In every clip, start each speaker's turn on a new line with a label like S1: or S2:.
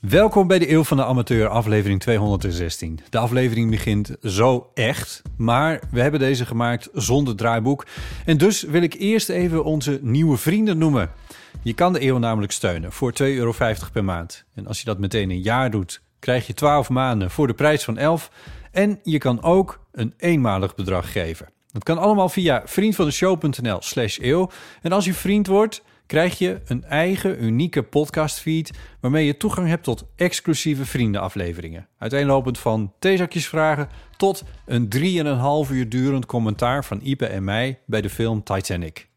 S1: Welkom bij de Eeuw van de Amateur, aflevering 216. De aflevering begint zo echt, maar we hebben deze gemaakt zonder draaiboek. En dus wil ik eerst even onze nieuwe vrienden noemen. Je kan de Eeuw namelijk steunen voor 2,50 euro per maand. En als je dat meteen een jaar doet, krijg je 12 maanden voor de prijs van 11. En je kan ook een eenmalig bedrag geven. Dat kan allemaal via vriendvandeshow.nl slash eeuw. En als je vriend wordt, krijg je een eigen unieke podcastfeed... waarmee je toegang hebt tot exclusieve vriendenafleveringen. Uiteenlopend van theezakjesvragen tot een 3,5 uur durend commentaar van Ipe en mij bij de film Titanic.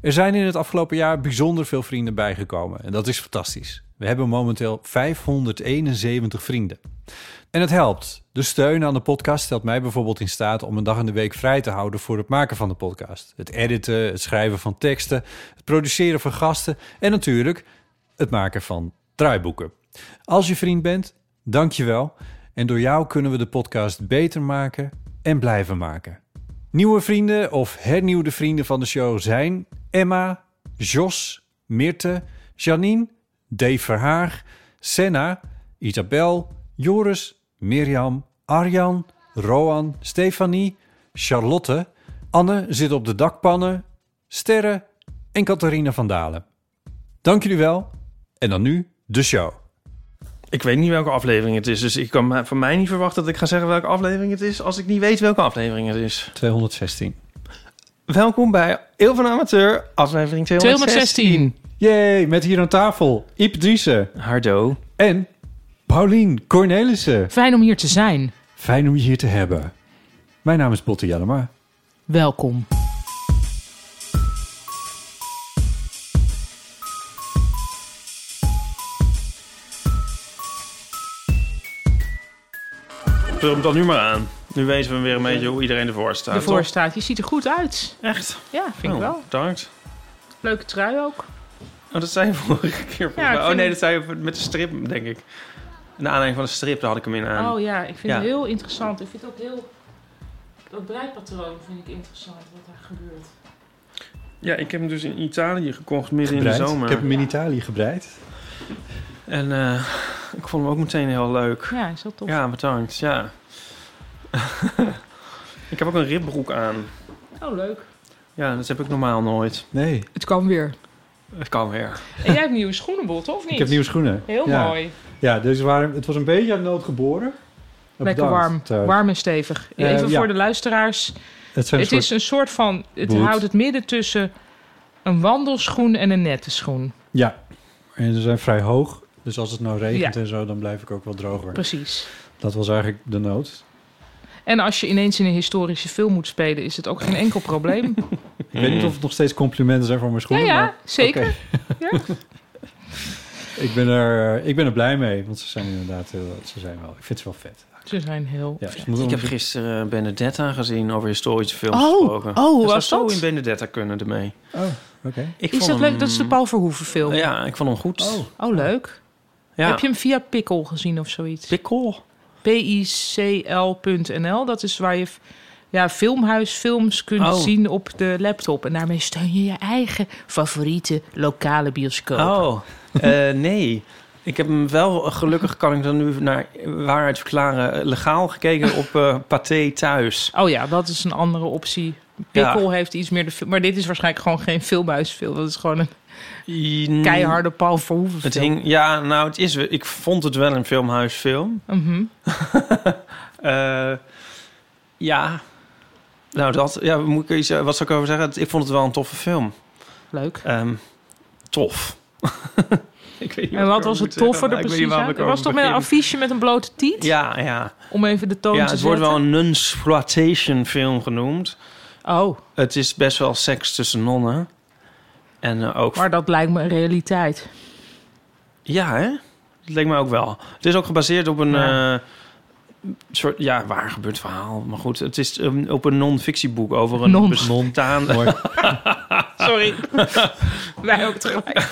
S1: Er zijn in het afgelopen jaar bijzonder veel vrienden bijgekomen en dat is fantastisch. We hebben momenteel 571 vrienden. En het helpt. De steun aan de podcast stelt mij bijvoorbeeld in staat om een dag in de week vrij te houden voor het maken van de podcast. Het editen, het schrijven van teksten, het produceren van gasten en natuurlijk het maken van draaiboeken. Als je vriend bent, dank je wel. En door jou kunnen we de podcast beter maken en blijven maken. Nieuwe vrienden of hernieuwde vrienden van de show zijn Emma, Jos, Mirte, Janine, Dave Verhaag, Senna, Isabel, Joris, Mirjam, Arjan, Roan, Stefanie, Charlotte, Anne zit op de dakpannen, Sterre en Catharina van Dalen. Dank jullie wel en dan nu de show.
S2: Ik weet niet welke aflevering het is, dus ik kan ma- van mij niet verwachten dat ik ga zeggen welke aflevering het is als ik niet weet welke aflevering het is.
S1: 216.
S2: Welkom bij Eeuw van de Amateur, aflevering 216.
S3: 216.
S1: Jee, met hier aan tafel Iep Driessen
S2: Hardo.
S1: en Paulien Cornelissen.
S4: Fijn om hier te zijn.
S1: Fijn om je hier te hebben. Mijn naam is Botte Jellema.
S4: Welkom.
S2: Vul hem dan nu maar aan. Nu weten we weer een beetje hoe iedereen ervoor staat.
S4: De voorstaat. Je ziet er goed uit.
S2: toch? Echt?
S4: Ja, vind ik
S2: Oh,
S4: wel.
S2: Bedankt.
S4: Leuke trui ook.
S2: Oh, dat zei je vorige keer. volgens
S4: ik
S2: mij. oh
S4: vind
S2: nee, dat
S4: het-
S2: zei je met de strip, denk ik. Naar aanleiding van de strip, daar had ik hem in aan.
S4: oh ja, ik vind
S2: ja.
S4: het heel interessant. Ik vind ook heel... Dat breipatroon vind ik interessant, wat daar gebeurt.
S2: Ja, ik heb hem dus in Italië gekocht midden in
S1: Gebreid.
S2: de zomer.
S1: Ik heb hem in Italië gebreid.
S2: En eh, ik vond hem ook meteen heel leuk.
S4: Ja, is dat tof.
S2: Ja, bedankt. Ja. ik heb ook een ribbroek aan.
S4: Oh, leuk.
S2: Ja, dat heb ik normaal nooit.
S1: Nee,
S4: Het kan weer.
S2: Het kan weer.
S4: En jij hebt nieuwe schoenenbot, of niet?
S1: ik heb nieuwe schoenen.
S4: Heel
S1: ja.
S4: mooi.
S1: Ja, dus waren, het was een beetje uit nood geboren. Maar
S4: Lekker
S1: bedankt,
S4: warm.
S1: trouwens.
S4: Warm en stevig.
S1: Eh,
S4: Even
S1: ja.
S4: voor de luisteraars.
S1: Het zijn een
S4: het
S1: soort-
S4: is een soort van... Het
S1: Boot.
S4: houdt het midden tussen een wandelschoen en een nette schoen.
S1: Ja, en ze zijn vrij hoog. Dus als het nou regent
S4: Ja.
S1: en zo, dan blijf ik ook wel droger.
S4: Precies.
S1: Dat was eigenlijk de nood.
S4: En als je ineens in een historische film moet spelen, is het ook geen enkel probleem.
S1: Ik weet
S2: Mm.
S1: niet of het nog steeds complimenten zijn voor mijn
S4: ja,
S1: schoenen.
S4: ja,
S1: maar
S4: zeker.
S1: ik, ben er, eh, ik ben er blij mee, want ze zijn inderdaad heel, ze zijn wel, ik vind ze wel vet.
S4: Ze zijn heel.
S1: Ja, ze moeten
S2: Ik heb
S1: wel-
S2: gisteren Benedetta gezien over historische films
S4: Oh,
S2: gesproken.
S4: oh, hoe
S2: Ik
S4: was
S2: zou
S4: dat?
S2: zo in Benedetta kunnen ermee.
S1: Oh, oké.
S2: Ik
S4: Is
S2: vond
S4: dat
S2: hem-
S4: leuk? Dat is de Paul Verhoeven film.
S2: Ja, ik vond hem goed.
S1: Oh.
S4: Oh, leuk.
S2: Ja.
S4: Heb je hem via Pickle gezien of zoiets?
S2: Pikkel?
S4: PICL.nl, dat is waar je f- ja, filmhuisfilms kunt
S2: Oh.
S4: zien op de laptop. En daarmee steun je je eigen favoriete lokale bioscoop.
S2: Oh, eh, nee. Ik heb hem wel, gelukkig kan ik dan nu naar waarheid verklaren, eh, legaal gekeken op eh Pathé Thuis.
S4: Oh ja, dat is een andere optie. Pickle heeft iets meer de film. Maar dit is waarschijnlijk gewoon geen filmhuisfilm. Dat is gewoon een
S2: Mm,
S4: keiharde Paul Verhoeven
S2: Het
S4: film.
S2: hing, ja, nou, het is, ik vond het wel een filmhuisfilm.
S4: Mhm.
S2: Eh, ja, nou dat, ja, moet ik er iets, eh, wat zou ik over zeggen? Ik vond het wel een toffe film.
S4: Leuk.
S2: Ehm, tof. ik weet niet
S4: En
S2: ik
S4: wat
S2: over
S4: was
S2: moet
S4: het toffe
S2: zeggen. Ik
S4: er
S2: weet
S4: precies
S2: niet waar
S4: aan?
S2: ik
S4: Er
S2: over
S4: was toch met een
S2: begin.
S4: affiche met een blote tiet?
S2: Ja, ja.
S4: Om even de toon
S2: ja
S4: te
S2: het wordt wel
S4: zetten.
S2: een nunsploitation film genoemd.
S4: Oh,
S2: Het is best wel seks tussen nonnen. En eh, ook...
S4: maar dat lijkt me een realiteit.
S2: Ja, hè? Dat leek me ook wel. Het is ook gebaseerd op een...
S4: Ja.
S2: eh, soort, ja, waar gebeurd verhaal. Maar goed, het is ehm, op een non-fictieboek over een
S4: Non.
S2: bestaande...
S1: Mooi.
S4: Sorry. Wij ook tegelijk.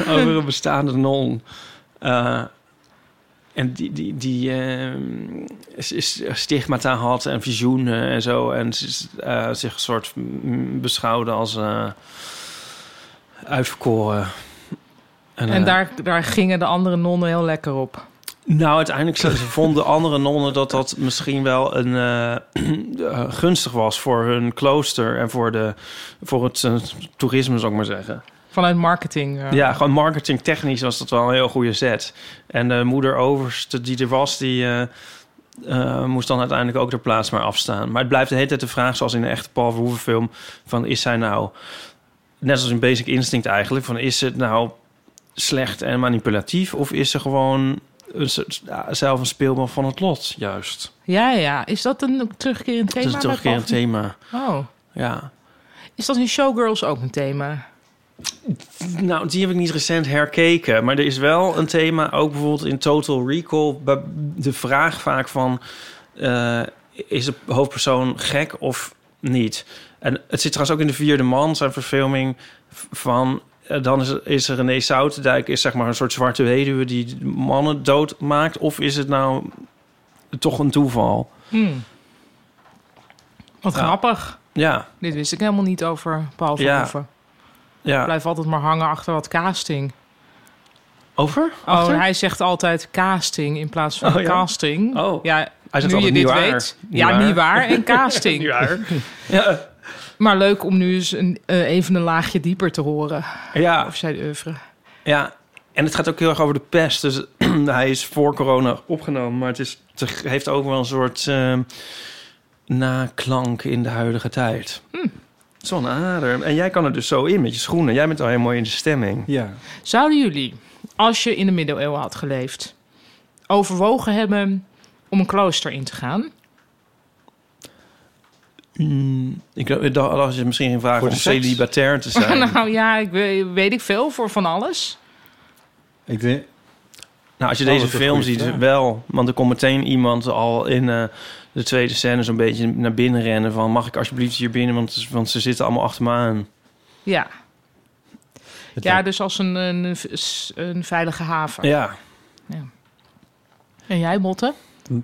S2: over een bestaande non. Eh, en die, die, die ehm, s- s- stigmata had en visioenen en zo. En ze is, eh, zich een soort mm, beschouwde als eh, uitverkoren.
S4: En
S2: eh,
S4: daar, daar gingen de andere nonnen heel lekker op.
S2: Nou, uiteindelijk ze- ze vonden andere nonnen dat dat misschien wel een, eh, eh, gunstig was voor hun klooster en voor, de, voor het eh, toerisme, zou ik maar zeggen.
S4: Vanuit marketing. eh.
S2: Ja, gewoon marketingtechnisch was dat wel een heel goede set. En de moeder overste die er was, die eh, eh, moest dan uiteindelijk ook de plaats maar afstaan. Maar het blijft de hele tijd de vraag, zoals in de echte Paul Verhoeven film, van is zij nou, net als in Basic Instinct eigenlijk, van is het nou slecht en manipulatief of is ze gewoon een soort- ja, zelf een speelbal van het lot, juist?
S4: ja, ja. Is dat een terugkerend thema?
S2: dat is
S4: bij
S2: toch een keer een
S4: Paul?
S2: thema.
S4: Oh.
S2: Ja.
S4: Is dat in Showgirls ook een thema?
S2: Nou, die heb ik niet recent herkeken. Maar er is wel een thema, ook bijvoorbeeld in Total Recall... bij- de vraag vaak van... eh, is de hoofdpersoon gek of niet? En het zit trouwens ook in de vierde man, zijn verfilming... v- van eh, dan is, is er René Soutendijk... is zeg maar een soort zwarte weduwe die mannen doodmaakt... of is het nou toch een toeval?
S4: Hmm. Wat
S2: Ja.
S4: grappig.
S2: Ja,
S4: Dit wist ik helemaal niet over Paul
S2: Ja.
S4: Verhoeven. Ik
S2: ja.
S4: blijf altijd maar hangen achter wat casting.
S2: Over?
S4: Oh,
S2: Achter?
S4: hij zegt altijd casting in plaats van
S2: Oh, ja?
S4: casting.
S2: Oh.
S4: Ja,
S2: Hij zegt
S4: nu je
S2: altijd
S4: dit
S2: niet waar.
S4: weet.
S2: Niet
S4: ja,
S2: waar.
S4: niet waar en casting.
S2: Ja,
S4: Maar leuk om nu eens een, eh, even een laagje dieper te horen.
S2: ja.
S4: Of zij de oeuvre.
S2: Ja, en het gaat ook heel erg over de pest. Dus hij is voor corona opgenomen, maar het is, het heeft ook wel een soort ehm, naklank in de huidige tijd.
S1: Hmm.
S2: Zo'n adem. En jij kan er dus zo in met je schoenen. Jij bent al helemaal in de stemming.
S1: Ja.
S4: Zouden jullie, als je in de middeleeuwen had geleefd, overwogen hebben om een klooster in te gaan?
S2: Mm, ik dacht- ik dacht dat was je misschien geen vraag
S1: Voor
S2: om
S1: de seks?
S2: celibatair te zijn.
S4: nou ja, ik weet, weet ik veel voor van alles.
S1: Ik denk,
S2: Nou, als je
S1: Oh,
S2: deze
S1: wat een
S2: film
S1: goede
S2: ziet,
S1: vraag.
S2: wel. Want er komt meteen iemand al in eh, de tweede scène zo'n beetje naar binnen rennen. Van, mag ik alsjeblieft hier binnen? Want, want ze zitten allemaal achter me aan.
S4: Ja,
S1: het
S4: ja
S1: lijkt-
S4: dus als een, een, een veilige haven.
S2: Ja.
S4: En jij, Motte?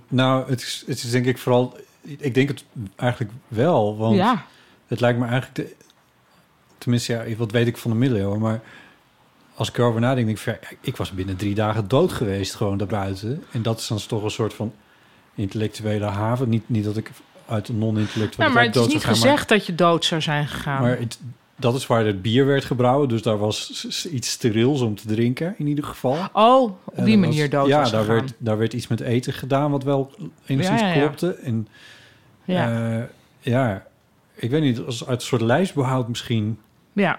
S1: nou, het is, het is denk ik vooral... Ik denk het eigenlijk wel, want
S4: Ja.
S1: het lijkt me eigenlijk... De, tenminste, ja, wat weet ik van de middeleeuwen, maar... Als ik erover nadenk, denk ik, van, ja, ik was binnen drie dagen dood geweest, gewoon daarbuiten. En dat is dan toch een soort van intellectuele haven. Niet, niet dat ik uit een non-intellectuele
S4: Nou, maar
S1: dood
S4: het is
S1: zou
S4: niet
S1: gaan, maar-
S4: gezegd dat je dood zou zijn gegaan.
S1: Maar het- dat is waar het bier werd gebrouwen. Dus daar was s- s- iets sterils om te drinken, in ieder geval.
S4: oh, op
S1: En
S4: die
S1: er was-
S4: manier dood
S1: ja,
S4: was
S1: daar
S4: gegaan.
S1: werd, daar werd iets met eten gedaan, wat wel enigszins
S4: Ja, ja, ja.
S1: klopte. En
S4: ja.
S1: ja. ja, ik weet niet, als uit een soort lijstbehoud misschien.
S4: ja.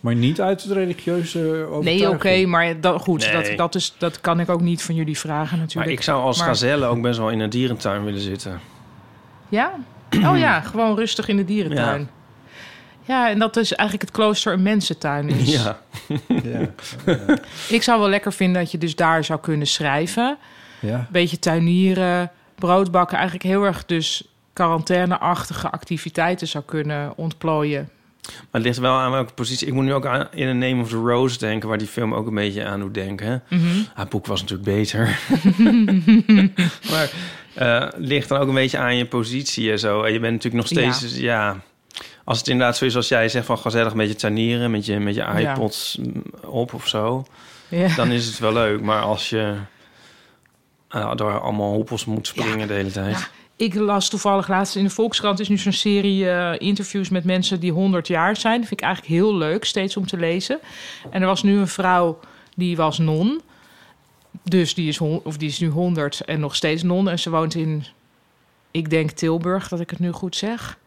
S1: Maar niet uit het religieuze overtuiging.
S4: Nee, oké, maar dat, goed,
S2: Nee.
S4: dat, dat, is, dat kan ik ook niet van jullie vragen natuurlijk.
S2: Maar ik zou als
S4: Maar-
S2: gazelle ook best wel in een dierentuin willen zitten.
S4: Ja? Oh ja, gewoon rustig in de dierentuin. Ja. en dat is eigenlijk het klooster een mensentuin is.
S2: Ja.
S1: Ja,
S4: Ik zou wel lekker vinden dat je dus daar zou kunnen schrijven.
S1: ja.
S4: Beetje tuinieren, brood bakken. Eigenlijk heel erg dus quarantaine-achtige activiteiten zou kunnen ontplooien.
S2: Maar het ligt wel aan welke positie. Ik moet nu ook aan in The Name of the Rose denken, waar die film ook een beetje aan doet denken.
S4: Mhm.
S2: Haar boek was natuurlijk beter. maar eh, het ligt dan ook een beetje aan je positie en zo. En je bent natuurlijk nog steeds,
S4: Ja.
S2: dus ja. Als het inderdaad zo is als jij zegt van gezellig met je tuinieren, met je, met je
S4: Ja.
S2: iPods mm, op of zo,
S4: Ja.
S2: dan is het wel leuk. Maar als je eh, door allemaal hoepels moet springen de hele tijd.
S4: Ik las toevallig laatst in de Volkskrant is nu zo'n serie eh, interviews met mensen die 100 jaar zijn. Dat vind ik eigenlijk heel leuk, steeds om te lezen. En er was nu een vrouw die was non. Dus die is, hon- of die is nu 100 en nog steeds non. En ze woont in, ik denk Tilburg, dat ik het nu goed zeg.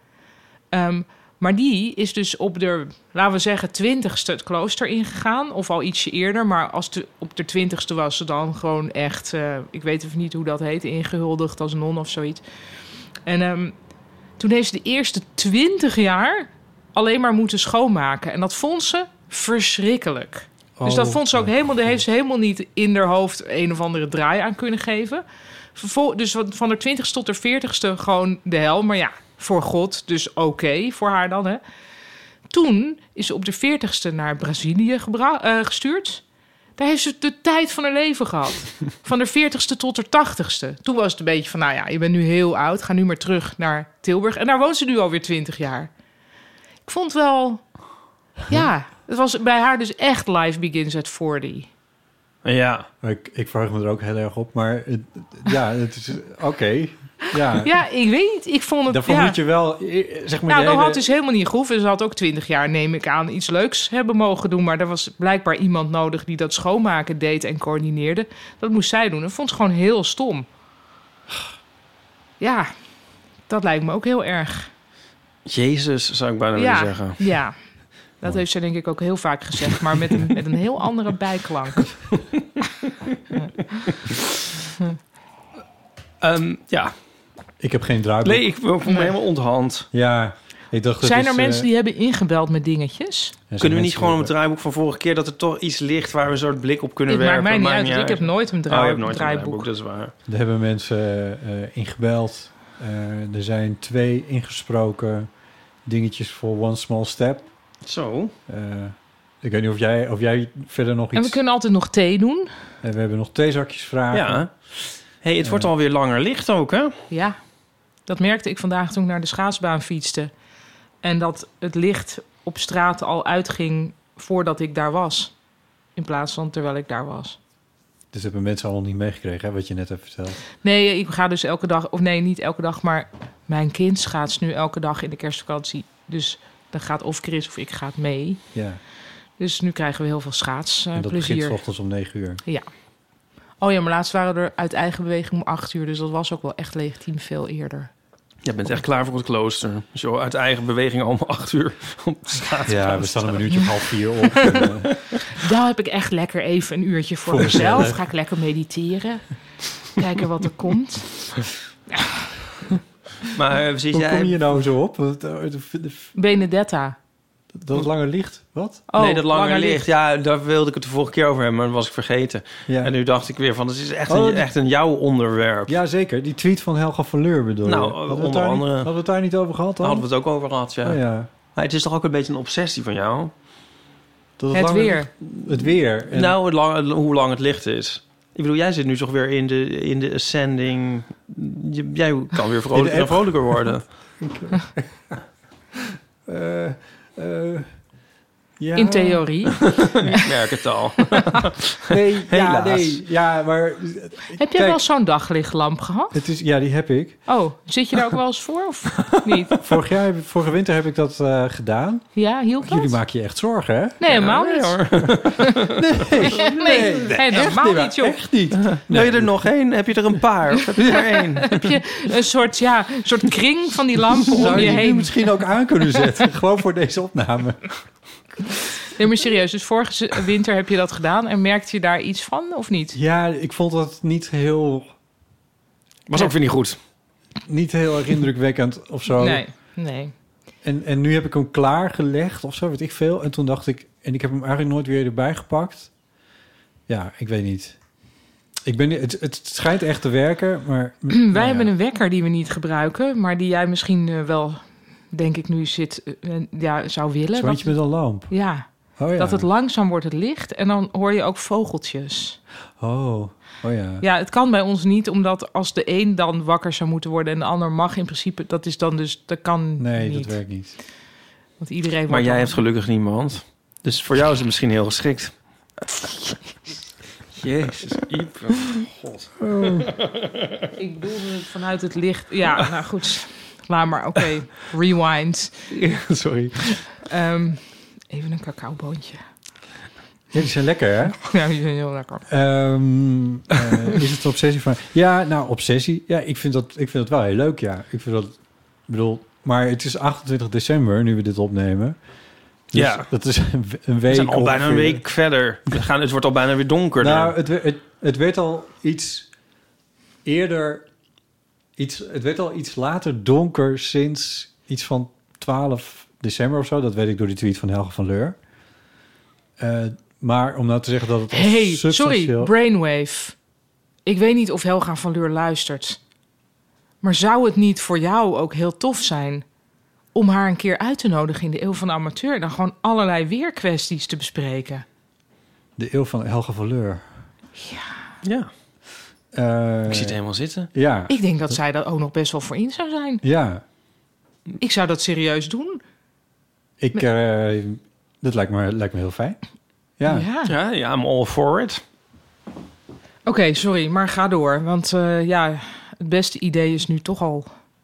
S4: Ehm, maar die is dus op de, laten we zeggen, twintigste het klooster ingegaan. Of al ietsje eerder. Maar als het op de twintigste was ze dan gewoon echt... eh, ik weet even niet hoe dat heet, ingehuldigd als non of zoiets. En ehm, toen heeft ze de eerste twintig jaar alleen maar moeten schoonmaken. En dat vond ze verschrikkelijk. Dus dat
S1: Oh,
S4: vond ze ook helemaal... Daar heeft ze helemaal niet in haar hoofd een of andere draai aan kunnen geven. Vervol- dus wat- van de twintigste tot de veertigste gewoon de hel. Maar ja, voor God, dus oké voor haar dan, hè. Toen is ze op de 40ste naar Brazilië gebra- eh, gestuurd. Daar heeft ze de tijd van haar leven gehad. Van de 40ste tot de 80ste. Toen was het een beetje van, nou ja, je bent nu heel oud. Ga nu maar terug naar Tilburg. En daar woont ze nu alweer 20 jaar. Ik vond wel... Ja, het was bij haar dus echt life begins at 40.
S2: Ja.
S1: Ik, ik vraag me er ook heel erg op, maar het- ja, het is oké. Ja,
S4: Ja, ik weet niet. Ik vond het...
S1: daarvoor
S4: ja.
S1: moet je wel, eh, zeg maar,
S4: Nou,
S1: de
S4: dat
S1: hele-
S4: had dus helemaal niet gehoeven. Ze had ook twintig jaar, neem ik aan, iets leuks hebben mogen doen. Maar er was blijkbaar iemand nodig die dat schoonmaken deed en coördineerde. Dat moest zij doen. Dat vond ze gewoon heel stom. Ja, dat lijkt me ook heel erg.
S2: Jezus, zou ik bijna
S4: ja,
S2: willen zeggen.
S4: ja. Dat heeft ze denk ik ook heel vaak gezegd, maar met een, met een heel andere bijklank.
S2: Ehm, ja.
S1: Ik heb geen draaiboek.
S2: Nee, ik voel me helemaal onthand.
S1: Ja, ik dacht... eh,
S4: Zijn er mensen die hebben ingebeld met dingetjes?
S2: dus, eh, Kunnen we niet gewoon op het draaiboek van vorige keer... dat er toch iets ligt waar we een soort blik op kunnen
S4: Het maakt
S2: werpen?
S4: mij niet uit, want ik heb nooit een
S2: Oh, je
S4: draai-
S2: hebt nooit een
S4: draaiboek.
S2: draaiboek, dat is waar.
S1: Er hebben mensen eh, ingebeld. Eh, er zijn twee ingesproken dingetjes voor One Small Step.
S2: Zo.
S1: Eh, ik weet niet of jij, of jij verder nog iets...
S4: En we kunnen altijd nog thee doen.
S1: Eh, we hebben nog theezakjes vragen.
S2: Ja. hey, het wordt alweer langer licht ook, hè?
S4: Ja, dat merkte ik vandaag toen ik naar de schaatsbaan fietste. En dat het licht op straat al uitging voordat ik daar was. In plaats van terwijl ik daar was.
S1: Dus hebben mensen allemaal niet meegekregen, hè, wat je net hebt verteld.
S4: Nee, ik ga dus elke dag, of nee, niet elke dag, maar mijn kind schaats nu elke dag in de kerstvakantie. Dus dan gaat of Chris of ik gaat mee.
S1: Ja.
S4: Dus nu krijgen we heel veel
S1: en dat
S4: schaatsplezier.
S1: begint 's ochtends om negen uur.
S4: oh ja, maar laatst waren er uit eigen beweging om acht uur. Dus dat was ook wel echt legitiem veel eerder.
S2: Je bent echt klaar voor het klooster. Zo uit eigen beweging al om acht uur op de straat.
S1: Ja, we staan een minuutje of half vier op. En, eh,
S4: Daar heb ik echt lekker even een uurtje voor,
S1: Voor
S4: mezelf.
S1: mezelf.
S4: Ga ik lekker mediteren. Kijken wat er komt.
S2: Maar eh, zit
S1: hoe kom
S2: jij...
S1: je nou zo op? Dat, dat,
S4: Benedetta.
S1: dat het langer licht? Wat?
S4: Oh,
S2: nee, dat langer, ligt.
S4: licht.
S2: Ja, daar wilde ik het de vorige keer over hebben, maar dat was ik vergeten.
S1: Ja.
S2: En nu dacht ik weer van, het is echt,
S1: Oh,
S2: een,
S1: die-
S2: echt een jouw onderwerp.
S1: Ja, zeker. Die tweet van Helga van Leur bedoel je?
S2: Nou,
S1: Hadden we het
S2: onder
S1: daar niet-
S2: andere.
S1: hadden we het daar niet over gehad
S2: Daar
S1: dan?
S2: hadden we het ook over gehad, ja.
S1: Oh, ja.
S2: Maar het is toch ook een beetje een obsessie van jou?
S1: Dat
S4: Het
S1: langer-
S4: weer.
S1: Het weer. En-
S2: Nou, het lang, het- hoe lang het licht is. Ik bedoel, jij zit nu toch weer in de, in de ascending. Je- jij kan weer vrolijker en
S1: app.
S2: vrolijker worden.
S1: Eh, eh, ja.
S4: In theorie.
S2: Ik merk het al.
S1: Nee, ja,
S2: Helaas.
S1: nee. Ja, maar
S4: Heb jij
S1: Kijk.
S4: wel zo'n daglichtlamp gehad?
S1: het is, ja, die heb ik.
S4: Oh, zit je daar ook wel eens voor of niet?
S1: Vorig jaar, heb ik- vorige winter heb ik dat eh, gedaan.
S4: Ja, hielp dat?
S1: Jullie maken je echt zorgen, hè?
S4: Nee, helemaal niet. Nee, nee, helemaal niet, joh.
S1: Echt niet.
S2: Wil je er nog één? Heb je er een paar? Of heb je er één?
S4: Heb je een soort, ja, een soort kring van die lampen om
S1: Zou
S4: je
S1: je die
S4: heen?
S1: misschien ook aan kunnen zetten? Gewoon voor deze opname.
S4: Nee, maar serieus. Dus vorige z- winter heb je dat gedaan en merkte je daar iets van of niet?
S1: Ja, ik vond dat niet heel,
S2: Was ook weer niet goed.
S1: niet heel erg indrukwekkend of zo.
S4: Nee, nee.
S1: En, en nu heb ik hem klaargelegd of zo, weet ik veel. En toen dacht ik, en ik heb hem eigenlijk nooit weer erbij gepakt. Ja, ik weet niet. Ik ben, niet- het, het schijnt echt te werken, maar... nou
S4: Wij
S1: ja.
S4: hebben een wekker die we niet gebruiken, maar die jij misschien eh, wel, denk ik nu, zit, eh, en- ja, zou willen.
S1: Zo'n
S4: Wat-
S1: eentje met een lamp.
S4: ja,
S1: Oh ja.
S4: dat het langzaam wordt het licht en dan hoor je ook vogeltjes.
S1: Oh, oh ja.
S4: Ja, het kan bij ons niet, omdat als de een dan wakker zou moeten worden en de ander mag in principe, dat is dan dus, dat kan
S1: Nee,
S4: niet.
S1: dat werkt niet.
S4: Want iedereen
S2: Maar
S4: wordt
S2: jij
S4: dan-
S2: hebt gelukkig niemand. Dus voor jou is het misschien heel geschikt. Jezus, Iep. God.
S4: Ik bedoelde het vanuit het licht. Ja, nou goed. Laat maar, oké. Rewind.
S2: Sorry.
S4: Ehm, even een cacaoboontje.
S1: Ja, die zijn lekker, hè?
S4: Ja, die zijn heel lekker.
S1: Ehm, eh, is het een obsessie van? Ja, nou, obsessie. Ja, ik vind dat, ik vind dat wel heel leuk, ja. Ik vind dat, ik bedoel, maar het is 28 december nu we dit opnemen. Dus
S2: Ja.
S1: Dat is een, we- een week.
S2: We zijn al bijna een
S1: ongeveer.
S2: week verder. We gaan, het wordt al bijna weer donker.
S1: Nou,
S2: Nou,
S1: het, we- het, het werd al iets eerder, iets, het werd al iets later donker sinds iets van 12 december of zo. Dat weet ik door die tweet van Helge van Leur. Eh, maar om nou te zeggen dat het als
S4: Hey, sorry,
S1: substantieel-
S4: Brainwave. Ik weet niet of Helga van Leur luistert. Maar zou het niet voor jou ook heel tof zijn... om haar een keer uit te nodigen in de Eeuw van de Amateur... en dan gewoon allerlei weerkwesties te bespreken?
S1: De eeuw van Helge van Leur.
S2: ja.
S1: Eh,
S2: Ik zie het helemaal zitten.
S1: Ja,
S4: Ik denk dat zij daar ook nog best wel voor in zou zijn.
S1: ja.
S4: Ik zou dat serieus doen.
S1: Ik, eh, dat lijkt me, lijkt me heel fijn. Ja.
S4: Ja.
S2: Ja, ja, I'm all for it.
S4: Oké, sorry, maar ga door. Want eh, ja, het beste idee is nu toch al.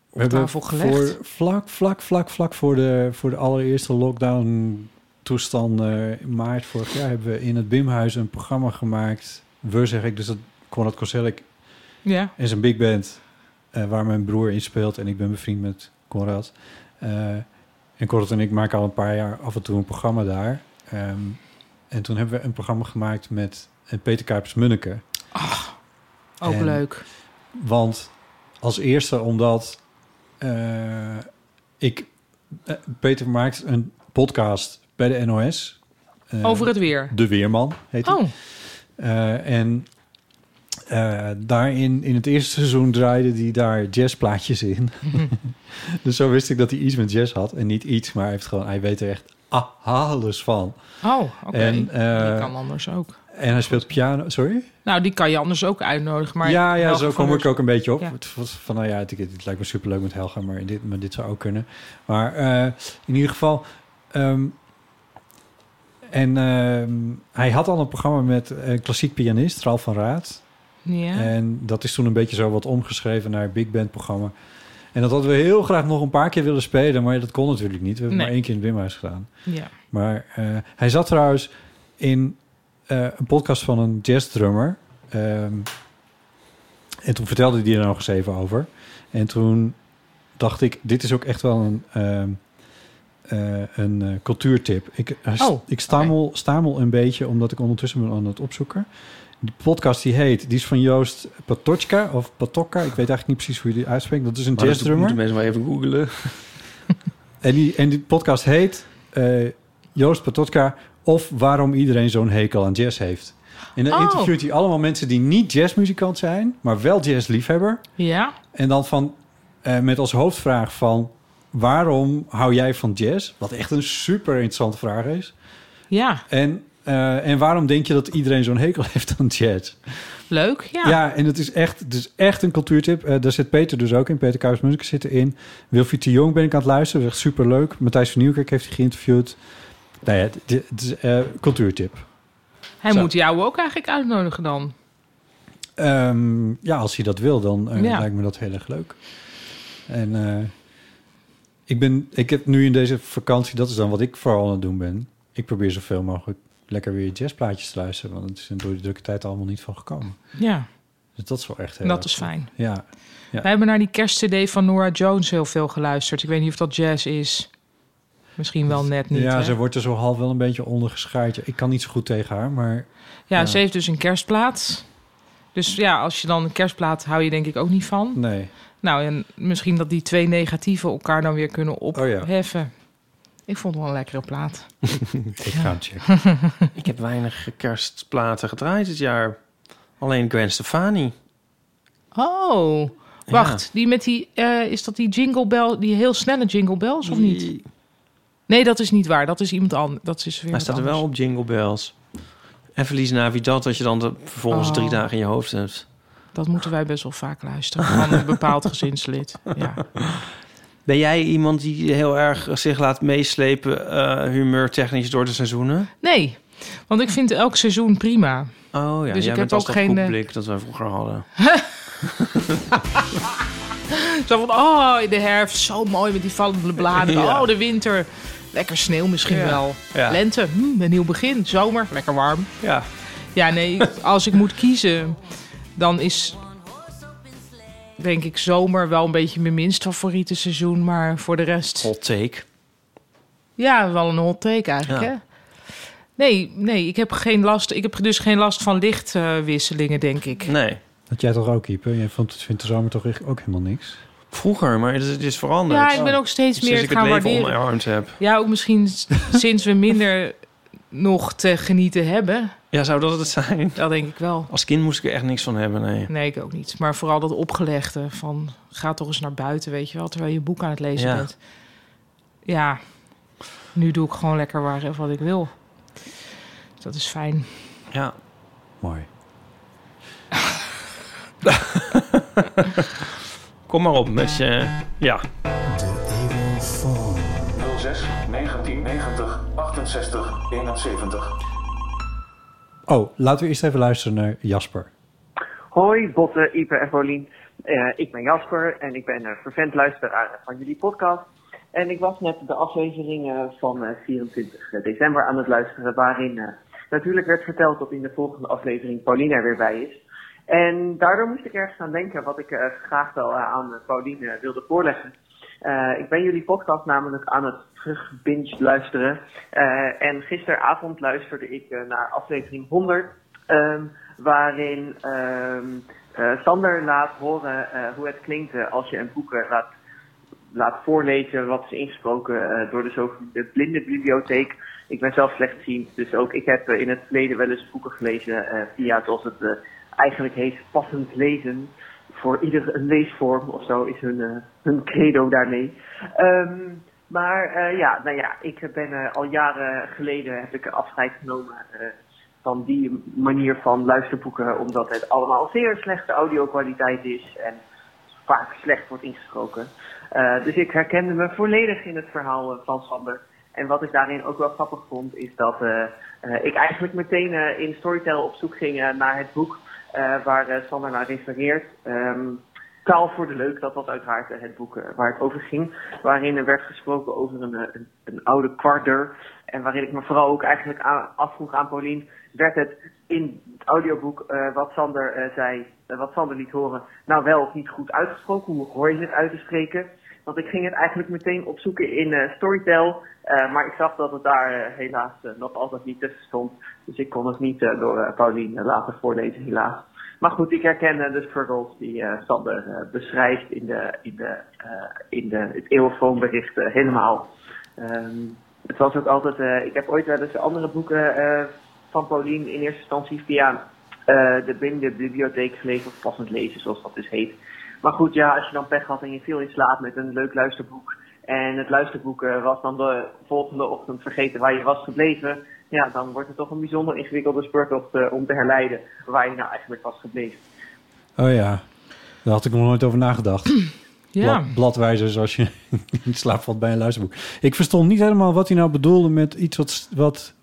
S1: We hebben
S4: tafel gelegd.
S1: Voor, vlak, vlak, vlak, vlak voor de, voor de allereerste lockdown toestanden in maart vorig jaar hebben we in het Bimhuis een programma gemaakt. We zeg ik, dus dat Konrad Kosellik
S4: Ja.
S1: en zijn big band, eh, waar mijn broer in speelt en ik ben bevriend met Konrad. Eh, en Konrad en ik maken al een paar jaar af en toe een programma daar. Ehm, en toen hebben we een programma gemaakt met eh, Peter Kuipers Munneke.
S4: Ah, Ook
S1: En-
S4: leuk.
S1: Want als eerste omdat eh, ik... eh, Peter maakt een podcast bij de NOS. Eh,
S4: Over het weer.
S1: De Weerman heet hij.
S4: Oh,
S1: Eh, en eh, daarin, in het eerste seizoen, draaide hij daar jazzplaatjes in. dus zo wist ik dat hij iets met jazz had. En niet iets, maar hij, heeft gewoon, hij weet er echt alles van.
S4: oh oké.
S1: En, eh,
S4: die kan anders ook.
S1: En hij speelt piano. Sorry?
S4: Nou, die kan je anders ook uitnodigen. Maar
S1: ja, ja
S4: Helge
S1: zo
S4: van
S1: kom
S4: Leur-
S1: ik ook een beetje op.
S4: Ja.
S1: Het was van, nou ja, het, het lijkt me superleuk met Helga, maar dit, maar dit zou ook kunnen. Maar eh, in ieder geval... ehm, en ehm, hij had al een programma met eh, een klassiek pianist, Ralf van Raad.
S4: Ja.
S1: En dat is toen een beetje zo wat omgeschreven naar big band programma. En dat hadden we heel graag nog een paar keer willen spelen, maar dat kon natuurlijk niet. We hebben
S4: Nee.
S1: maar één keer in het Wimhuis gedaan.
S4: ja.
S1: Maar eh, hij zat trouwens in eh, een podcast van een jazzdrummer. Ehm en toen vertelde hij er nog eens even over. En toen dacht ik, dit is ook echt wel een, ehm, eh, een eh, cultuurtip. Ik, hij st-
S4: Oh,
S1: ik stamel, stamel een beetje, omdat ik ondertussen ben aan het opzoeken. Die podcast die heet, die is van Joost Patochka of Patokka. Ik weet eigenlijk niet precies hoe je die uitspreekt. Dat is een
S2: Maar dat
S1: jazzdrummer.
S2: moeten mensen maar even googelen.
S1: En die, en die podcast heet eh, Joost Patotka of Waarom iedereen zo'n hekel aan jazz heeft. En dan
S4: Oh.
S1: interviewt hij allemaal mensen die niet jazzmuzikant zijn, maar wel jazzliefhebber.
S4: ja.
S1: En dan van, eh, met als hoofdvraag van waarom hou jij van jazz? Wat echt een super interessante vraag is.
S4: Ja.
S1: En, eh, en waarom denk je dat iedereen zo'n hekel heeft aan jazz?
S4: Leuk. Ja.
S1: Ja, en het is echt, het is echt een cultuurtip. Eh, daar zit Peter dus ook in. Peter Kuijs Muziek zit erin. Wilfried de Jong ben ik aan het luisteren. Dat is echt superleuk. Matthijs van Nieuwkerk heeft hij geïnterviewd. Nou ja, het, het is eh, cultuurtip.
S4: Hij
S1: Zo.
S4: moet jou ook eigenlijk uitnodigen dan.
S1: Ehm, ja, als hij dat wil, dan eh,
S4: Ja.
S1: lijkt me dat heel erg leuk. En eh, ik, ben, ik heb nu in deze vakantie, dat is dan wat ik vooral aan het doen ben. Ik probeer zoveel mogelijk lekker weer jazzplaatjes te luisteren. Want het is er door de drukke tijd allemaal niet van gekomen.
S4: Ja.
S1: Dus dat is wel echt heel
S4: Dat
S1: erg
S4: is
S1: goed.
S4: fijn.
S1: Ja.
S4: Wij hebben naar die kerstcd van Nora Jones heel veel geluisterd. Ik weet niet of dat jazz is. Misschien wel net niet.
S1: ja,
S4: hè?
S1: ze wordt er zo half wel een beetje onder geschaard. Ja, Ik kan niet zo goed tegen haar, maar
S4: Ja,
S1: Ja.
S4: ze heeft dus een kerstplaat. Dus ja, als je dan een kerstplaat hou je denk ik ook niet van.
S1: nee.
S4: Nou, en misschien dat die twee negatieven elkaar dan weer kunnen
S1: ja.
S4: opheffen. Ik vond het wel een lekkere plaat.
S1: Ik ga hem checken.
S2: Ik heb weinig kerstplaten gedraaid dit jaar. Alleen Gwen Stefani.
S4: Oh, wacht. Die met die, eh, is dat die jingle bell, die heel snelle jingle bells of niet? Nee, dat is niet waar. Dat is iemand anders. Dat is weer
S2: Hij
S4: wat
S2: staat er
S4: anders.
S2: wel op Jingle Bells. En verlies Navidad, dat je dan de, vervolgens
S4: Oh.
S2: drie dagen in je hoofd hebt.
S4: Dat moeten wij best wel vaak luisteren van een bepaald gezinslid. Ja.
S2: Ben jij iemand die heel erg zich laat meeslepen, eh humeur technisch, door de seizoenen?
S4: Nee, Want ik vind elk seizoen prima.
S2: Oh ja,
S4: Dus
S2: jij
S4: ik
S2: bent
S4: heb
S2: als
S4: ook
S2: dat
S4: geen, eh,
S2: koekblik dat wij vroeger hadden.
S4: Zo van, oh, in de herfst, zo mooi met die vallende bladeren.
S2: Ja.
S4: Oh, de winter, lekker sneeuw misschien
S2: Ja.
S4: wel.
S2: Ja.
S4: Lente, hm, een nieuw begin. Zomer, lekker warm.
S2: Ja.
S4: Ja, nee, als ik moet kiezen, dan is denk ik zomer wel een beetje mijn minst favoriete seizoen. Maar voor de rest,
S2: Hot take.
S4: ja, wel een hot take eigenlijk,
S2: Ja.
S4: hè? Nee, nee, ik heb, geen last, ik heb dus geen last van lichtwisselingen, denk ik.
S2: Nee.
S1: Dat jij toch ook, keeper? Jij vond, vindt de zomer toch echt ook helemaal niks?
S2: Vroeger, maar het is, het is veranderd.
S4: Ja, ik ben ook steeds meer
S2: Sinds
S4: het
S2: ik het
S4: gaan
S2: leven
S4: waarderen.
S2: omarmd heb.
S4: Ja, ook misschien s- sinds we minder nog te genieten hebben.
S2: Ja, zou dat het zijn?
S4: Dat denk ik wel.
S2: Als kind moest ik er echt niks van hebben, nee.
S4: Nee, ik ook niet. Maar vooral dat opgelegde van ga toch eens naar buiten, weet je wel, terwijl je een boek aan het lezen
S2: Ja.
S4: bent. Ja, nu doe ik gewoon lekker waar wat ik wil. Dus Dat is fijn.
S2: Ja.
S1: Mooi.
S2: Kom maar op met je... Ja.
S5: 06 1990 68 71.
S1: Oh, laten we eerst even luisteren naar Jasper.
S6: Hoi, Botte, Ipe en Paulien. Eh, ik ben Jasper en ik ben een vervent luisteraar van jullie podcast. En ik was net de aflevering eh, van eh, 24 december aan het luisteren, waarin eh, natuurlijk werd verteld dat in de volgende aflevering Paulien er weer bij is. En daardoor moest ik ergens aan denken wat ik eh, graag wel eh, aan eh, Paulien eh, wilde voorleggen. Eh, ik ben jullie podcast namelijk aan het terugbinge luisteren. Eh, en gisteravond luisterde ik eh, naar aflevering 100. ehm, waarin ehm, eh, Sander laat horen eh, hoe het klinkt eh, als je een boek eh, laat, laat voorlezen wat is ingesproken eh, door de zogenaamde blinde bibliotheek. Ik ben zelf slechtziend, dus ook ik heb eh, in het verleden wel eens boeken gelezen eh, via zoals het eh, eigenlijk heet passend lezen. Voor ieder een leesvorm of zo is hun, eh, hun credo daarmee. Ehm, maar eh, ja, nou ja, ik ben eh, al jaren geleden heb ik afscheid genomen eh, van die manier van luisterboeken, omdat het allemaal zeer slechte audio-kwaliteit is en vaak slecht wordt ingesproken. Eh, dus ik herkende me volledig in het verhaal eh, van Sander. En wat ik daarin ook wel grappig vond, is dat eh, eh, ik eigenlijk meteen eh, in Storytel op zoek ging eh, naar het boek eh, waar eh, Sander naar refereert. Ehm, Taal voor de Leuk, dat was uiteraard eh, het boek eh, waar het over ging. Waarin er werd gesproken over een, eh, een, een oude kwarder. En waarin ik me vooral ook eigenlijk aan, afvroeg aan Paulien. Werd het in het audioboek eh, wat Sander eh, zei, eh, wat Sander liet horen, nou wel of niet goed uitgesproken? Hoe hoor je het uit te spreken? Want ik ging het eigenlijk meteen opzoeken in eh, Storytel. eh, maar ik zag dat het daar eh, helaas eh, nog altijd niet tussen stond. Dus ik kon het niet eh, door eh, Paulien eh, laten voorlezen, helaas. Maar goed, ik herken eh, de struggles die eh, Sander eh, beschrijft in, de, in, de, eh, in de, het eeuwfoonbericht eh, helemaal. Ehm, het was ook altijd, eh, ik heb ooit wel eens andere boeken eh, van Paulien in eerste instantie via eh, de binnen de bibliotheek gelezen, of passend lezen zoals dat dus heet. Maar goed, ja, als je dan pech had en je viel in slaap met een leuk luisterboek. En het luisterboek eh, was dan de volgende ochtend vergeten waar je was gebleven. Ja, dan wordt het toch een bijzonder ingewikkelde speurtocht eh, om te herleiden waar je nou eigenlijk was gebleven.
S1: Oh ja, daar had ik nog nooit over nagedacht.
S4: Ja,
S1: Blad- bladwijzers als je in slaap valt bij een luisterboek. Ik verstond niet helemaal wat hij nou bedoelde met iets wat... wat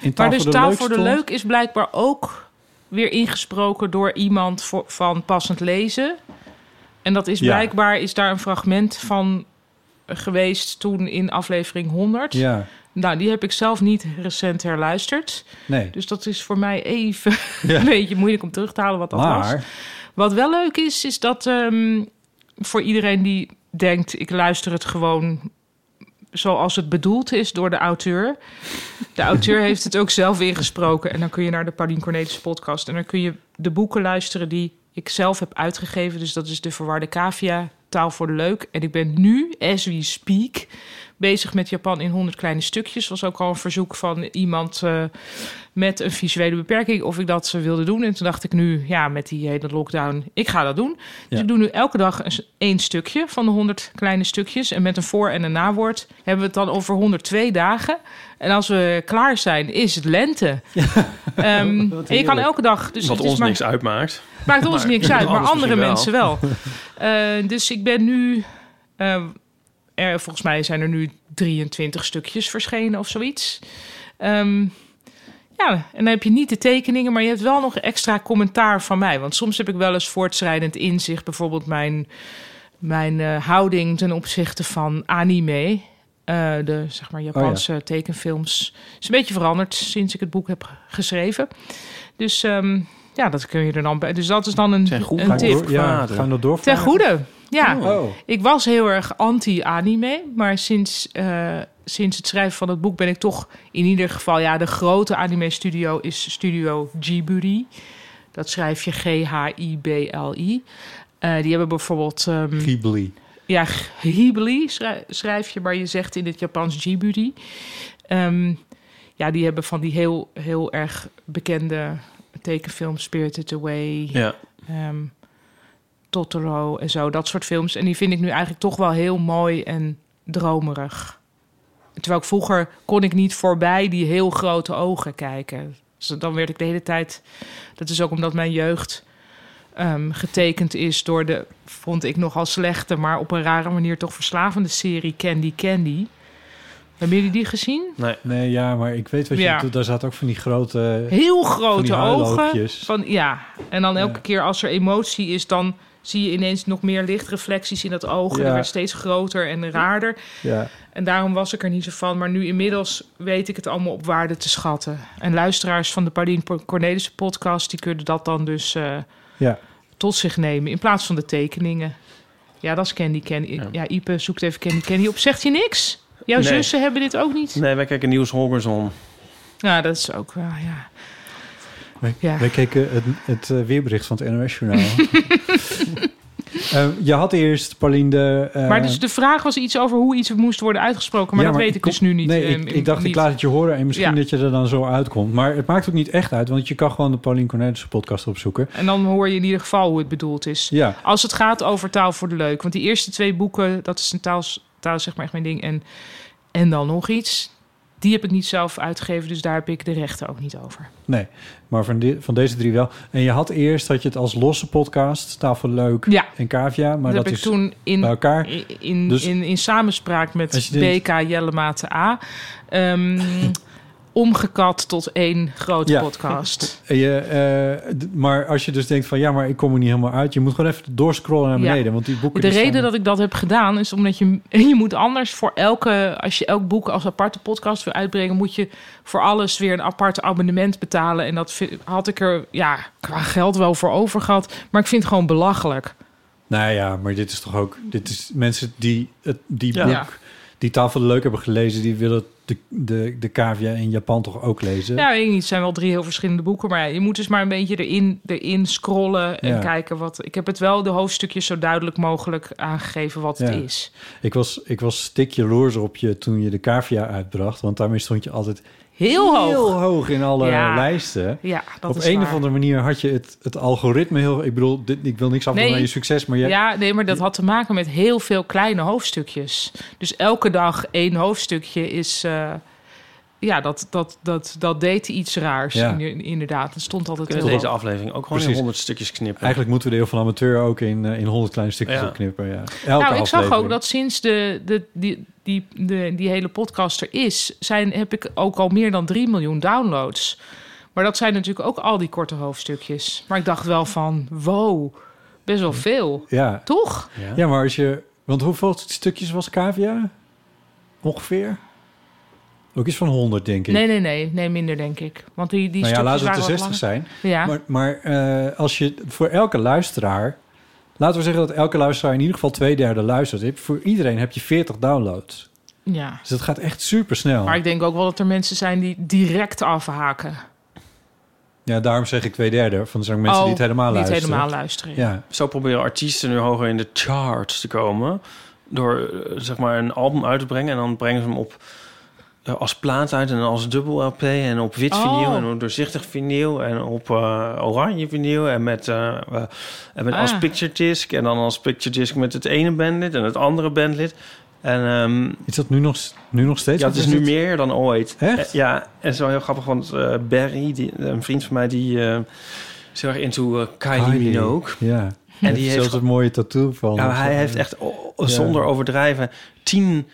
S1: in
S4: maar dus Taal voor de
S1: stond.
S4: Leuk is blijkbaar ook weer ingesproken door iemand voor- van passend lezen. En dat is
S1: Ja.
S4: blijkbaar, is daar een fragment van geweest toen in aflevering 100.
S1: Ja,
S4: Nou, die heb ik zelf niet recent herluisterd.
S1: nee.
S4: Dus dat is voor mij even
S1: Ja.
S4: een beetje moeilijk om terug te halen wat dat was.
S1: maar,
S4: Wat wel leuk is, is dat ehm, voor iedereen die denkt: ik luister het gewoon zoals het bedoeld is door de auteur. De auteur heeft het ook zelf ingesproken. En dan kun je naar de Paulien Cornelis podcast. En dan kun je de boeken luisteren die ik zelf heb uitgegeven. Dus dat is De Verwarde Cavia, Taal voor de Leuk. En ik ben nu, as we speak, bezig met Japan in 100 kleine stukjes. was ook al een verzoek van iemand eh, met een visuele beperking... of ik dat ze wilde doen. En toen dacht ik nu, ja, met die hele lockdown, ik ga dat doen.
S1: Ja.
S4: Dus ik doe nu elke dag eens één stukje van de 100 kleine stukjes. En met een voor- en een nawoord hebben we het dan over 102 dagen. En als we klaar zijn, is het lente. Ehm, en je kan elke dag... Dus
S2: Wat
S4: het is
S2: ons
S4: maar-
S2: niks uitmaakt.
S4: Maakt ons
S2: Maar
S4: niks uit, maar
S2: anders
S4: andere
S2: misschien
S4: mensen wel. Eh, dus ik ben nu. eh, er, volgens mij zijn er nu 23 stukjes verschenen of zoiets. Ehm, Ja, en dan heb je niet de tekeningen, maar je hebt wel nog extra commentaar van mij. Want soms heb ik wel eens voortschrijdend inzicht, bijvoorbeeld mijn, mijn eh, houding ten opzichte van anime. eh, de zeg
S2: Oh
S4: maar Japanse tekenfilms. is een beetje veranderd sinds ik het boek heb geschreven. Dus ehm, ja, dat kun je er dan bij. Dus dat is dan een,
S2: Zijn goed
S4: een
S2: gaan
S4: tip.
S2: door-
S1: Ja,
S2: Vader.
S1: gaan we dat door?
S4: Ten goede. Ja,
S1: Oh.
S4: ik was heel erg anti-anime. Maar sinds, eh, sinds het schrijven van het boek ben ik toch in ieder geval... Ja, de grote anime-studio is Studio Ghibli. Dat schrijf je G-H-I-B-L-I. Eh, die hebben bijvoorbeeld... ehm,
S1: Ghibli.
S4: ja, Ghibli schrij- schrijf je, maar je zegt in het Japans Ghibli. Ehm, ja, die hebben van die heel, heel erg bekende tekenfilms... Spirited Away,
S2: Ja.
S4: ehm, Totoro en zo, dat soort films. En die vind ik nu eigenlijk toch wel heel mooi en dromerig. Terwijl ik vroeger kon ik niet voorbij die heel grote ogen kijken. Dus dan werd ik de hele tijd... Dat is ook omdat mijn jeugd ehm, getekend is door de... vond ik nogal slechte, maar op een rare manier toch verslavende serie Candy Candy. Hebben jullie die gezien?
S2: Nee.
S1: Nee, ja, maar ik weet wat je
S4: Ja.
S1: bedoelt. Daar zaten ook van die grote...
S4: Heel
S1: van die
S4: grote ogen.
S1: huiloogjes.
S4: Van, ja, en dan elke keer als er emotie is, dan zie je ineens nog meer lichtreflecties in dat oog. En
S1: Ja.
S4: dat werd steeds groter en raarder.
S1: Ja.
S4: En daarom was ik er niet zo van. Maar nu inmiddels weet ik het allemaal op waarde te schatten. En luisteraars van de Paulien Cornelissen podcast... die kunnen dat dan dus eh,
S1: Ja.
S4: tot zich nemen... in plaats van de tekeningen. Ja, dat is Candy Candy. Ja, Ipe zoekt even Candy Candy op. Zegt je niks? Jouw
S2: Nee.
S4: zussen hebben dit ook niet?
S2: Nee, wij kijken Nieuws Holgersson.
S4: Nou, dat is ook wel, ja.
S1: Wij,
S4: Ja.
S1: wij keken het, het eh, weerbericht van het NOS-journaal. Eh, je had eerst, Pauline, de... eh,
S4: maar dus de vraag was iets over hoe iets moest worden uitgesproken. Maar
S1: ja,
S4: dat weet ik
S1: kon-
S4: dus nu niet.
S1: Nee,
S4: ehm,
S1: ik,
S4: in-
S1: ik dacht,
S4: niet.
S1: ik laat het je horen en misschien
S4: Ja.
S1: dat je er dan zo uitkomt. Maar het maakt ook niet echt uit, want je kan gewoon de Pauline Cornelissen podcast opzoeken.
S4: En dan hoor je in ieder geval hoe het bedoeld is.
S1: Ja,
S4: Als het gaat over taal voor de leuk. Want die eerste twee boeken, dat is een taal, taal is zeg maar echt mijn ding. En, en dan nog iets. Die heb ik niet zelf uitgegeven, dus daar heb ik de rechten ook niet over.
S1: nee, maar van, die- van deze drie wel. En je had eerst dat je het als losse podcast, Tafel Leuk
S4: Ja.
S1: en Kavia, maar dat,
S4: dat heb ik
S1: is
S4: toen
S1: bij
S4: in,
S1: elkaar.
S4: in, in,
S1: Dus-
S4: in, in samenspraak
S1: Als
S4: met
S1: je denkt-
S4: BK Jellematen A ehm, omgekat tot één grote
S1: Ja.
S4: podcast.
S1: En Je, eh, d- maar als je dus denkt van ja, maar ik kom er niet helemaal uit. Je moet gewoon even doorscrollen naar
S4: Ja.
S1: beneden, want die boeken...
S4: De
S1: die
S4: reden
S1: staan-
S4: dat ik dat heb gedaan is omdat je, je moet anders voor elke, als je elk boek als aparte podcast wil uitbrengen, moet je voor alles weer een apart abonnement betalen. En dat vi- had ik er ja, qua geld wel voor over gehad, maar ik vind het gewoon belachelijk.
S1: Nou ja, maar dit is toch ook... Dit is mensen die het, die
S2: Ja.
S1: boek, die tafel leuk hebben gelezen... die willen de, de, de cavia in Japan toch ook lezen?
S4: Ja, weet ik niet, het zijn wel drie heel verschillende boeken, maar ja, je moet dus maar een beetje erin, erin scrollen en
S1: Ja.
S4: kijken wat. Ik heb het wel de hoofdstukjes zo duidelijk mogelijk aangegeven wat het
S1: Ja.
S4: is.
S1: Ik, was, ik was stik jaloers op je toen je de cavia uitbracht... want daarmee stond je altijd
S4: Heel hoog.
S1: hoog in alle
S4: Ja.
S1: lijsten...
S4: Ja, dat
S1: op
S4: is
S1: een
S4: waar.
S1: of andere manier had je het, het algoritme heel... Ik bedoel, dit, ik wil niks afdoen
S4: Nee.
S1: aan je succes, maar je,
S4: Ja, nee, maar dat had te maken met heel veel kleine hoofdstukjes. Dus elke dag één hoofdstukje is. eh, ja, dat, dat, dat, dat deed iets raars.
S1: Ja.
S4: in- Inderdaad, het stond altijd
S2: Kunnen
S4: heel
S2: we deze
S4: hoog.
S2: aflevering ook gewoon in
S1: Precies.
S2: 100 stukjes knippen?
S1: Eigenlijk moeten we de heel van amateur ook in, eh, in 100 kleine stukjes
S2: Ja.
S1: opknippen. Ja. Elke
S4: nou, ik zag ook
S1: aflevering.
S4: dat sinds de, de, die, die, de, die hele podcast er is, zijn, heb ik ook al meer dan 3 miljoen downloads. Maar dat zijn natuurlijk ook al die korte hoofdstukjes. Maar ik dacht wel van, wow, best wel veel.
S1: Ja.
S4: Toch?
S1: ja, maar als je... Want hoeveel stukjes was cavia? Ongeveer? Ook iets van 100, denk ik.
S4: Nee, nee, nee. Nee, minder denk ik. Want die, die
S1: nou ja,
S4: stukjes
S1: laten het de
S4: waren wat
S1: 60
S4: langer.
S1: zijn.
S4: Ja.
S1: Maar, maar eh, als je voor elke luisteraar... Laten we zeggen dat elke luisteraar in ieder geval twee derde luistert. Voor iedereen heb je 40 downloads.
S4: Ja,
S1: Dus dat gaat echt super snel.
S4: maar ik denk ook wel dat er mensen zijn die direct afhaken.
S1: Ja, daarom zeg ik twee derde. Van er zijn ook mensen
S4: Oh,
S1: die het helemaal
S4: niet
S1: luisteren.
S4: helemaal luisteren.
S1: Ja,
S2: Zo proberen artiesten nu hoger in de charts te komen. Door eh, zeg maar een album uit te brengen. En dan brengen ze hem op eh, als plaat uit en als dubbel LP. En op wit
S4: Oh.
S2: vinyl en op doorzichtig vinyl. En op eh, oranje vinyl. En met, eh, eh, en met als
S4: Ah.
S2: picture disc. En dan als picture disc met het ene bandlid en het andere bandlid. En ehm,
S1: is dat nu nog, nu nog steeds?
S2: ja,
S1: Of
S2: het is nu meer dan ooit.
S1: Echt?
S2: Eh, Ja, en zo heel grappig, want eh, Barry, die, een vriend van mij, die eh, is heel erg into eh, Kylie,
S1: Kylie.
S2: Minogue.
S4: Oh,
S1: Ja.
S2: En die heeft
S1: zelfs een mooie tattoo van.
S2: ja,
S1: of
S2: maar hij
S1: zo.
S2: heeft echt o- o-
S1: Ja.
S2: zonder overdrijven tien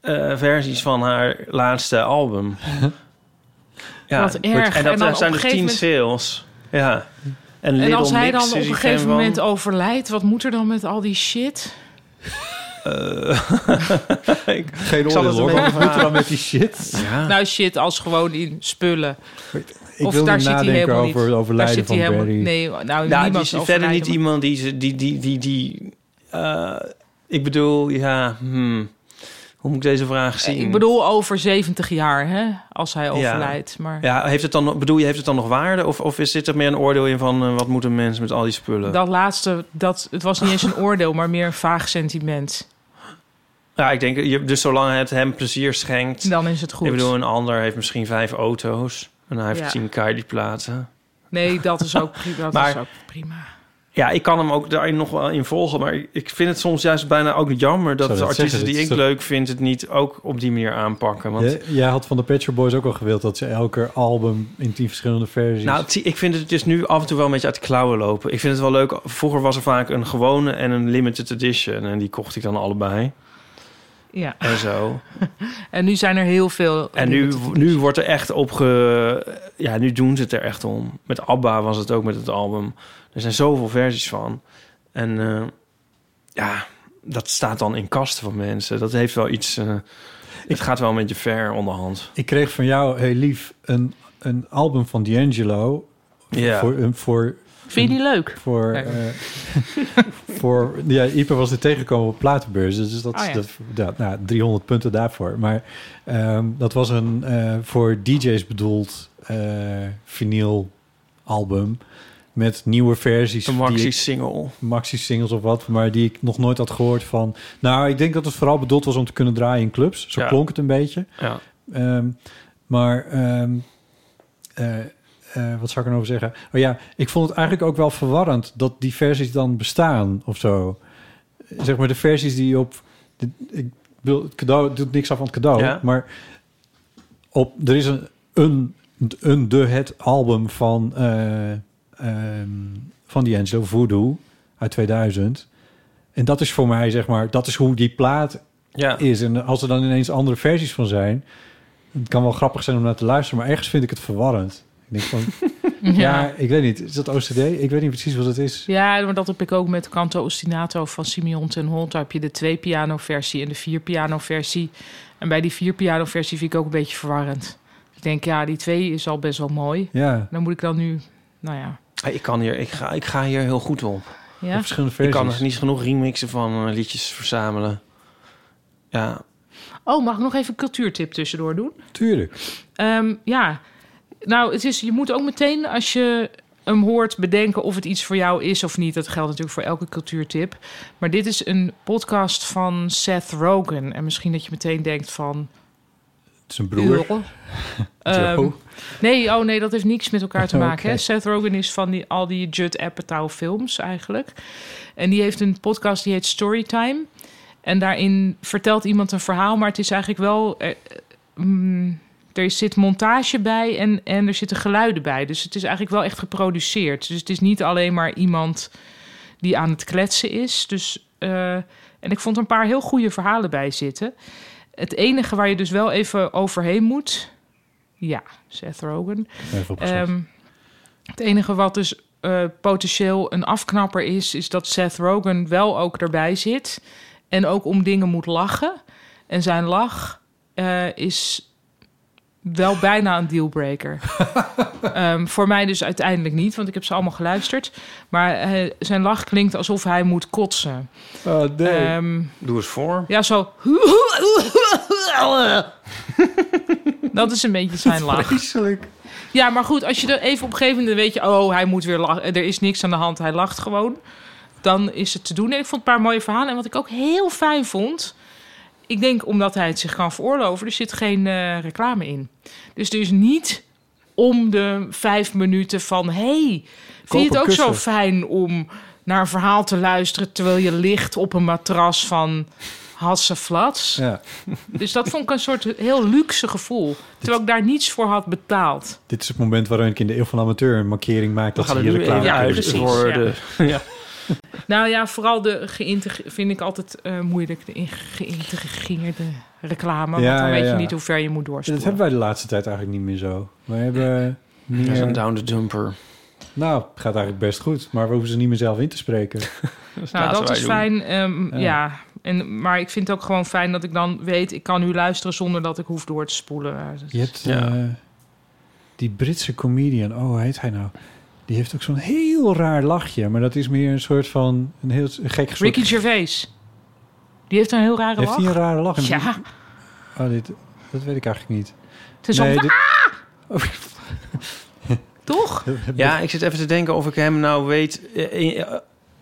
S2: eh, versies van haar laatste album. Ja,
S4: Wat erg.
S2: En
S4: En
S2: dat
S4: dan op
S2: zijn
S4: een
S2: dus
S4: gegeven
S2: tien
S4: moment-
S2: sales. Ja. En, dus
S4: En
S2: Little
S4: als hij
S2: Mix
S4: dan op
S2: is
S4: een
S2: hij
S4: gegeven
S2: fan
S4: moment
S2: van.
S4: overlijdt, wat moet er dan met al die shit?
S2: Eh, ik-
S1: Geen
S2: ik zal
S1: oordeel
S2: het een
S1: hoor. Wat
S2: beetje
S1: moet er dan
S2: vragen.
S1: met die shit?
S2: Ja.
S4: Nou, shit als gewoon in spullen.
S1: Ik
S4: of
S1: wil
S4: daar
S1: niet
S4: zit hij
S1: nadenken
S4: helemaal
S1: over het
S4: niet.
S1: overlijden
S4: daar zit hij
S1: van
S4: helemaal,
S1: Barry.
S4: Nee, nou,
S2: Nou, die
S4: niemand
S2: is
S4: zal
S2: verder niet
S4: overlijden,
S2: iemand die... ze- die, die, die, die eh, ik bedoel, ja... hmm, hoe moet ik deze vraag
S4: maar-
S2: zien?
S4: Eh, Ik bedoel over 70 jaar, hè, als hij
S2: Ja.
S4: overlijdt. Maar
S2: Ja, heeft het dan, bedoel je, heeft het dan nog waarde? Of, of is, zit er meer een oordeel in van... eh, wat moet een mens met al die spullen?
S4: dat laatste, dat, het was niet eens een oordeel, maar meer een vaag sentiment.
S2: Ja, ik denk, je- dus zolang het hem plezier schenkt...
S4: Dan is het goed.
S2: Ik bedoel, een ander heeft misschien vijf auto's... en hij heeft
S4: Ja.
S2: tien Kylie-platen.
S4: Nee, dat is ook prima. Dat
S2: Maar-
S4: is ook prima.
S2: Ja, ik kan hem ook daarin nog wel in volgen. Maar ik vind het soms juist bijna ook jammer... dat
S1: Zou
S2: de
S1: dat
S2: artiesten
S1: zeggen?
S2: die
S1: Dat
S2: ik
S1: is toch-
S2: leuk vind... het niet ook op die manier aanpakken. Want
S1: Jij, jij had van de Pet Shop Boys ook al gewild dat ze elke album in tien verschillende versies...
S2: Nou, zie, ik vind het dus nu af en toe wel een beetje uit de klauwen lopen. Ik vind het wel leuk. Vroeger was er vaak een gewone en een limited edition. En die kocht ik dan allebei.
S4: Ja.
S2: En zo.
S4: En nu zijn er heel veel.
S2: En nu, nu wordt er echt op ge... Ja, nu doen ze het er echt om. Met ABBA was het ook met het album. Er zijn zoveel versies van. En eh, ja, dat staat dan in kasten van mensen. Dat heeft wel iets... eh, het gaat wel een beetje ver onderhand.
S1: Ik kreeg van jou, heel lief, een, een album van D'Angelo.
S2: Ja.
S1: Voor, een- voor,
S4: Vind je die leuk?
S1: voor,
S4: Kijk.
S1: eh, voor, ja, Ieper was er tegengekomen op platenbeurs. Dus dat,
S4: Oh ja.
S1: dat, ja, nou, 300 punten daarvoor. Maar ehm, dat was een eh, voor DJ's bedoeld eh vinyl album. Met nieuwe versies.
S2: Een
S1: die ik-
S2: maxi-single.
S1: maxi-singles of wat, maar die ik nog nooit had gehoord van... Nou, ik denk dat het vooral bedoeld was om te kunnen draaien in clubs. Zo
S2: Ja.
S1: klonk het een beetje.
S2: Ja.
S1: Ehm, maar ehm, eh, eh, wat zou ik er nog over zeggen? Oh ja, ik vond het eigenlijk ook wel verwarrend dat die versies dan bestaan of zo. Zeg maar de versies die je op... de- ik bedoel, het cadeau het doet niks af van het cadeau,
S2: Ja.
S1: maar op, er is een, een, een de het album van eh ehm van D'Angelo Voodoo uit 2000. En dat is voor mij zeg maar dat is hoe die plaat
S2: Ja.
S1: is. En als er dan ineens andere versies van zijn, het kan wel grappig zijn om naar te luisteren, maar ergens vind ik het verwarrend. Ik denk van, ja. ik weet niet. Is dat OCD? Ik weet niet precies wat het is.
S4: Ja, maar dat heb ik ook met Canto Ostinato van Simeon ten Holt. Daar heb je de twee piano versie en de vier piano versie. En bij die vier piano versie vind ik ook een beetje verwarrend. Ik denk, ja, die twee is al best wel mooi.
S1: Ja,
S4: Dan moet ik dan nu, nou ja.
S2: Ik, kan hier, ik, ga, ik ga hier heel goed op.
S4: ja.
S1: verschillende
S2: Ik
S1: versies.
S2: kan nog niet genoeg remixen van eh, liedjes verzamelen. Ja,
S4: Oh, mag ik nog even een cultuurtip tussendoor doen?
S1: Tuurlijk.
S4: Ehm, ja, nou, het is, je moet ook meteen als je hem hoort bedenken of het iets voor jou is of niet. Dat geldt natuurlijk voor elke cultuurtip. Maar dit is een podcast van Seth Rogen. En misschien dat je meteen denkt van...
S1: Het is een broer.
S4: Joh.
S1: Joe.
S4: Ehm, nee, oh nee, dat heeft niks met elkaar te maken. hè.
S1: Oké.
S4: Seth Rogen is van die, al die Judd Apatow films eigenlijk. En die heeft een podcast die heet Storytime. En daarin vertelt iemand een verhaal, maar het is eigenlijk wel... eh, eh, mm, er zit montage bij en, en er zitten geluiden bij. Dus het is eigenlijk wel echt geproduceerd. Dus het is niet alleen maar iemand die aan het kletsen is. Dus, eh, en ik vond er een paar heel goede verhalen bij zitten. Het enige waar je dus wel even overheen moet... Ja, Seth Rogen.
S1: Even opgezocht.
S4: Ehm, het enige wat dus eh, potentieel een afknapper is, is dat Seth Rogen wel ook erbij zit. En ook om dingen moet lachen. En zijn lach eh, is wel bijna een dealbreaker. Ehm, voor mij dus uiteindelijk niet, want ik heb ze allemaal geluisterd. Maar eh, zijn lach klinkt alsof hij moet kotsen.
S1: oh, nee.
S4: Ehm,
S2: doe eens voor.
S4: ja, zo. Dat is een beetje zijn lach.
S1: Vreselijk.
S4: Ja, maar goed, als je er even op een gegeven moment weet je, oh, hij moet weer lachen. Er is niks aan de hand, hij lacht gewoon. Dan is het te doen. En ik vond een paar mooie verhalen. En wat ik ook heel fijn vond, ik denk omdat hij het zich kan veroorloven, er zit geen eh, reclame in. Dus er is niet om de vijf minuten van, hey, vind je
S1: een
S4: het ook zo
S1: kussen.
S4: fijn om naar een verhaal te luisteren terwijl je ligt op een matras van Hasseflats?
S1: Ja.
S4: Dus dat vond ik een soort heel luxe gevoel. Terwijl ik daar niets voor had betaald.
S1: Dit is het moment waarin ik in de Eeuw van de Amateur een markering maak
S2: We
S1: dat
S2: gaan
S1: ze
S2: er
S1: hier
S2: nu
S1: reclame
S2: even
S4: ja,
S1: voor
S2: uit
S1: doen.
S4: precies,
S2: voor de...
S4: ja.
S2: Ja.
S4: Nou ja, vooral de geïntegre- vind ik altijd eh, moeilijk. De in- geïntegreerde reclame.
S1: Ja,
S4: want dan
S1: ja,
S4: weet je
S1: ja.
S4: niet hoe ver je moet doorspoelen.
S1: Dat hebben wij de laatste tijd eigenlijk niet meer zo. We hebben meer...
S2: Dat is een down the dumper.
S1: Nou, het gaat eigenlijk best goed. Maar we hoeven ze niet meer zelf in te spreken.
S4: Nou, dat is fijn. ehm,
S1: Ja.
S4: ja. En, maar ik vind het ook gewoon fijn dat ik dan weet... ik kan nu luisteren zonder dat ik hoef door te spoelen. Eh, dus-
S1: Je hebt
S4: Ja.
S1: eh, die Britse comedian, oh, hoe heet hij nou? Die heeft ook zo'n heel raar lachje, maar dat is meer een soort van een heel een gek soort...
S4: Ricky Gervais. Die heeft een heel rare
S1: Heeft
S4: lach.
S1: hij een rare lach?
S4: Ja.
S1: Oh, dit, dat weet ik eigenlijk niet.
S4: Het is
S1: Nee,
S4: al-
S1: dit-
S4: Toch?
S2: Ja, ik zit even te denken of ik hem nou weet... eh, eh,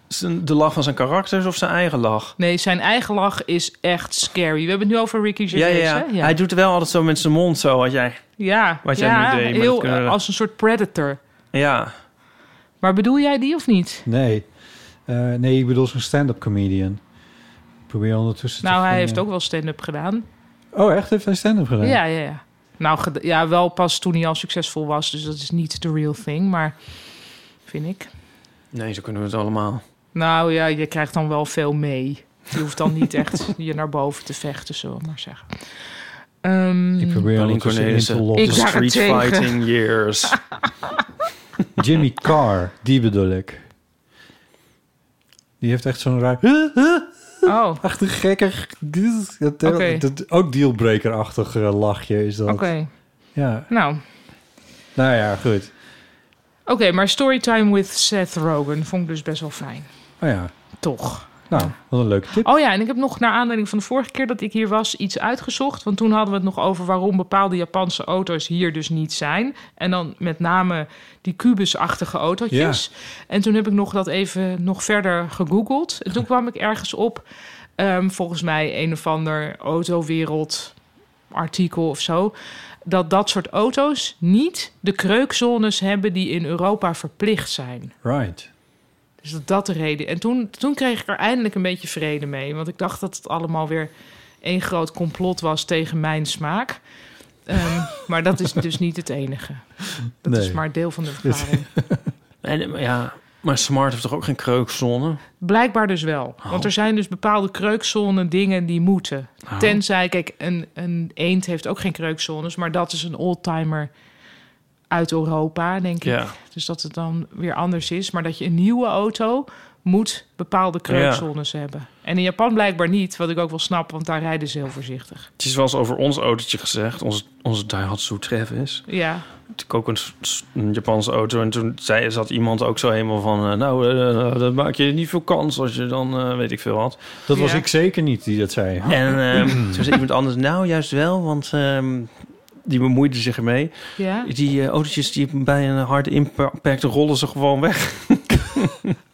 S2: zijn- de lach van zijn karakters of zijn eigen lach?
S4: Nee, zijn eigen lach is echt scary. We hebben het nu over Ricky
S2: Ja, ja,
S4: Gervais,
S2: ja.
S4: hè? Ja.
S2: Hij doet wel altijd zo met zijn mond zo, wat jij...
S4: Ja,
S2: Wat jij
S4: ja
S2: nu deed, maar
S4: heel,
S2: dat kunnen we-
S4: eh, als een soort predator.
S2: Ja.
S4: Maar bedoel jij die of niet?
S1: Nee. Eh, nee, ik bedoel zo'n stand-up comedian. Ik probeer ondertussen te
S4: nou, hij
S1: vinden.
S4: heeft ook wel stand-up gedaan.
S1: Oh, echt? Heeft hij stand-up gedaan?
S4: Ja, ja, ja. Nou, ged- ja, wel pas toen hij al succesvol was. Dus dat is niet the real thing, maar vind ik.
S2: Nee, zo kunnen we het allemaal.
S4: Nou ja, je krijgt dan wel veel mee. Je hoeft dan niet echt je naar boven te vechten, zullen we maar zeggen. Ehm,
S1: Ik probeer
S2: Pauline
S1: ondertussen in te
S2: Cornelissen.
S1: lossen.
S4: Ik zag het
S2: Street
S4: tegen.
S2: fighting years.
S1: Jimmy Carr, die bedoel ik. Die heeft echt zo'n raar...
S4: Oh.
S1: Echt een gekker. Dat,
S4: Oké.
S1: dat- ook dealbreaker-achtig eh, lachje is dat.
S4: Oké,
S1: Ja.
S4: nou.
S1: Nou ja, goed.
S4: Oké, maar Storytime with Seth Rogen vond ik dus best wel fijn.
S1: Oh ja.
S4: Toch.
S1: Nou, wat een leuke tip.
S4: Oh ja, en ik heb nog naar aanleiding van de vorige keer dat ik hier was iets uitgezocht. Want toen hadden we het nog over waarom bepaalde Japanse auto's hier dus niet zijn. En dan met name die kubusachtige autootjes. En toen heb ik nog dat even nog verder gegoogeld. En toen kwam ik ergens op, ehm, volgens mij een of ander autowereld artikel of zo... dat dat soort auto's niet de kreukzones hebben die in Europa verplicht zijn.
S1: Right.
S4: Dus dat dat de reden. En toen, toen kreeg ik er eindelijk een beetje vrede mee. Want ik dacht dat het allemaal weer één groot complot was tegen mijn smaak. Ehm, maar dat is dus niet het enige. Dat
S2: Nee.
S4: is maar deel van de verklaring.
S2: En, eh, ja, maar Smart heeft toch ook geen kreukzone?
S4: Blijkbaar dus wel. Want er zijn dus bepaalde kreukzone dingen die moeten.
S2: Oh.
S4: Tenzij, kijk, een, een eend heeft ook geen kreukzones. Maar dat is een oldtimer uit Europa, denk
S2: Ja.
S4: ik. Dus dat het dan weer anders is. Maar dat je een nieuwe auto moet bepaalde kreukzones hebben. En in Japan blijkbaar niet, wat ik ook wel snap. Want daar rijden ze heel voorzichtig.
S2: Het is wel eens over ons autootje gezegd, onze, onze Daihatsu Travis.
S4: Ja.
S2: Natuurlijk ook een, s- s- een Japanse auto. En toen zei, zat iemand ook zo helemaal van... eh, nou, eh, eh, dan maak je niet veel kans als je dan eh, weet ik veel wat.
S1: Dat was ik zeker niet die dat zei.
S2: En ehm, toen zei iemand anders, nou juist wel, want ehm, die bemoeide zich ermee.
S4: Ja.
S2: Die eh, autootjes die bij een harde impact rollen ze gewoon weg.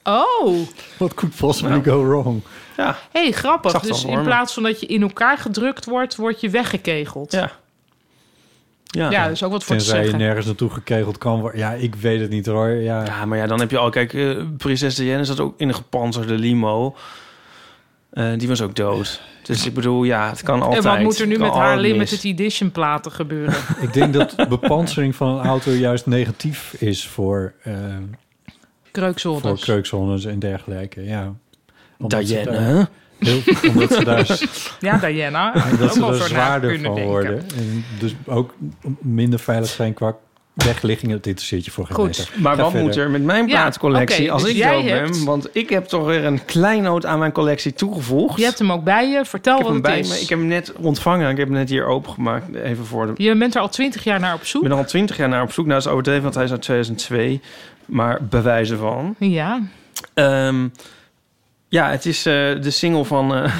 S4: Oh!
S1: What could possibly
S4: Nou,
S1: go wrong?
S2: Ja.
S4: hey,
S2: Ik
S4: grappig.
S2: zag het al
S4: Dus
S2: voor
S4: in
S2: me.
S4: plaats van dat je in elkaar gedrukt wordt, word je weggekegeld.
S2: Ja. Ja,
S4: ja dus ook wat voor te
S1: Tenzij je
S4: zeggen.
S1: nergens naartoe gekegeld kan worden. Ja, ik weet het niet hoor. Ja.
S2: Ja, maar ja, dan heb je al... Kijk, eh, prinses Diana zat ook in een gepanzerde limo. Eh, die was ook dood. Dus ik bedoel, ja, het kan altijd.
S4: En wat moet er nu
S2: Het
S4: met
S2: kan
S4: haar
S2: altijd mis.
S4: limited edition platen gebeuren?
S1: Ik denk dat bepansering van een auto juist negatief is voor, eh, voor
S4: Kreukzolders.
S1: kreukzones en dergelijke. Ja. ze
S2: Diana,
S1: daar-
S2: hè?
S1: heel, omdat ze daar
S4: Ja, Diana.
S1: En dat
S4: Ook
S1: ze
S4: wel
S1: er
S4: zo naar
S1: zwaarder
S4: kunnen
S1: van
S4: denken.
S1: worden. En dus ook minder veilig zijn qua wegligging. Dat interesseert je voor geen
S4: Goed.
S1: meter.
S2: Maar
S1: Ga
S2: wat
S1: verder.
S2: moet er met mijn
S4: Ja,
S2: plaatcollectie
S4: oké,
S2: als
S4: dus
S2: ik
S4: jij
S2: dood
S4: hebt-
S2: ben? Want ik heb toch weer een kleinoot aan mijn collectie toegevoegd.
S4: Je hebt hem ook bij je. Vertel
S2: ik heb
S4: wat
S2: hem
S4: het
S2: bij
S4: is.
S2: me. Ik heb hem net ontvangen. Ik heb hem net hier opengemaakt. Even voor de...
S4: Je bent er al twintig jaar naar op
S2: Ik
S4: zoek.
S2: ben er al twintig jaar naar op zoek. Nou, dat is overdreven, want hij is uit 2002. Maar bewijzen van.
S4: Ja.
S2: Ehm, ja, het is eh, de single van eh,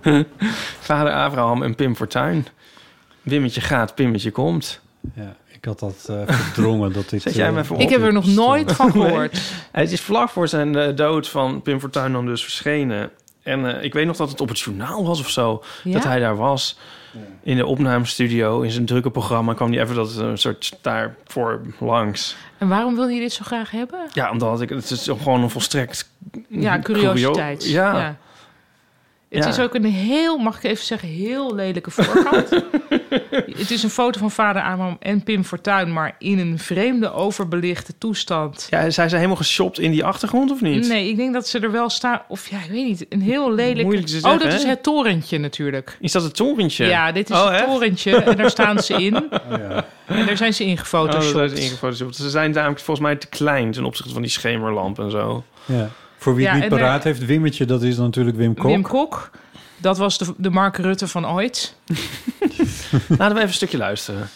S2: Vader Abraham en Pim Fortuyn. Wimmetje gaat, Pimmetje komt.
S1: Ja, ik had dat eh, verdrongen. dat dit,
S2: Zet jij hem
S1: eh,
S2: even op?
S4: Ik heb er nog nooit van
S2: Nee.
S4: gehoord.
S2: Het is vlak voor zijn eh, dood van Pim Fortuyn dan dus verschenen. En eh, ik weet nog dat het op het journaal was of zo.
S4: Ja?
S2: Dat hij daar was. In de opnamestudio, in zijn drukke programma... kwam hij even dat eh, soort daarvoor langs.
S4: En waarom wil je dit zo graag hebben?
S2: Ja, omdat ik, het is gewoon een volstrekt...
S4: Ja,
S2: curio-
S4: curiositeit.
S2: ja.
S4: Het
S2: Ja.
S4: is ook een heel, mag ik even zeggen, heel lelijke voorkant. het is een foto van vader Abraham en Pim Fortuyn, maar in een vreemde overbelichte toestand.
S2: Ja, zijn ze helemaal geshopt in die achtergrond of niet?
S4: Nee, ik denk dat ze er wel staan, of ja, ik weet niet, een heel lelijk...
S2: Moeilijk te
S4: oh,
S2: zeggen,
S4: dat
S2: hè?
S4: is het torentje natuurlijk.
S2: Is dat het torentje?
S4: Ja, dit is
S2: Oh,
S4: het
S2: echt?
S4: torentje en daar staan ze in.
S1: Oh, ja.
S4: En daar zijn ze
S2: Oh, dat
S4: ingefotoshopt.
S2: zijn ze ingefotoshopt. Ze zijn namelijk volgens mij te klein ten opzichte van die schemerlamp en zo.
S1: Ja. Voor wie
S4: Ja,
S1: het niet
S4: en er-
S1: paraat heeft, Wimmetje, dat is dan natuurlijk Wim Kok.
S4: Wim Kok, dat was de, de Mark Rutte van ooit.
S2: Laten we even een stukje luisteren.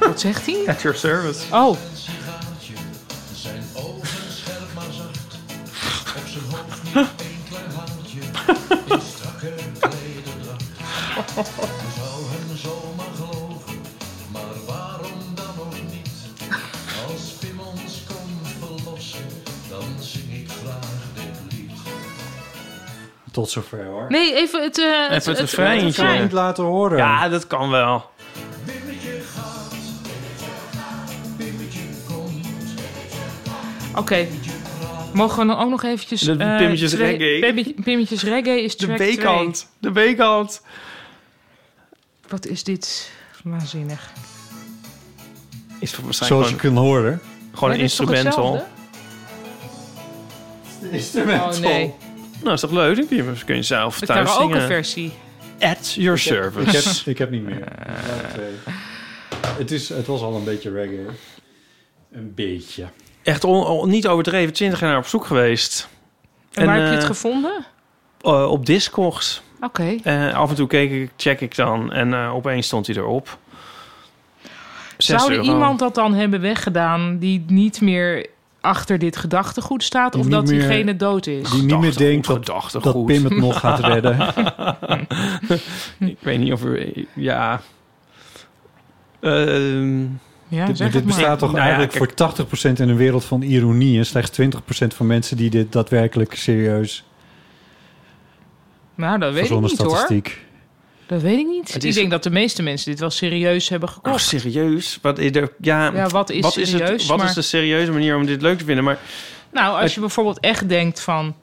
S4: Wat zegt hij?
S2: At your service.
S4: Oh,
S7: Zijn ogen scherp maar zacht. Op zijn hoofd niet één klein haaltje. In strakke klederdracht. Je zou hem zomaar geloven. Maar waarom dan ook niet? Als Pim ons komt verlossen. Dan zing ik graag dit lied.
S1: Tot zover hoor.
S4: nee, even het... eh het,
S2: Even het
S4: het-
S2: refreintje.
S1: Ik kan het niet laten horen.
S2: Ja, dat kan wel.
S7: Bimmetje gaat. Bimmetje komt.
S4: Oké. Mogen we dan ook nog eventjes...
S2: De
S4: eh,
S2: Pimmetjes
S4: twee-
S2: Reggae.
S4: Pimmet- Pimmetjes Reggae is
S2: De
S4: track 2.
S2: B-kant. De B-kant.
S4: Wat is dit waanzinnig.
S2: Is toch waarschijnlijk
S1: Zoals je
S2: gewoon,
S1: kunt horen.
S2: gewoon
S4: Maar
S2: een
S4: dit is toch
S2: instrumental.
S4: hetzelfde?
S1: Instrumental.
S4: Oh nee,
S2: Nou, is toch leuk? Dan kun je- kun je zelf
S4: de
S2: thuis
S4: karaoke
S2: zingen.
S4: versie.
S2: At your
S1: Ik heb,
S2: service.
S1: ik heb niet meer.
S4: Eh.
S1: Ja, twee. Het, is, het was al een beetje reggae. Een beetje.
S2: Echt on- on- niet overdreven 20 jaar op zoek geweest.
S4: En, waar heb je het
S2: eh,
S4: gevonden?
S2: eh, op Discogs.
S4: Oké.
S2: Eh, af en toe keek ik, check ik dan en eh, opeens stond hij erop. Zes
S4: Zou er
S2: euro.
S4: iemand dat dan hebben weggedaan die niet meer achter dit gedachtegoed staat of
S1: Niet
S4: dat
S1: meer-
S4: diegene dood is?
S1: Die niet meer
S2: Gedachtegoed,
S1: denkt dat,
S2: gedachtegoed.
S1: dat Pim het nog gaat redden.
S2: Ik weet niet of er... Ja... Ehm,
S4: Ja,
S1: dit
S4: zeg
S1: dit
S4: het maar.
S1: bestaat toch
S2: Nou ja,
S1: eigenlijk voor 80% in een wereld van ironie... en slechts 20% van mensen die dit daadwerkelijk serieus...
S4: Nou, dat weet ik
S1: verzonnen
S4: niet hoor.
S1: statistiek.
S4: Dat weet ik niet.
S2: Het
S4: Ik
S2: is-
S4: denk dat de meeste mensen dit wel serieus hebben
S2: oh,
S4: gekocht.
S2: serieus? Wat is er... Ja,
S4: ja, wat is
S2: wat, is,
S4: serieus?
S2: het, wat
S4: maar...
S2: is de serieuze manier om dit leuk te vinden? Maar
S4: Nou, als je bijvoorbeeld echt denkt van...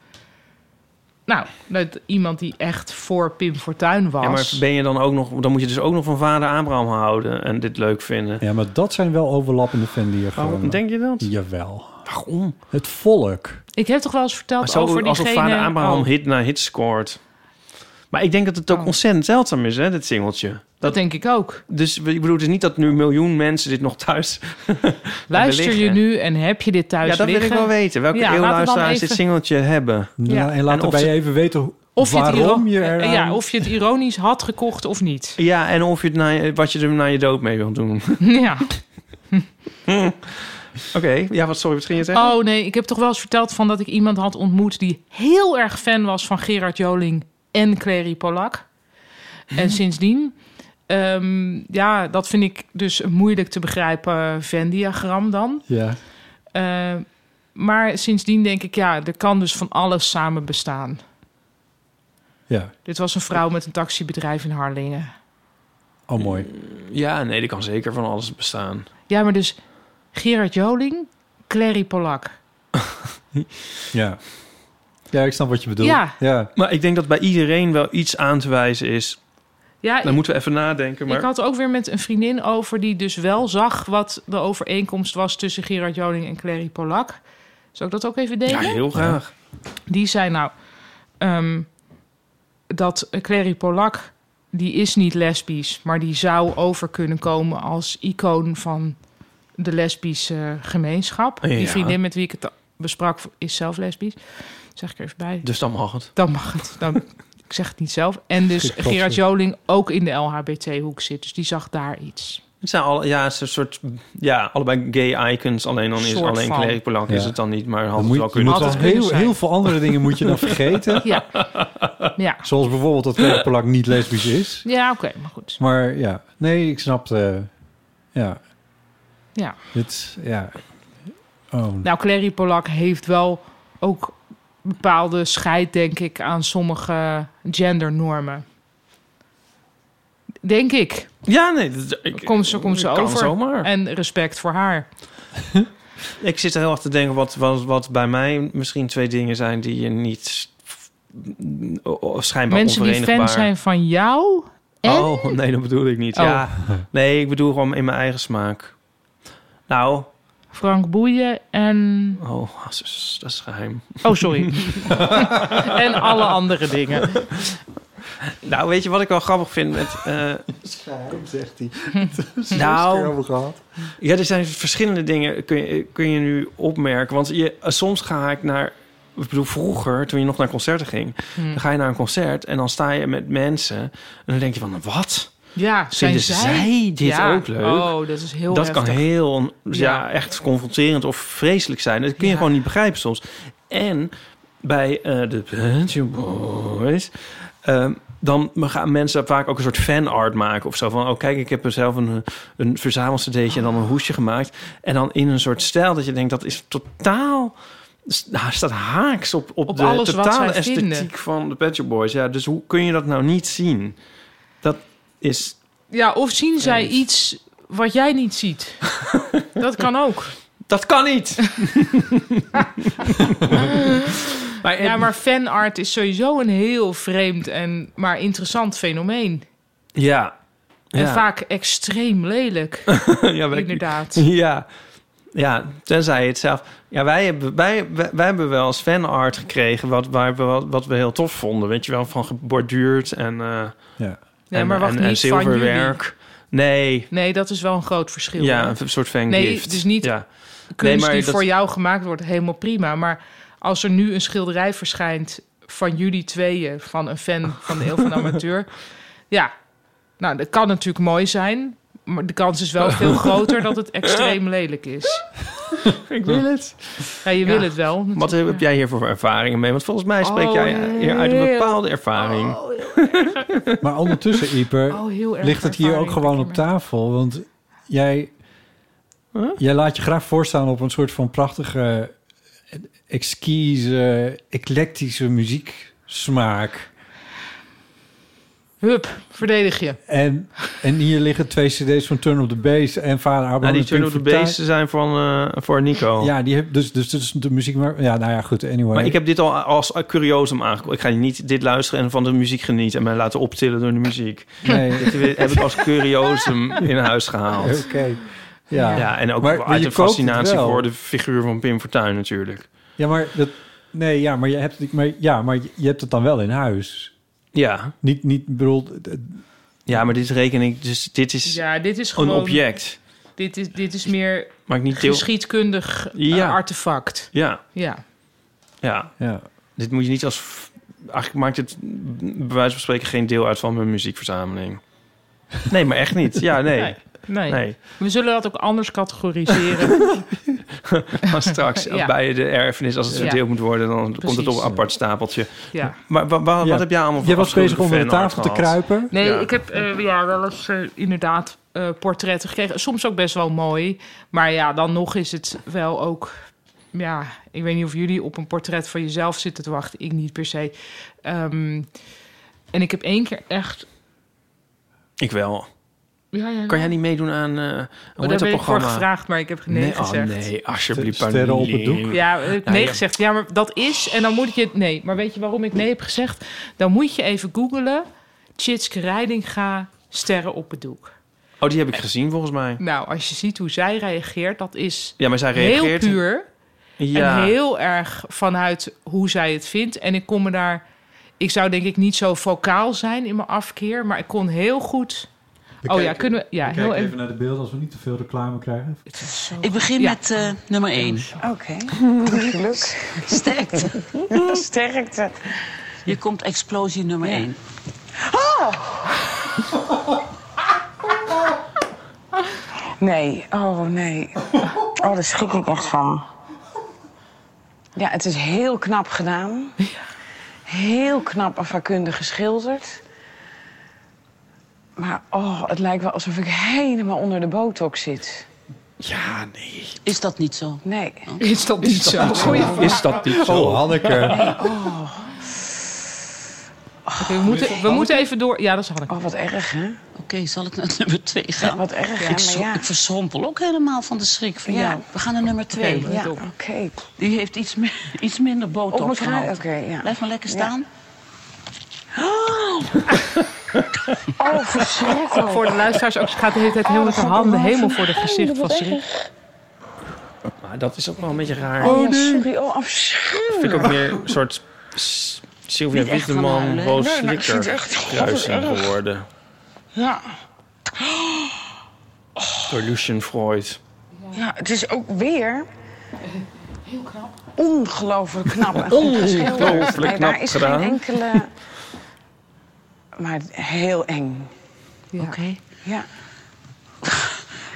S4: Nou, dat iemand die echt voor Pim Fortuyn was...
S2: Ja, maar ben je dan ook nog, dan moet je dus ook nog van vader Abraham houden en dit leuk vinden.
S1: Ja, maar dat zijn wel overlappende fandiagrammen.
S4: Oh,
S2: Waarom denk je dat?
S1: Jawel.
S2: Waarom?
S1: Het volk.
S4: Ik heb toch wel eens verteld
S2: Zo,
S4: over
S2: alsof
S4: diegene...
S2: vader Abraham
S4: Oh,
S2: hit na hit scoort. Maar ik denk dat het ook
S4: Oh.
S2: ontzettend zeldzaam is, hè, dit singeltje.
S4: Dat denk ik ook.
S2: Dus we- ik bedoel, het is niet dat nu een miljoen mensen dit nog thuis...
S4: Luister je
S2: liggen.
S4: nu en heb je dit thuis
S2: ja, dat wil
S4: liggen?
S2: ik wel weten. Welke
S4: Ja, laten we dan
S2: eeuwluisteraars
S4: even-
S2: dit singeltje hebben.
S1: Nou,
S4: Ja.
S1: En
S2: En
S1: laten
S2: of
S1: wij
S2: ze-
S1: even weten ho-
S4: Of je, het
S1: waarom
S4: iro-
S1: je
S4: eh,
S1: eraan...
S4: ja, of je het ironisch had gekocht of niet.
S2: Ja, en of je het na, wat je er na je dood mee wilt doen. Oké,
S4: Ja.
S2: ja, wat, sorry, wat ging je zeggen?
S4: Oh nee, ik heb toch wel eens verteld van dat ik iemand had ontmoet... die heel erg fan was van Gerard Joling en Clary Polak. En sindsdien... ehm, ja, dat vind ik dus een moeilijk te begrijpen Venn-diagram dan.
S1: Ja.
S4: Eh, maar sindsdien denk ik, ja, er kan dus van alles samen bestaan.
S1: ja.
S4: Dit was een vrouw met een taxibedrijf in Harlingen.
S1: Oh,
S4: Eh.
S1: mooi.
S2: Ja, nee, dat kan zeker van alles bestaan.
S4: Ja, maar dus Gerard Joling, Clary Polak.
S1: Ja. Ja, ik snap wat je bedoelt.
S4: Ja.
S1: ja.
S2: Maar ik denk dat bij iedereen wel iets aan te wijzen is.
S4: Ja,
S2: Dan
S4: ik,
S2: moeten we even nadenken, maar...
S4: ik had ook weer met een vriendin over die dus wel zag wat de overeenkomst was tussen Gerard Joling en Clary Polak. Zou ik dat ook even
S2: Ja,
S4: delen?
S2: heel graag.
S4: Die zei nou ehm, dat Clary Polak, die is niet lesbisch, maar die zou over kunnen komen als icoon van de lesbische gemeenschap.
S2: Ja.
S4: Die vriendin met wie ik het besprak is zelf lesbisch. Zeg ik er even bij.
S2: Dus dan mag het.
S4: Dan mag het. Dan, ik zeg het niet zelf. En dus
S1: Goed, klopt.
S4: Gerard Joling ook in de LHBT-hoek zit. Dus die zag daar iets.
S2: Het zijn al, ja, het is een soort, ja, allebei gay icons. Alleen dan is
S4: Soort
S2: alleen
S4: van.
S2: Clary Polak is
S1: Ja.
S2: het dan niet, maar had
S1: Dan
S2: het
S1: moet
S2: wel
S1: je, je
S2: kunnen.
S1: moet wel
S4: Altijd kunnen
S1: heel,
S4: zijn.
S1: heel veel andere dingen moet je dan vergeten.
S4: Ja. Ja,
S1: Zoals bijvoorbeeld dat Claire Polak niet lesbisch is.
S4: ja oké, maar goed.
S1: Maar ja, nee, ik snap. eh, ja.
S4: Ja.
S1: Dit, ja. Oh,
S4: Nou, Clary Polak heeft wel ook bepaalde scheid, denk ik, aan sommige gendernormen. Denk ik.
S2: Ja, nee. dat- ik-
S4: Komt ze, komt ze
S2: kan
S4: over.
S2: zomaar.
S4: En respect voor haar.
S2: Ik zit er heel erg te denken wat, wat, wat bij mij misschien twee dingen zijn die je niet o- o- schijnbaar
S4: Mensen die fan
S2: onverenigbaar...
S4: zijn van jou. En?
S2: Oh, nee, dat bedoel ik niet.
S4: Oh.
S2: Ja. Nee, ik bedoel gewoon in mijn eigen smaak. Nou,
S4: Frank Boeien en...
S2: oh, dat is, dat is geheim.
S4: Oh, sorry. en alle andere dingen.
S2: Nou, weet je wat ik wel grappig vind met... eh,
S8: zegt hij.
S2: nou, ja, er zijn verschillende dingen kun je, kun je nu opmerken. Want je, eh, soms ga ik naar... Ik bedoel, vroeger, toen je nog naar concerten ging...
S4: Hmm.
S2: dan ga je naar een concert en dan sta je met mensen... en dan denk je van, wat?
S4: Ja, zijn
S2: Vinden
S4: zij,
S2: zij dit
S4: Ja.
S2: ook leuk?
S4: Oh, dat is heel
S2: dat
S4: heftig.
S2: kan heel, ja,
S4: Ja.
S2: echt confronterend of vreselijk zijn. Dat kun je
S4: Ja.
S2: gewoon niet begrijpen soms. En bij eh, de Pet Shop Boys, eh, dan gaan mensen vaak ook een soort fanart maken of zo. Van, oh kijk, ik heb er zelf een, een verzamelcd'tje en dan een hoesje gemaakt. En dan in een soort stijl dat je denkt, dat is totaal... Nou, staat haaks op, op,
S4: Op
S2: de
S4: alles wat
S2: totale
S4: zij
S2: esthetiek
S4: vinden.
S2: van de Pet Shop Boys. Ja, dus hoe kun je dat nou niet zien? Dat is...
S4: Ja, of zien zij iets wat jij niet ziet. dat kan ook.
S2: Dat kan niet.
S4: ja, maar fanart is sowieso een heel vreemd en maar interessant fenomeen.
S2: Ja.
S4: En
S2: ja.
S4: vaak extreem lelijk.
S2: ja, wij-
S4: Inderdaad.
S2: Ja. ja, tenzij je het zelf... Ja, wij hebben, wij, wij, wij hebben wel eens fanart gekregen... Wat, waar we- wat, wat we heel tof vonden. Weet je wel, van geborduurd en... eh
S1: ja.
S4: Nee, maar wacht,
S2: en,
S4: niet van
S2: zilverwerk. Nee,
S4: Nee, dat is wel een groot verschil.
S2: ja,
S4: hè?
S2: een soort fangift.
S4: Nee, dus niet
S2: Ja.
S4: kunst
S2: maar
S4: die
S2: dat-
S4: voor jou gemaakt wordt, helemaal prima. Maar als er nu een schilderij verschijnt van jullie tweeën... van een fan van de Eeuw van de Amateur... ja, nou, dat kan natuurlijk mooi zijn... maar de kans is wel veel groter dat het extreem lelijk is.
S2: Ik wil het.
S4: Ja, je wil
S2: Ja.
S4: het wel.
S2: Wat heb jij hiervoor voor ervaringen mee? Want volgens mij spreek
S4: Oh,
S2: jij hier uit een
S4: heel-
S2: bepaalde ervaring.
S1: Maar ondertussen, Ieper,
S4: Oh, heel erg
S1: ligt het hier ook
S4: ervaring,
S1: gewoon op tafel. Want jij, jij laat je graag voorstaan op een soort van prachtige, eh, exquise, eclectische muzieksmaak.
S4: Hup, verdedig je.
S1: En, en hier liggen twee cd's van Turn Up The Bass en Vader Abraham.
S2: Nou, die
S1: en Pink
S2: Turn of the
S1: Fortuyn.
S2: Beesten zijn van, eh, voor Nico.
S1: Ja, die heb, dus, dus, dus de muziek... Maar, ja, nou ja, goed, anyway.
S2: Maar ik heb dit al als curiosum aangekomen. Ik ga niet dit luisteren en van de muziek genieten en mij laten optillen door de muziek.
S1: Nee.
S2: Dit heb ik als curiosum in huis gehaald.
S1: Oké. Ja.
S2: ja, en ook
S1: Maar- maar
S2: uit
S1: je
S2: een
S1: koopt het
S2: fascinatie
S1: wel.
S2: voor de figuur van Pim Fortuyn natuurlijk.
S1: Ja, maar dat... Nee, ja, maar je hebt, het- maar, ja, maar je- je hebt het dan wel in huis.
S2: Ja.
S1: Niet, niet bedoeld...
S2: Ja, maar dit reken ik... Dus dit is,
S4: Ja, dit is gewoon...
S2: een object.
S4: Dit is, dit is meer
S2: Maakt niet deel...
S4: geschiedkundig eh,
S2: Ja.
S4: artefact.
S2: Ja,
S4: Ja.
S2: ja.
S1: ja.
S2: Dit moet je niet als... f- Eigenlijk maakt het mm, bij wijze van spreken geen deel uit van mijn muziekverzameling. Nee, maar echt niet. Ja, nee.
S4: Nee.
S2: Nee.
S4: We zullen dat ook anders categoriseren.
S2: Maar straks
S4: Ja.
S2: bij de erfenis, als het
S4: Ja.
S2: verdeeld moet worden, dan komt het op
S4: Precies.
S2: een apart stapeltje.
S4: Ja.
S2: Maar wa- wa-
S1: Ja.
S2: wat heb jij allemaal voor
S1: Jij was bezig
S2: afschuwelijke
S1: onder de
S2: fanart
S1: tafel te
S2: gehad?
S1: kruipen.
S4: Nee,
S2: Ja.
S4: ik heb eh, ja, wel eens eh, inderdaad eh, portretten gekregen. Soms ook best wel mooi. Maar ja, dan nog is het wel ook... Ja, ik weet niet of jullie op een portret van jezelf zitten te wachten. Ik niet per se. Ehm, en ik heb één keer echt...
S2: Ik wel.
S4: Ja, ja,
S2: Kan jij niet meedoen aan eh een
S4: Oh, daar ben ik voor
S2: winterprogramma?
S4: gevraagd, maar ik heb nee,
S2: Nee, oh
S4: gezegd.
S2: nee, alsjeblieft.
S1: Sterren op het doek.
S4: Ja, ik heb
S2: Nou,
S4: nee
S2: ja.
S4: gezegd. Ja, maar dat is... En dan moet ik je... Nee, maar weet je waarom ik nee heb gezegd? Dan moet je even googlen. Chitske Rijdinga, sterren op het doek.
S2: Oh, die heb ik gezien volgens mij.
S4: Nou, als je ziet hoe zij reageert, dat is
S2: Ja, maar zij
S4: heel
S2: reageert...
S4: puur.
S2: Ja.
S4: En heel erg vanuit hoe zij het vindt. En ik kon me daar... Ik zou denk ik niet zo vocaal zijn in mijn afkeer. Maar ik kon heel goed... oh ja, kunnen we... Ja, heel even...
S1: naar de beelden als we niet te veel reclame krijgen.
S9: Ik begin
S4: Ja.
S9: met eh, nummer 1.
S10: Oké. Geluk.
S9: Sterkte.
S10: Sterkte.
S9: Hier komt explosie nummer 1.
S10: Ah! Nee, oh nee. Oh, daar schrik ik echt van. Ja, het is heel knap gedaan. Heel knap en vakkundig geschilderd. Maar oh, het lijkt wel alsof ik helemaal onder de botox zit.
S2: Ja, nee.
S9: Is dat niet zo?
S10: Nee.
S4: Is dat niet zo?
S2: Is dat niet zo?
S1: Oh, Hanneke.
S4: Oké, we moeten, we moeten even door... Ja, dat is Hanneke.
S10: Oh, wat erg, hè?
S9: Oké. zal ik naar nummer 2 gaan?
S10: Ja, wat erg, hè,
S9: ik,
S10: maar
S9: zo-
S10: ja.
S9: ik verschrompel ook helemaal van de schrik van
S10: Ja.
S9: jou. We gaan naar nummer 2.
S10: Oké, ja, oké.
S9: Die heeft iets, me- iets minder
S10: Op
S9: botox
S10: elkaar,
S9: gehad.
S10: oké, ja.
S9: Blijf maar lekker staan.
S10: Oh, verschrikkelijk.
S4: Voor de luisteraars ook, ze gaat de hele tijd heel met haar handen helemaal voor de gezicht van schrik.
S2: Maar Ah, dat is ook wel een beetje raar.
S10: Oh, ja, sorry. Oh, afschuwelijk.
S2: Vind ik ook meer een soort s- Sylvia
S10: Niet echt gaan
S2: Wiedemann,
S10: huilen.
S2: Boos
S10: Nee, maar ik
S2: Slikker
S10: vind het echt-
S2: kruising
S10: God, wat erg.
S2: geworden.
S10: Ja.
S2: Door Lucien Freud.
S10: ja, het is ook weer
S11: Heel knap.
S10: ongelooflijk knap en goed geschilderd.
S2: Ongelooflijk
S10: Nee, daar
S2: knap
S10: is
S2: gedaan.
S10: geen enkele... eh, Maar heel eng.
S9: Oké.
S10: Ja.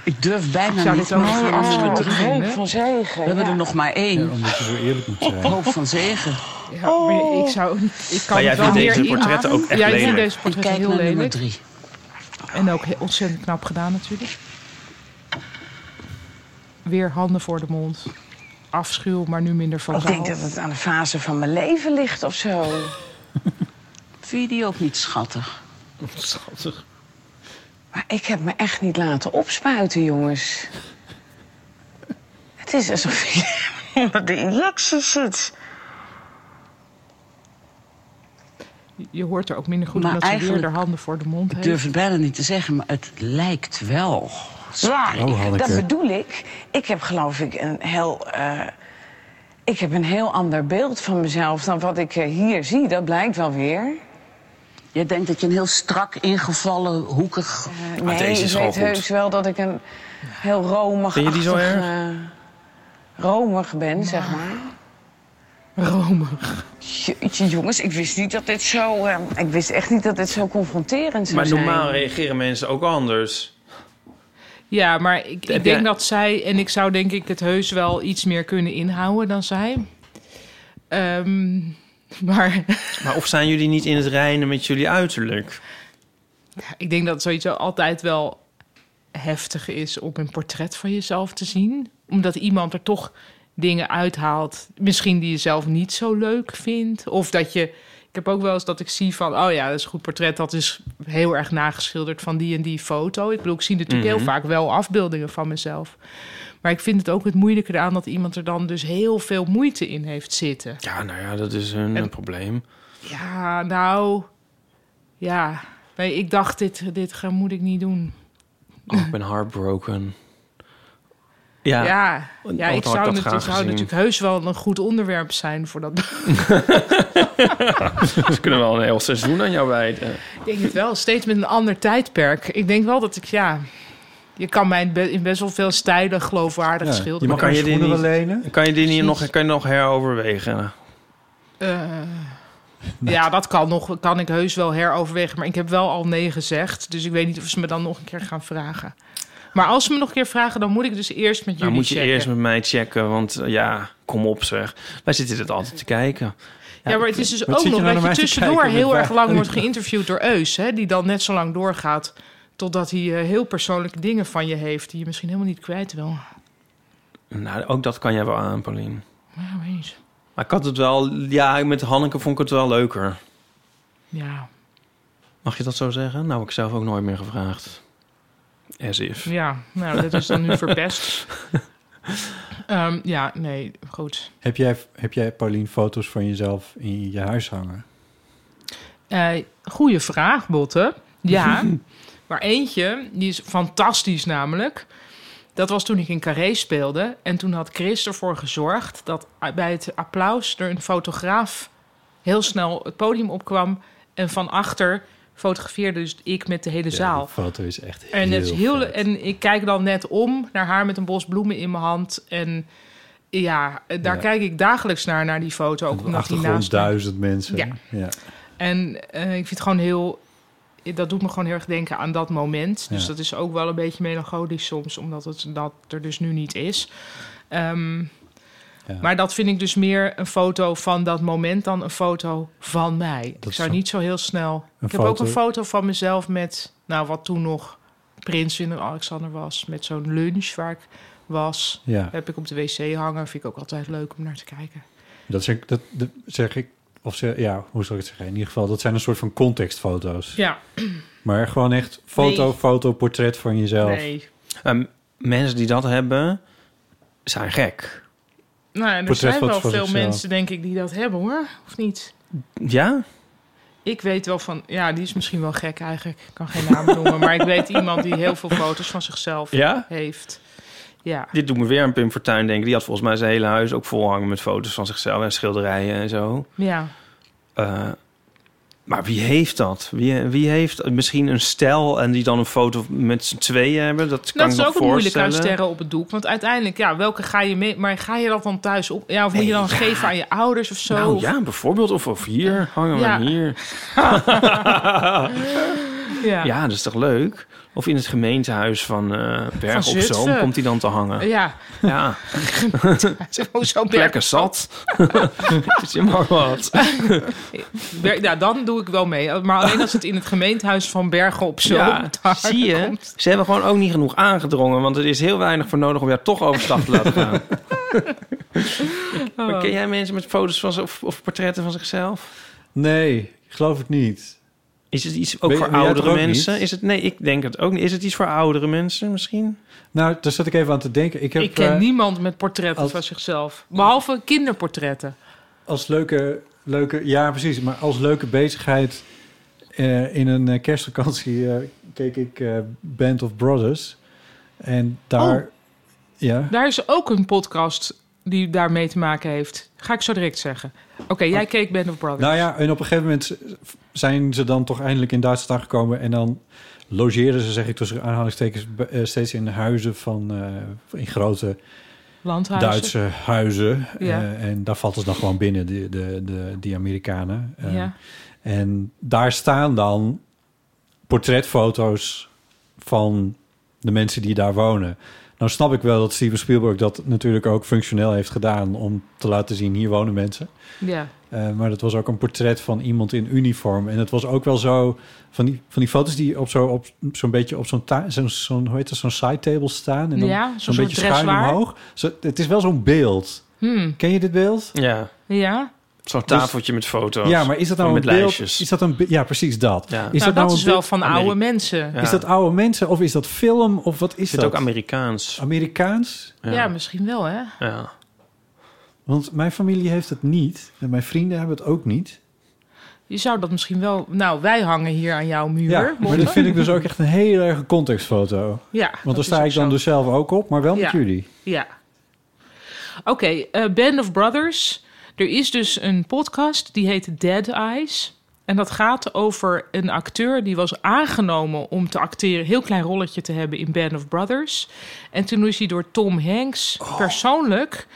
S9: Ik durf bijna
S10: Ik zou
S9: niet.
S10: dit ook
S9: maar
S10: niet
S9: we
S10: willen
S9: hebben er
S10: doen,
S9: drie.
S10: hè?
S9: We
S10: Van zegen,
S9: hebben
S10: ja.
S9: er nog maar één.
S1: Omdat je zo eerlijk
S4: Oh,
S1: moet zijn.
S9: Hoop van zegen.
S4: Ja, maar
S10: Oh.
S4: ik zou ook niet... Ik kan
S2: Maar jij
S4: het wel
S2: vindt
S4: meer
S2: deze
S4: inademen.
S2: portretten ook echt
S4: Ja, ik vind
S2: lelijk.
S4: deze portretten
S9: Ik kijk
S4: heel
S9: naar nummer
S4: nou, lelijk.
S9: drie.
S4: En ook heel ontzettend knap gedaan natuurlijk. Weer handen voor de mond. Afschuw, maar nu minder van
S10: Ik denk dat het aan de fase van mijn leven ligt of zo.
S9: Vind je die ook niet schattig?
S2: Schattig.
S10: Maar ik heb me echt niet laten opspuiten, jongens. Het is alsof je onder de injectie zit.
S4: Je hoort er ook minder goed
S9: Maar
S4: omdat ze weer
S9: eigenlijk-
S4: haar handen voor de mond
S9: Ik
S4: heeft.
S9: durf het bijna niet te zeggen, maar het lijkt wel.
S10: Ja,
S9: Oh, Hanneke.
S10: dat bedoel ik. Ik heb geloof ik een heel... eh, ik heb een heel ander beeld van mezelf dan wat ik eh, hier zie. Dat blijkt wel weer.
S9: Jij denkt dat je een heel strak ingevallen, hoekig...
S10: Eh, nee, ik weet heus wel dat ik een heel romig... eh,
S9: Vind je die zo erg?
S10: romig ben, zeg maar.
S4: Romig.
S10: Jeetje, jongens, ik wist niet dat dit zo... eh, ik wist echt niet dat dit zo confronterend zou
S2: Maar
S10: zijn.
S2: normaal reageren mensen ook anders.
S4: Ja, maar ik, ik
S2: Heb
S4: denk
S2: jij-
S4: dat zij... En ik zou denk ik het heus wel iets meer kunnen inhouden dan zij. Ehm, maar
S2: Maar of zijn jullie niet in het reinen met jullie uiterlijk?
S4: ik denk dat zoiets wel altijd wel heftig is om een portret van jezelf te zien. Omdat iemand er toch dingen uithaalt. Misschien die je zelf niet zo leuk vindt. Of dat je... Ik heb ook wel eens dat ik zie van... oh ja, dat is een goed portret. Dat is heel erg nageschilderd van die en die foto. Ik bedoel, ik zie natuurlijk
S8: Mhm.
S4: heel vaak wel afbeeldingen van mezelf. Maar ik vind het ook het moeilijke eraan... dat iemand er dan dus heel veel moeite in heeft zitten.
S2: Ja, nou ja, dat is hun eh, probleem.
S4: Ja, nou... Ja, nee, ik dacht, dit, dit ga- moet ik niet doen.
S2: Oh, ik ben heartbroken.
S4: Ja,
S2: Ja,
S4: ja,
S2: want had
S4: ik zou,
S2: dat
S4: natuurlijk-
S2: graag
S4: zou
S2: gezien.
S4: natuurlijk heus wel een goed onderwerp zijn voor dat.
S2: Ze kunnen wel een heel seizoen aan jou wijden.
S4: ik denk het wel, steeds met een ander tijdperk. Ik denk wel dat ik, ja... Je kan mij in be- in best wel veel stijlen geloofwaardig schilderen.
S2: Maar kan je dit niet, Kan je dit niet
S4: Precies.
S2: nog, kan je nog heroverwegen?
S4: Eh, Ja, dat kan, nog, kan ik heus wel heroverwegen. Maar ik heb wel al nee gezegd. Dus ik weet niet of ze me dan nog een keer gaan vragen. Maar als ze me nog een keer vragen, dan moet ik dus eerst
S2: Nou,
S4: met jullie
S2: moet je
S4: checken.
S2: eerst met mij checken, want eh, ja, kom op zeg. Wij zitten dit altijd te kijken.
S4: Ja, maar het is dus
S2: Wat
S4: ook
S2: zit je
S4: nog
S2: nou
S4: dat
S2: naar
S4: je
S2: mij te
S4: tussendoor
S2: kijken met
S4: heel erg
S2: waar-
S4: lang wordt geïnterviewd door Eus. Hè, die dan net zo lang doorgaat totdat hij eh, heel persoonlijke dingen van je heeft... die je misschien helemaal niet kwijt wil.
S2: Nou, ook dat kan jij wel aan, Paulien.
S4: Maar weet je.
S2: Maar ik had het wel... Ja, met Hanneke vond ik het wel leuker.
S4: Ja,
S2: Mag je dat zo zeggen? Nou, heb ik zelf ook nooit meer gevraagd. As if.
S4: ja, nou, dat is dan nu verpest. Ehm, ja, nee, goed.
S1: Heb jij, heb jij, Paulien, foto's van jezelf in je huis hangen?
S4: Eh goeie vraag, Botte. Ja, maar eentje, die is fantastisch namelijk. Dat was toen ik in Carré speelde. En toen had Chris ervoor gezorgd dat bij het applaus er een fotograaf heel snel het podium opkwam. En van achter fotografeerde dus ik met de hele zaal.
S1: Die foto is echt
S4: En, het is
S1: heel
S4: heel, en ik kijk dan net om naar haar met een bos bloemen in mijn hand. En ja, daar
S1: Ja.
S4: kijk ik dagelijks naar, naar die foto. Ook
S1: Op de
S4: omdat die
S1: achtergrond
S4: naast mij-
S1: duizend mensen.
S4: Ja.
S1: ja.
S4: en eh, ik vind het gewoon heel... Dat doet me gewoon heel erg denken aan dat moment. Dus
S1: Ja.
S4: dat is ook wel een beetje melancholisch soms... omdat het dat er dus nu niet is. Ehm, Maar dat vind ik dus meer een foto van dat moment... dan een foto van mij. ik
S1: is
S4: zou
S1: zo-
S4: niet zo heel snel... Ik heb
S1: foto-
S4: ook een foto van mezelf met... nou, wat toen nog prins Willem Alexander was... met zo'n lunch waar ik was.
S1: Ja.
S4: Heb ik op de wc hangen. Vind ik ook altijd leuk om naar te kijken.
S1: Dat zeg, dat, dat zeg ik, of ze, ja, hoe zal ik het zeggen? In ieder geval, dat zijn een soort van contextfoto's.
S4: Ja.
S1: Maar gewoon echt foto,
S2: Nee.
S1: foto, portret van jezelf.
S2: Ehm, mensen die dat hebben, zijn gek.
S4: Nou, en er
S2: Portret
S4: zijn
S2: wat
S4: wel
S2: van
S4: veel
S2: zichzelf.
S4: mensen, denk ik, die dat hebben hoor. Of niet?
S2: Ja?
S4: Ik weet wel van, ja, die is misschien wel gek eigenlijk. Ik kan geen naam noemen, maar ik weet iemand die heel veel foto's van zichzelf
S2: Ja?
S4: heeft. Ja.
S2: Dit doet me weer aan Pim Fortuyn denken. Die had volgens mij zijn hele huis ook volhangen met foto's van zichzelf en schilderijen en zo.
S4: Ja. Nou,
S2: Eh, maar wie heeft dat? Wie, wie heeft misschien een stijl en die dan een foto met z'n tweeën hebben? Dat kan
S4: dat is
S2: ik me
S4: ook het moeilijke aan
S2: voorstellen.
S4: sterren op het doek. Want uiteindelijk, ja, welke ga je mee? Maar ga je dat dan thuis op? Ja, of moet je dan geven aan je ouders of zo?
S2: Nou
S4: Of-
S2: ja, bijvoorbeeld. Of, of hier, hangen we
S4: Ja.
S2: hem hier.
S4: ja.
S2: Ja, dat is toch leuk? Of in het gemeentehuis van eh Berg
S4: Van
S2: op Zoom
S4: Zutphen.
S2: komt hij dan te hangen.
S4: Ja.
S2: Ja.
S4: Hoezo Berg?
S2: Plekken zat. is helemaal wat.
S4: Ber- Ja, dan doe ik wel mee. Maar alleen als het in het gemeentehuis van Bergen op Zoom...
S2: Ja,
S4: daar
S2: zie je?
S4: komt.
S2: Ze hebben gewoon ook niet genoeg aangedrongen. Want er is heel weinig voor nodig om jou toch overstap te laten gaan.
S4: Oh.
S2: Maar ken jij mensen met foto's van zich- of, of portretten van zichzelf?
S1: Nee, ik geloof het niet.
S2: Is het iets ook
S1: Weet-
S2: voor
S1: weet jij het
S2: oudere
S1: ook
S2: mensen?
S1: niet?
S2: Is het, nee, ik denk het ook niet. Is het iets voor oudere mensen misschien?
S1: Nou, daar zat ik even aan te denken. Ik, heb,
S4: Ik ken
S1: eh,
S4: niemand met portretten van zichzelf. Behalve kinderportretten.
S1: Als leuke, leuke, ja precies, maar als leuke bezigheid eh, in een eh, kerstvakantie eh, keek ik eh, Band of Brothers. En daar,
S4: Oh.
S1: ja,
S4: Daar is ook een podcast die daarmee te maken heeft. Ga ik zo direct zeggen. Oké, jij keek Band of Brothers.
S1: Oh. nou ja, en op een gegeven moment zijn ze dan toch eindelijk in Duitsland aangekomen. En dan logeren ze, zeg ik tussen aanhalingstekens, be- eh, steeds in huizen van, eh, in grote
S4: Landhuizen.
S1: Duitse huizen.
S4: Ja.
S1: Eh, en daar vatten ze dan gewoon binnen, de, de, de, die Amerikanen. Eh,
S4: Ja.
S1: En daar staan dan portretfoto's van de mensen die daar wonen. Nou snap ik wel dat Steven Spielberg dat natuurlijk ook functioneel heeft gedaan... om te laten zien, hier wonen mensen.
S4: Ja.
S1: Eh, maar dat was ook een portret van iemand in uniform. En het was ook wel zo... van die, van die foto's die op zo'n op, zo'n beetje op zo'n ta- zo'n zo'n- hoe heet dat, zo'n side table staan... en dan
S4: Ja, zo'n
S1: zo'n
S4: soort
S1: beetje schuin
S4: dressoir.
S1: omhoog. Zo, het is wel zo'n beeld.
S4: Hmm.
S1: Ken je dit beeld?
S2: Ja.
S4: Ja?
S2: Zo'n
S1: Dus-
S2: tafeltje met foto's.
S1: Ja, maar is dat nou
S2: met
S1: een beeld?
S2: lijstjes?
S1: Is dat een be- ja, precies dat. Is
S2: Nou,
S4: Is nou, dat,
S1: een Oh,
S4: is wel
S1: beeld-
S4: van oude mensen.
S1: Is dat oude mensen of is dat film of wat is
S2: Is het
S1: dat? Oh.
S2: ook Amerikaans?
S1: Amerikaans?
S4: Ja. misschien wel, hè?
S2: Ja.
S1: Want mijn familie heeft het niet en mijn vrienden hebben het ook niet.
S4: Je zou dat misschien wel... Nou, wij hangen hier aan jouw muur.
S1: Ja, maar
S4: Botte.
S1: dat vind ik dus ook echt een hele erge contextfoto.
S4: Ja,
S1: Want daar
S4: dat
S1: sta
S4: is
S1: ik dan dus zelf ook op, maar wel
S4: Ja.
S1: met jullie.
S4: Ja. Oké, eh, Band of Brothers. Er is dus een podcast die heet Dead Eyes. En dat gaat over een acteur die was aangenomen om te acteren, een heel klein rolletje te hebben in Band of Brothers. En toen is hij door Tom Hanks persoonlijk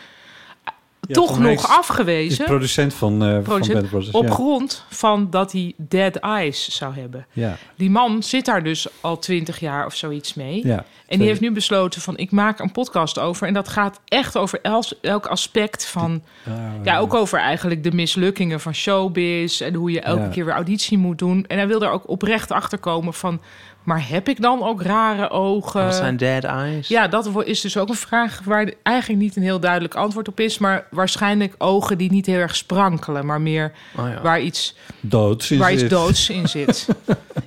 S4: toch
S1: Oh. Tom
S4: nog
S1: Hanks Is
S4: afgewezen.
S1: producent van, eh van
S4: Producent,
S1: Band of Brothers.
S4: op
S1: ja.
S4: grond van dat hij Dead Eyes zou hebben.
S1: Ja.
S4: Die man zit daar dus al twintig jaar of zoiets mee.
S1: Ja,
S4: en die heeft nu besloten van ik maak een podcast over. En dat gaat echt over el- elk aspect van...
S1: Ah,
S4: ja, ook over eigenlijk de mislukkingen van showbiz... en hoe je elke
S8: Ja.
S4: keer weer auditie moet doen. En hij wil daar ook oprecht achter komen van... maar heb ik dan ook rare ogen?
S2: Wat zijn dead eyes?
S4: Eh, Ja, dat wo- is dus ook een vraag waar eigenlijk niet een heel duidelijk antwoord op is. Maar waarschijnlijk ogen die niet heel erg sprankelen, maar meer
S2: Oh,
S4: waar iets,
S1: Doods in
S4: waar iets
S1: zit.
S4: doods in zit. Ik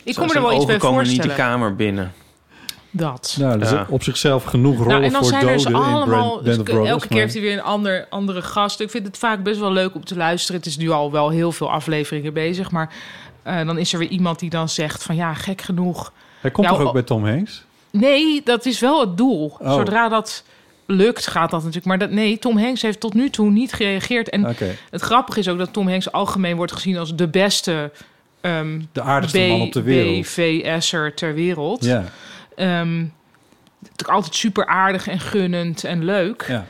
S4: kom
S2: Zoals
S4: me er wel
S2: hun
S4: iets bij
S2: ogen komen niet de
S4: voorstellen.
S2: kamer binnen.
S4: Dat.
S1: Nou, dat
S2: Ja.
S1: is op zichzelf genoeg rollen
S4: Nou, en dan
S1: voor
S4: zijn
S1: doden
S4: er dus
S1: in Brand-
S4: allemaal.
S1: Band
S4: Dus
S1: of
S4: elke
S1: Brothers.
S4: keer heeft hij weer een ander, andere gast. Ik vind het vaak best wel leuk om te luisteren. Het is nu al wel heel veel afleveringen bezig. Maar eh, dan is er weer iemand die dan zegt: van ja, gek genoeg.
S1: maar Hij komt
S4: Jouw
S1: toch ook
S4: o-
S1: bij Tom Hanks?
S4: Nee, dat is wel het doel.
S1: Oh.
S4: Zodra dat lukt, gaat dat natuurlijk. Maar dat, nee, Tom Hanks heeft tot nu toe niet gereageerd. En
S1: Oké.
S4: het grappige is ook dat Tom Hanks algemeen wordt gezien als de beste... ehm,
S1: De aardigste man op de wereld.
S4: BVS'er ter wereld.
S1: Ja.
S4: Ehm, natuurlijk altijd super aardig en gunnend en leuk.
S1: Ja.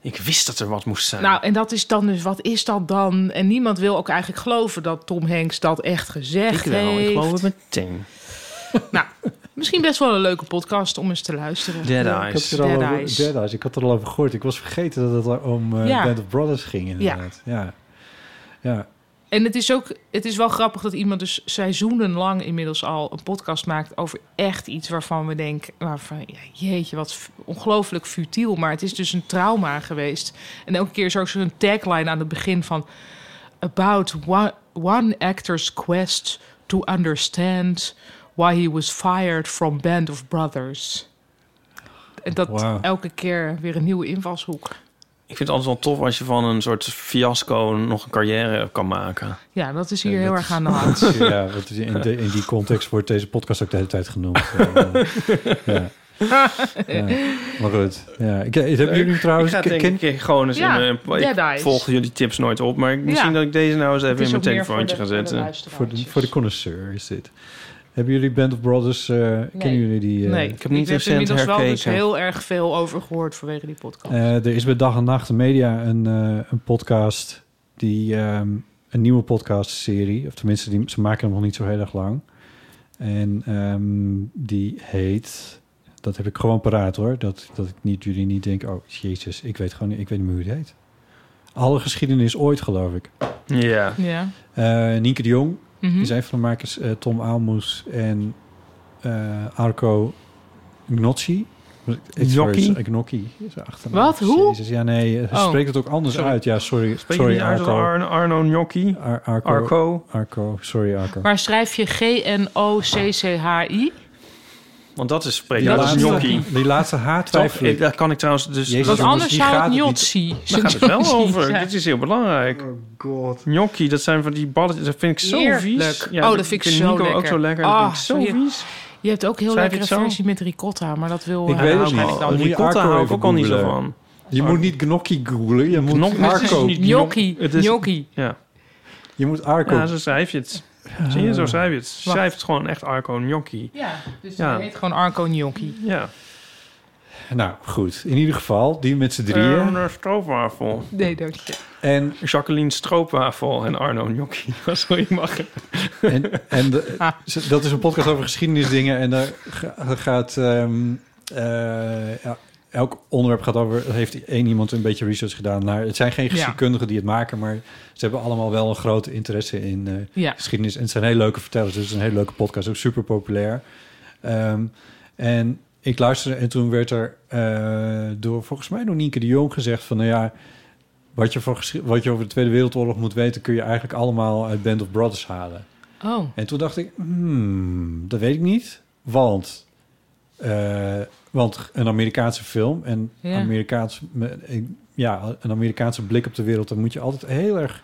S2: Ik wist dat er wat moest zijn.
S4: Nou, en dat is dan dus, wat is dat dan? En niemand wil ook eigenlijk geloven dat Tom Hanks dat echt
S2: ik
S4: gezegd
S2: wel. Ik
S4: heeft.
S2: geloof het meteen.
S4: Misschien best wel een leuke podcast om eens te luisteren.
S2: Dead
S4: Ja.
S2: Eyes.
S1: Ik had, er al
S4: Dead
S1: over,
S4: Eyes.
S1: Dead Eyes. Ik had er al over gehoord. Ik was vergeten dat het om eh,
S4: Ja.
S1: Band of Brothers ging inderdaad. Ja. Ja. Ja.
S4: En het is ook, het is wel grappig dat iemand dus seizoenenlang inmiddels al een podcast maakt over echt iets waarvan we denken, waarvan, ja, jeetje, wat f- ongelooflijk futiel, maar het is dus een trauma geweest. En elke keer is er ook zo'n tagline aan het begin van about one, one actor's quest to understand Why he was fired from Band of Brothers. En dat
S2: Wauw.
S4: elke keer weer een nieuwe invalshoek.
S2: Ik vind het altijd wel tof als je van een soort fiasco nog een carrière kan maken.
S4: Ja, dat is hier heel erg aan de hand.
S1: Ja, dat is in, de- in die context wordt deze podcast ook de hele tijd genoemd. ja. Ja, maar goed. Ja. Ik, eh, hebben jullie trouwens...
S2: Ik ga denk
S1: ken-
S2: ik een keer gewoon eens
S4: Ja,
S2: in mijn... Ik
S4: Jedi is.
S2: volg jullie tips nooit op, maar ik- misschien
S4: Ja.
S2: dat ik deze nou eens
S4: Het
S2: even in
S4: is
S2: mijn
S4: ook meer
S2: telefoontje ga
S4: voor de- voor de
S2: zetten.
S4: luisteraar.
S1: Voor de, voor de connoisseur is dit. Hebben jullie Band of Brothers... eh, Kennen jullie die? eh,
S4: nee, ik heb er inmiddels wel dus heel erg veel over gehoord vanwege die podcast.
S1: Eh, er is bij Dag en Nacht Media een, eh, een podcast, die, ehm, een nieuwe podcastserie. Of tenminste, die, ze maken hem nog niet zo heel erg lang. En ehm, die heet, dat heb ik gewoon paraat hoor, dat, dat ik niet, jullie niet denken, oh jezus, ik weet gewoon niet, ik weet niet meer hoe het heet. Alle geschiedenis ooit, geloof ik.
S2: Ja.
S4: Ja.
S1: Eh, Nienke de Jong
S2: Hm?
S4: Mhm.
S1: is een van de makers. eh, Tom Aalmoes en eh, Arco Gnocchi.
S2: Gnocchi?
S1: Sorry, eh, Gnocchi is de achternaam.
S2: Wat? Hoe?
S1: Jezus, ja, nee, eh,
S2: Oh.
S1: spreekt het ook anders
S2: Sorry.
S1: uit. Ja, sorry.
S2: Spreek je
S1: sorry,
S2: niet uit als
S1: Arco.
S2: Ar- Arno Gnocchi?
S1: Ar- Arco.
S2: Arco?
S1: Arco, sorry Arco.
S4: Maar schrijf je G-N-O-C-C-H-I?
S2: Want dat is spreekt
S1: Die
S2: uit als
S1: laatste-
S2: Gnocchi.
S1: Die laatste haat
S2: Toch? Ik, daar kan ik trouwens dus...
S1: Jezus, Want jongens, anders die zou het gaat het niet- gnocchi
S2: Daar gaat het wel
S1: zijn.
S2: over.
S1: Ja.
S2: Dit is heel belangrijk. Oh god. Gnocchi, dat zijn van die balletjes. Dat vind ik zo vies.
S4: Heerlijk. oh, dat vind ik zo
S2: Nico
S4: lekker.
S2: ook zo lekker.
S4: Ah,
S2: dat vind ik zo
S4: je-
S2: vies.
S4: Je hebt ook heel
S2: Schrijf je
S4: lekkere
S2: het zo?
S4: versie met ricotta, maar dat wil
S1: Ik
S4: eh,
S1: weet het
S4: waarschijnlijk
S1: niet.
S4: dan
S1: Moet je
S2: Ricotta
S1: Arco
S2: hou ik
S1: even
S2: ook al niet zo
S1: googlen.
S2: van.
S1: Je moet niet gnocchi googlen, je moet
S2: Gnocchi, het is dus
S1: Arco.
S2: niet
S4: Gnocchi.
S2: Het is-
S4: Gnocchi.
S2: Ja.
S1: Je moet Arco.
S2: Ja, zo schrijf je het. Zie je, zo schrijf je het. Schrijf het gewoon echt Arco Gnocchi.
S4: Ja, dus
S2: Ja.
S4: die heet gewoon Arco Gnocchi.
S2: Ja.
S1: Nou, goed. In ieder geval, die met z'n drieën.
S2: Erna Eh, Stroopwafel.
S4: Nee, dank je.
S1: En
S2: Jacqueline Stroopwafel en Arno Gnocchi. Zo je mag.
S1: En, en de- ze- dat is een podcast over geschiedenisdingen. En daar ga- gaat ehm, eh, ja, elk onderwerp gaat over. Heeft één iemand een beetje research gedaan naar. Het zijn geen geschiedkundigen die het maken, maar ze hebben allemaal wel een grote interesse in eh,
S4: Ja.
S1: geschiedenis. En het zijn hele leuke vertellers. Dus het is een hele leuke podcast, ook super populair. Ehm, en ik luisterde en toen werd er eh, door volgens mij door Nienke de Jong gezegd van, nou ja. Wat je, voor, geschi- wat je over de Tweede Wereldoorlog moet weten, kun je eigenlijk allemaal uit Band of Brothers halen.
S4: Oh.
S1: En toen dacht ik, hmm, dat weet ik niet. Want, eh, want een Amerikaanse film en
S4: Ja.
S1: Amerikaans, me- ik- ja, een Amerikaanse blik op de wereld, daar moet je altijd heel erg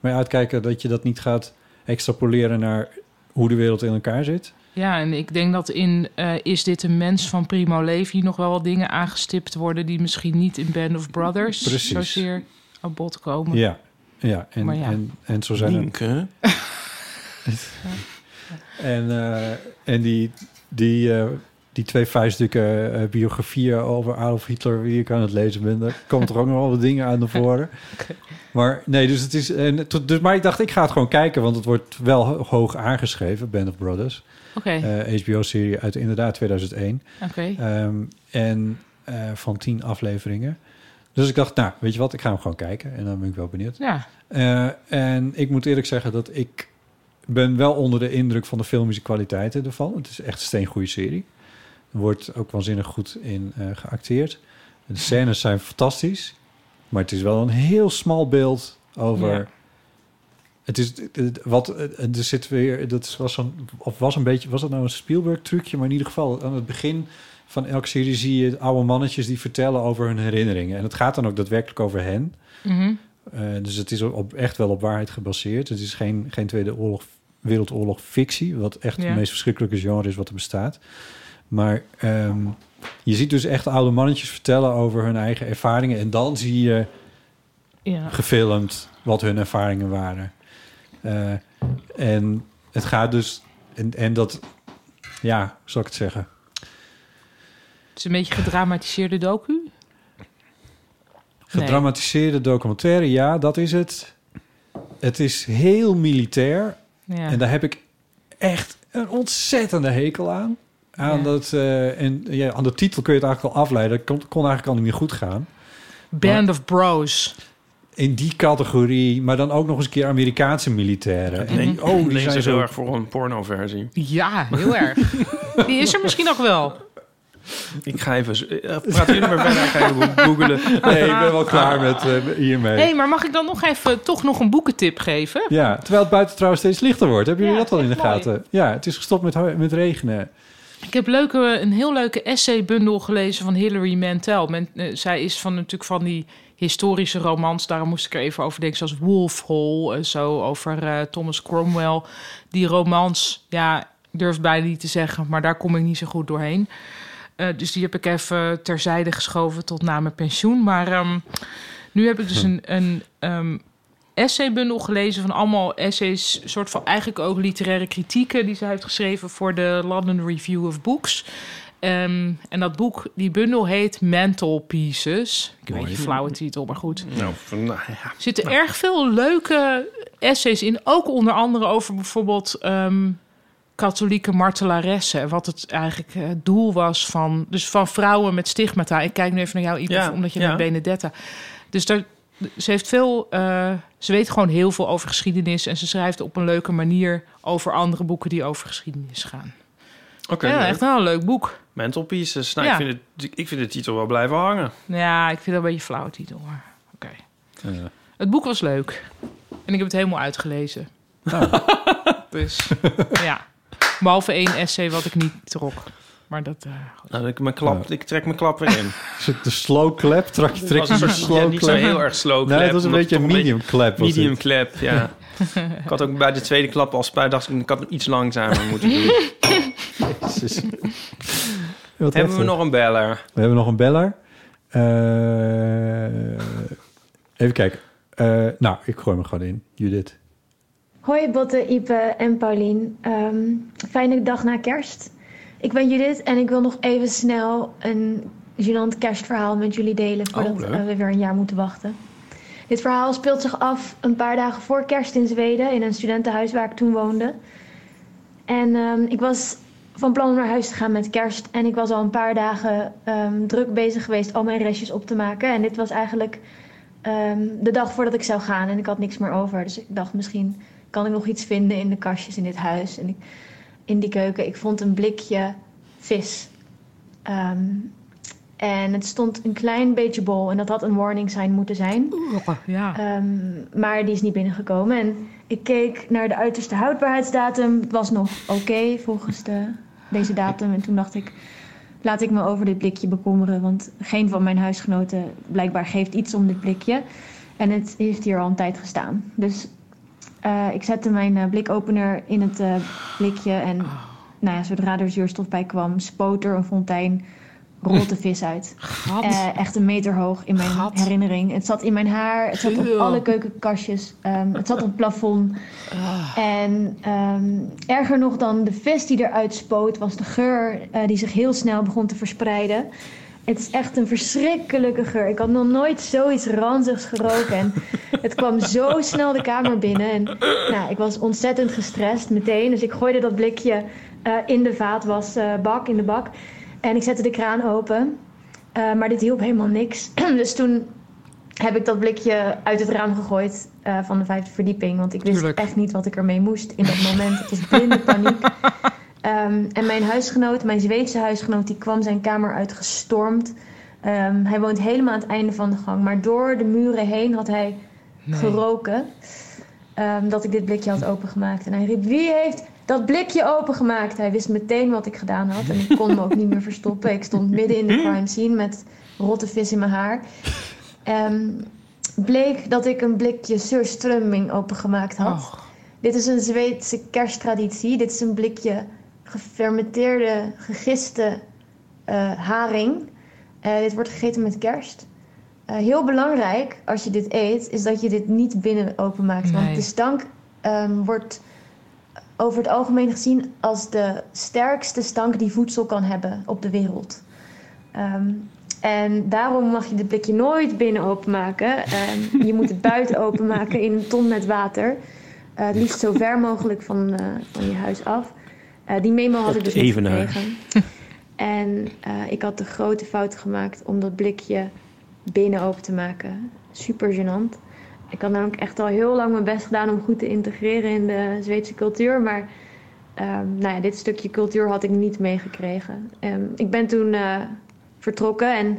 S1: mee uitkijken dat je dat niet gaat extrapoleren naar hoe de wereld in elkaar zit.
S4: Ja, en ik denk dat in eh, Is dit een mens van Primo Levi... nog wel wat dingen aangestipt worden... die misschien niet in Band of Brothers
S1: Precies.
S4: zozeer aan bod komen.
S1: Ja, ja, en,
S4: Maar ja.
S1: En, en zo zijn er-
S2: Nienke.
S1: En, eh, en die, die, eh, die twee vuiststukken eh, biografieën over Adolf Hitler, die ik aan het lezen ben, daar komen er ook nog wel wat dingen aan naar voren. Maar nee, dus het is. En, tot- dus, maar ik dacht, ik ga het gewoon kijken, want het wordt wel ho- hoog aangeschreven, Band of Brothers. eh,
S4: Oké.
S1: HBO-serie uit inderdaad 2001.
S4: Oké.
S1: Ehm, en eh, van tien afleveringen. Dus ik dacht, nou, weet je wat, ik ga hem gewoon kijken. En dan ben ik wel benieuwd.
S4: Ja.
S1: Eh, en ik moet eerlijk zeggen dat ik ben wel onder de indruk van de filmische kwaliteiten ervan. Het is echt een steengoede serie. Er wordt ook waanzinnig goed in eh, geacteerd. De scènes zijn fantastisch. Maar het is wel een heel smal beeld over...
S7: Ja.
S1: Het is het- het- wat het- er zit weer. Dat was zo'n of was een beetje was dat nou een Spielberg trucje, maar in ieder geval aan het begin van elke serie zie je oude mannetjes die vertellen over hun herinneringen en het gaat dan ook daadwerkelijk over hen.
S4: Mhm.
S1: Eh, dus het is op, echt wel op waarheid gebaseerd. Het is geen, geen Tweede oorlog, Wereldoorlog fictie, wat echt
S4: Ja.
S1: het meest verschrikkelijke genre is wat er bestaat. Maar ehm, je ziet dus echt oude mannetjes vertellen over hun eigen ervaringen. En dan zie je
S4: Ja.
S1: gefilmd wat hun ervaringen waren. Eh, en het gaat dus... En, en dat... Ja, hoe zal ik het zeggen?
S4: Het is een beetje gedramatiseerde docu.
S1: Gedramatiseerde documentaire, ja, dat is het. Het is heel militair.
S4: Ja.
S1: En daar heb ik echt een ontzettende hekel aan. Aan,
S4: Ja.
S1: dat, eh, en, ja, aan de titel kun je het eigenlijk al afleiden. Het kon, kon eigenlijk al niet meer goed gaan.
S4: Band of Bros.
S1: In die categorie, maar dan ook nog eens een keer Amerikaanse militairen. En die, oh, die zijn
S2: heel
S1: zo
S2: erg voor een pornoversie.
S4: Ja, heel erg. Die is er misschien nog wel.
S2: Ik ga even... eh, Praat jullie maar verder, ik ga even googelen.
S1: Nee, ik ben wel klaar met eh, hiermee.
S4: Hé, maar mag ik dan nog even eh, toch nog een boekentip geven?
S1: Ja, terwijl het buiten trouwens steeds lichter wordt. Hebben jullie dat wel in de gaten? Ja, het is gestopt met, hu- met regenen.
S4: Ik heb leuke, een heel leuke essaybundel gelezen van Hilary Mantel. Men- eh, zij is van, natuurlijk van die historische romans. Daarom moest ik er even over denken. Zoals Wolf Hall en zo. Over eh, Thomas Cromwell. Die romans, ja, ik durf bijna niet te zeggen. Maar daar kom ik niet zo goed doorheen. Eh, dus die heb ik even terzijde geschoven tot na mijn pensioen. Maar ehm, nu heb ik dus een, een ehm, essaybundel gelezen van allemaal essays, soort van eigenlijk ook literaire kritieken die ze heeft geschreven voor de London Review of Books. Ehm, en dat boek, die bundel heet Mental Pieces. Ik weet
S2: Mooi.
S4: een flauwe titel, maar goed.
S2: Nou, van, nou ja.
S4: Er zitten erg veel leuke essays in. Ook onder andere over bijvoorbeeld ehm, katholieke martelaressen. En wat het eigenlijk eh, het doel was van, dus van vrouwen met stigmata. Ik kijk nu even naar jou, Ipe,
S2: Ja,
S4: omdat je
S2: ja.
S4: met Benedetta. Dus daar, ze heeft veel. eh, ze weet gewoon heel veel over geschiedenis. En ze schrijft op een leuke manier over andere boeken die over geschiedenis gaan.
S2: Oké,
S4: ja,
S2: leuk.
S4: echt wel een leuk boek.
S2: Mental Pieces. Nou,
S4: Ja.
S2: ik, vind het, ik vind de titel wel blijven hangen.
S4: Ja, ik vind dat een beetje een flauwe titel. Maar oké. Het boek was leuk. En ik heb het helemaal uitgelezen. dus ja. Behalve één essay wat ik niet trok. Maar dat... eh,
S2: Nou, ik, mijn klap, ik trek mijn klap weer in.
S1: Zit de slow clap? Trak je
S2: Het
S1: trekt
S2: was een
S1: een soort
S2: soort- ja,
S1: slow
S2: niet
S1: clap?
S2: zo heel erg slow
S1: Nee,
S2: clap,
S1: het was een
S2: omdat
S1: beetje
S2: het
S1: een
S2: toch een
S1: medium clap. was
S2: Medium
S1: het.
S2: clap, ja. ik had ook bij de tweede klap al spijt. Dacht ik, ik had hem iets langzamer moeten doen.
S1: Jezus. Wat
S2: Hebben we
S1: heftig.
S2: nog een beller?
S1: We hebben nog een beller. Eh, even kijken. Eh, nou, ik gooi me gewoon in. Judith.
S8: Hoi Botte, Ipe en Paulien. Ehm, fijne dag na kerst. Ik ben Judith en ik wil nog even snel een gênant kerstverhaal met jullie delen...
S2: Oh,
S8: voordat
S12: leuk.
S8: eh, we weer een jaar moeten wachten. Dit verhaal speelt zich af een paar dagen voor kerst in Zweden... in een studentenhuis waar ik toen woonde. En ehm, ik was van plan om naar huis te gaan met kerst... en ik was al een paar dagen ehm, druk bezig geweest al mijn restjes op te maken. En dit was eigenlijk ehm, de dag voordat ik zou gaan en ik had niks meer over. Dus ik dacht misschien kan ik nog iets vinden in de kastjes in dit huis en ik, in die keuken. Ik vond een blikje vis. Ehm, en het stond een klein beetje bol en dat had een warning sign moeten zijn.
S4: eh, ja.
S8: Ehm, maar die is niet binnengekomen. En ik keek naar de uiterste houdbaarheidsdatum. Het was nog oké volgens de, deze datum. En toen dacht ik, laat ik me over dit blikje bekommeren. Want geen van mijn huisgenoten blijkbaar geeft iets om dit blikje. En het heeft hier al een tijd gestaan. Dus eh, ik zette mijn eh, blikopener in het eh, blikje. En nou ja, zodra er zuurstof bij kwam, spoot er een fontein. Rolt de vis uit. Eh, echt een meter hoog in mijn herinnering. Het zat in mijn haar. Het zat op
S12: Eeuw.
S8: alle keukenkastjes. ehm, het zat op het plafond. En ehm, erger nog dan de vis die eruit spoot, was de geur eh, die zich heel snel begon te verspreiden. Het is echt een verschrikkelijke geur. Ik had nog nooit zoiets ranzigs geroken. En het kwam zo snel de kamer binnen. En, nou, ik was ontzettend gestrest meteen. Dus ik gooide dat blikje eh, in de vaatwasbak, in de bak. En ik zette de kraan open. Eh, maar dit hielp helemaal niks. dus toen heb ik dat blikje uit het raam gegooid eh, van de vijfde verdieping. Want ik wist
S12: Tuurlijk.
S8: echt niet wat ik ermee moest in dat moment. Het was blinde paniek. Ehm, en mijn huisgenoot, mijn Zweedse huisgenoot, die kwam zijn kamer uit gestormd. Ehm, hij woont helemaal aan het einde van de gang. Maar door de muren heen had hij geroken ehm, dat ik dit blikje had opengemaakt. En hij riep, wie heeft dat blikje opengemaakt? Hij wist meteen wat ik gedaan had en ik kon me ook niet meer verstoppen. Ik stond midden in de crime scene met rotte vis in mijn haar. Ehm, bleek dat ik een blikje surströmming opengemaakt had.
S4: Oh.
S8: Dit is een Zweedse kersttraditie. Dit is een blikje gefermenteerde, gegiste eh, haring. Eh, dit wordt gegeten met kerst. Eh, heel belangrijk als je dit eet, is dat je dit niet binnen openmaakt.
S12: Nee.
S8: Want de stank ehm, wordt over het algemeen gezien als de sterkste stank die voedsel kan hebben op de wereld. Ehm, en daarom mag je dit blikje nooit binnen openmaken. Ehm, je moet het buiten openmaken in een ton met water. Eh, het liefst zo ver mogelijk van, eh, van je huis af. Eh, die memo had
S2: Op
S8: ik dus
S2: de
S8: niet
S2: Evenaar.
S8: gekregen. En eh, ik had de grote fout gemaakt om dat blikje binnen open te maken. Super gênant. Ik had namelijk echt al heel lang mijn best gedaan om goed te integreren in de Zweedse cultuur. Maar eh, ehm, nou ja, dit stukje cultuur had ik niet meegekregen. Ehm, ik ben toen eh, vertrokken en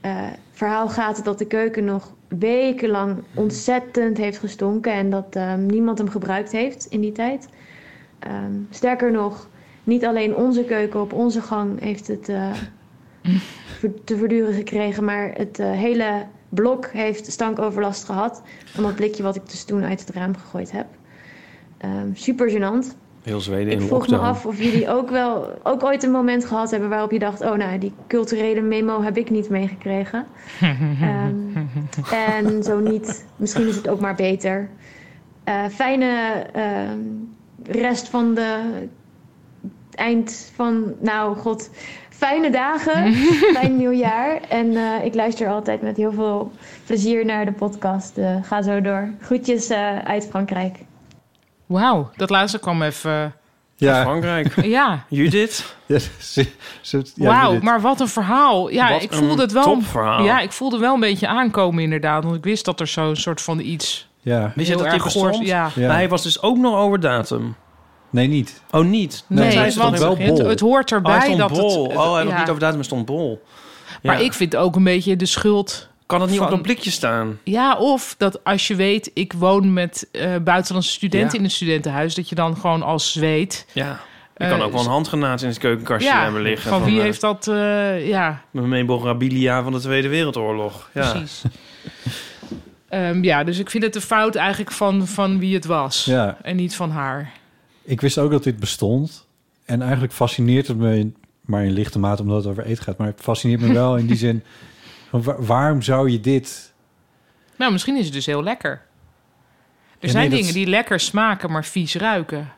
S8: eh, verhaal gaat het dat de keuken nog wekenlang ontzettend heeft gestonken en dat ehm, niemand hem gebruikt heeft in die tijd. Ehm, sterker nog, niet alleen onze keuken op onze gang heeft het eh, ver- te verduren gekregen, maar het eh, hele blok heeft stankoverlast gehad van dat blikje wat ik dus toen uit het raam gegooid heb. Ehm, super gênant.
S2: Heel Zweden
S8: Ik
S2: in
S8: vroeg me
S2: lockdown.
S8: af of jullie ook wel ook ooit een moment gehad hebben waarop je dacht: oh, nou, die culturele memo heb ik niet meegekregen. Ehm, en zo niet, misschien is het ook maar beter. Eh, fijne ehm, rest van de eind van, nou god, fijne dagen, fijn nieuwjaar. En eh, ik luister altijd met heel veel plezier naar de podcast. Eh, ga zo door. Groetjes eh, uit Frankrijk.
S4: Wauw, dat laatste kwam even...
S1: Ja.
S2: Frankrijk.
S4: Ja.
S2: Judith.
S1: Ja, ze- ze- ja,
S4: Wauw,
S1: Judith.
S4: maar wat een verhaal. Ja,
S1: Wat
S4: ik
S1: een
S4: voelde het wel.
S1: topverhaal.
S4: Ja, ik voelde wel een beetje aankomen inderdaad. Want ik wist dat er zo'n soort van iets.
S1: Ja.
S4: Heel
S2: Wist je dat die
S4: erg goors-
S2: bestond?
S4: Ja.
S2: Maar hij was dus ook nog over datum.
S1: Nee, niet.
S2: Oh, niet?
S4: Nee,
S2: Dan zei
S4: het
S2: ze
S4: was-
S2: toch helemaal
S4: het-
S2: bol?
S4: het hoort erbij
S2: oh, hij stond
S4: dat het-
S2: bol.
S4: het-
S2: Oh, hij was
S4: ja.
S2: niet over datum, maar stond bol.
S4: Maar
S2: Ja.
S4: ik vind ook een beetje de schuld.
S2: Kan het niet op
S4: van-
S2: een blikje staan?
S4: Ja, of dat als je weet, ik woon met eh, buitenlandse studenten
S2: Ja.
S4: in een studentenhuis, dat je dan gewoon als zweet.
S2: Ja. Je
S4: Eh,
S2: kan ook wel een handgranaat in het keukenkastje
S4: ja,
S2: hebben liggen.
S4: Van, wie
S2: eh,
S4: heeft dat? eh, ja,
S2: Memorabilia van de Tweede Wereldoorlog. Ja.
S4: Precies. Ehm, ja, dus ik vind het een fout eigenlijk van, van wie het was.
S1: Ja.
S4: En niet van haar.
S1: Ik wist ook dat dit bestond. En eigenlijk fascineert het me, in- maar in lichte mate omdat het over eten gaat. Maar het fascineert me wel in die zin, van wa- waarom zou je dit...
S4: Nou, misschien is het dus heel lekker. Er
S1: nee,
S4: zijn
S1: dat-
S4: dingen die lekker smaken, maar vies ruiken.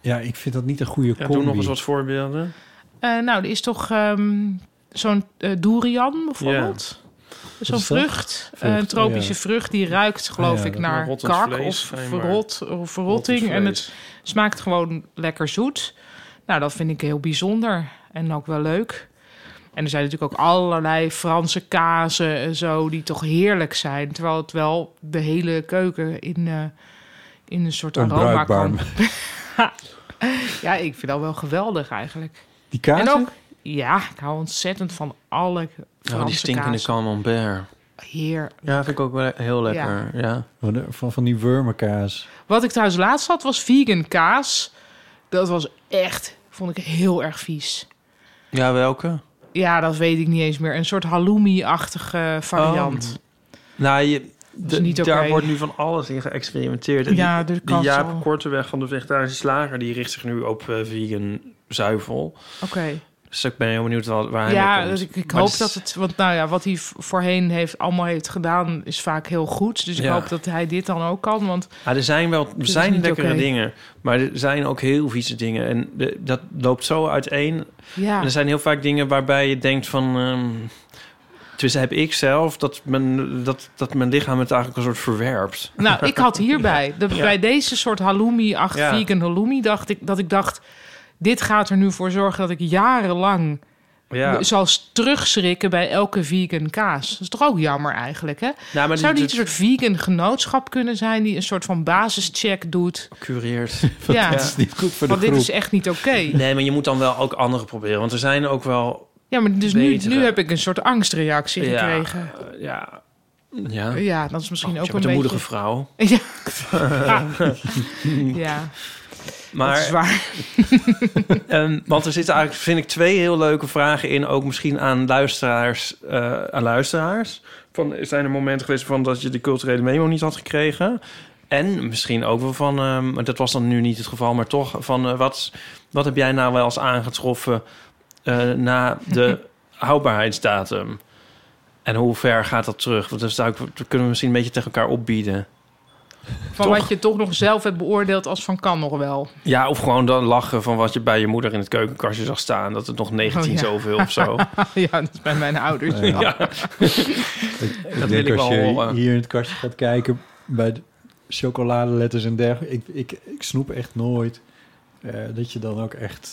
S1: Ja, ik vind dat niet een goede
S2: Ja,
S1: combi.
S2: doe nog eens wat voorbeelden.
S4: Eh, nou, er is toch ehm, zo'n eh, durian bijvoorbeeld?
S2: is
S4: Zo'n
S2: dat?
S4: vrucht, eh,
S2: Vrucht, oh
S4: een tropische
S2: ja.
S4: vrucht, die ruikt geloof
S2: Ah ja,
S4: ik
S2: dat-
S4: naar
S2: rottend
S4: kak
S2: vlees,
S4: of
S2: schijnbaar.
S4: verrot of verrotting.
S2: Rottend
S4: En
S2: vlees.
S4: het smaakt gewoon lekker zoet. Nou, dat vind ik heel bijzonder en ook wel leuk. En er zijn natuurlijk ook allerlei Franse kazen en zo, die toch heerlijk zijn. Terwijl het wel de hele keuken in, eh, in een soort aroma
S1: Onbruikbaar.
S4: kan. ja, ik vind dat wel geweldig eigenlijk.
S1: Die kazen?
S4: En ook, ja, ik hou ontzettend van alle Franse
S2: Oh, die stinkende
S4: kaas.
S2: camembert.
S4: Heer.
S2: Ja, vind ik ook wel heel lekker. Ja.
S1: Van, van, van die wormenkaas.
S4: Wat ik trouwens laatst had, was vegan kaas. Dat was echt, vond ik heel erg vies.
S2: Ja, welke?
S4: Ja, dat weet ik niet eens meer. Een soort
S2: Oh,
S4: halloumi-achtige variant.
S2: Nou, je, de-
S4: niet oké.
S2: daar wordt nu van alles in geëxperimenteerd. En
S4: Ja,
S2: die,
S4: er
S2: die
S4: kan
S2: Jaap
S4: zo.
S2: Korteweg van de Vegetarische Slager... die richt zich nu op eh, vegan zuivel.
S4: Oké.
S2: Dus ik ben heel benieuwd wat, waar hij mee
S4: Ja,
S2: komt.
S4: dus ik, ik
S2: Maar
S4: hoop
S2: is-
S4: dat het... Want nou ja, wat hij v- voorheen heeft, allemaal heeft gedaan... is vaak heel goed. Dus ik
S2: Ja.
S4: hoop dat hij dit dan ook kan. Want
S2: Ja, er zijn wel er
S4: is
S2: zijn
S4: niet
S2: lekkere
S4: oké.
S2: dingen, maar er zijn ook heel vieze dingen. En de- dat loopt zo uiteen.
S4: Ja.
S2: En er zijn heel vaak dingen waarbij je denkt van... ehm tussen heb ik zelf dat mijn, dat, dat mijn lichaam het eigenlijk een soort verwerpt.
S4: Nou, ik had hierbij, de-
S2: Ja.
S4: bij deze soort halloumi, acht
S2: Ja.
S4: vegan halloumi, dacht ik dat ik dacht: dit gaat er nu voor zorgen dat ik jarenlang
S2: Ja.
S4: zal s- terugschrikken bij elke vegan kaas. Dat is toch ook jammer eigenlijk, hè?
S2: Nou, maar die- dus-
S4: Zou niet
S2: dit-
S4: een soort vegan genootschap kunnen zijn die een soort van basischeck doet?
S2: Cureert.
S4: Ja. Dat is niet goed voor de Want dit groep. is echt niet oké.
S2: Nee, maar je moet dan wel ook andere proberen. Want er zijn ook wel...
S4: Ja, maar dus nu,
S2: Betere.
S4: nu heb ik een soort angstreactie
S2: Ja,
S4: gekregen.
S2: eh, Ja. Ja,
S4: Ja, dat is misschien
S2: Oh,
S4: ook
S2: je
S4: een
S2: bent
S4: beetje...
S2: moedige vrouw.
S4: Ja. ja.
S2: Maar,
S4: Dat is waar.
S2: Ehm, want er zitten eigenlijk, vind ik, twee heel leuke vragen in. Ook misschien aan luisteraars. eh, aan luisteraars. Van, zijn er momenten geweest van dat je de culturele memo niet had gekregen? En misschien ook wel van, ehm, maar dat was dan nu niet het geval, maar toch van eh, wat, wat heb jij nou wel eens aangetroffen eh, na de houdbaarheidsdatum? En hoe ver gaat dat terug? Want dat, is ook, dat kunnen we misschien een beetje tegen elkaar opbieden.
S4: Van wat je toch nog zelf hebt beoordeeld als van kan nog wel.
S2: Ja, of gewoon dan lachen van wat je bij je moeder in het keukenkastje zag staan. Dat het nog 19
S4: Oh, ja.
S2: zoveel of zo.
S4: ja, dat is bij mijn ouders.
S1: Ja.
S4: Ja.
S1: Ik denk
S2: Dat wil ik
S1: als
S2: wel
S1: je
S2: horen.
S1: hier in het kastje gaat kijken bij de chocoladeletters en dergelijke. Ik, ik, ik snoep echt nooit eh, dat je dan ook echt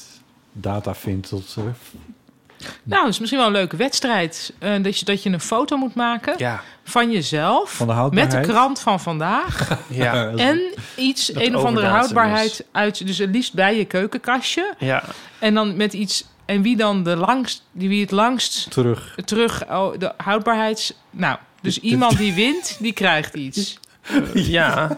S1: data vindt tot eh,
S4: Nou, dat is misschien wel een leuke wedstrijd. Eh, dat, je, dat je een foto moet maken
S3: Ja.
S4: van jezelf.
S1: Van de
S4: met
S1: houdbaarheid.
S4: de krant van vandaag.
S2: Ja.
S1: eh,
S4: En iets,
S2: Dat
S4: een of andere
S2: overdatum
S4: houdbaarheid
S2: is.
S4: uit. Dus het liefst bij je keukenkastje.
S2: Ja.
S4: En dan met iets. En wie dan de langst, die wie het langst
S1: Terug.
S4: terug oh, de houdbaarheids. Nou, dus iemand die wint, die krijgt iets.
S2: Ja.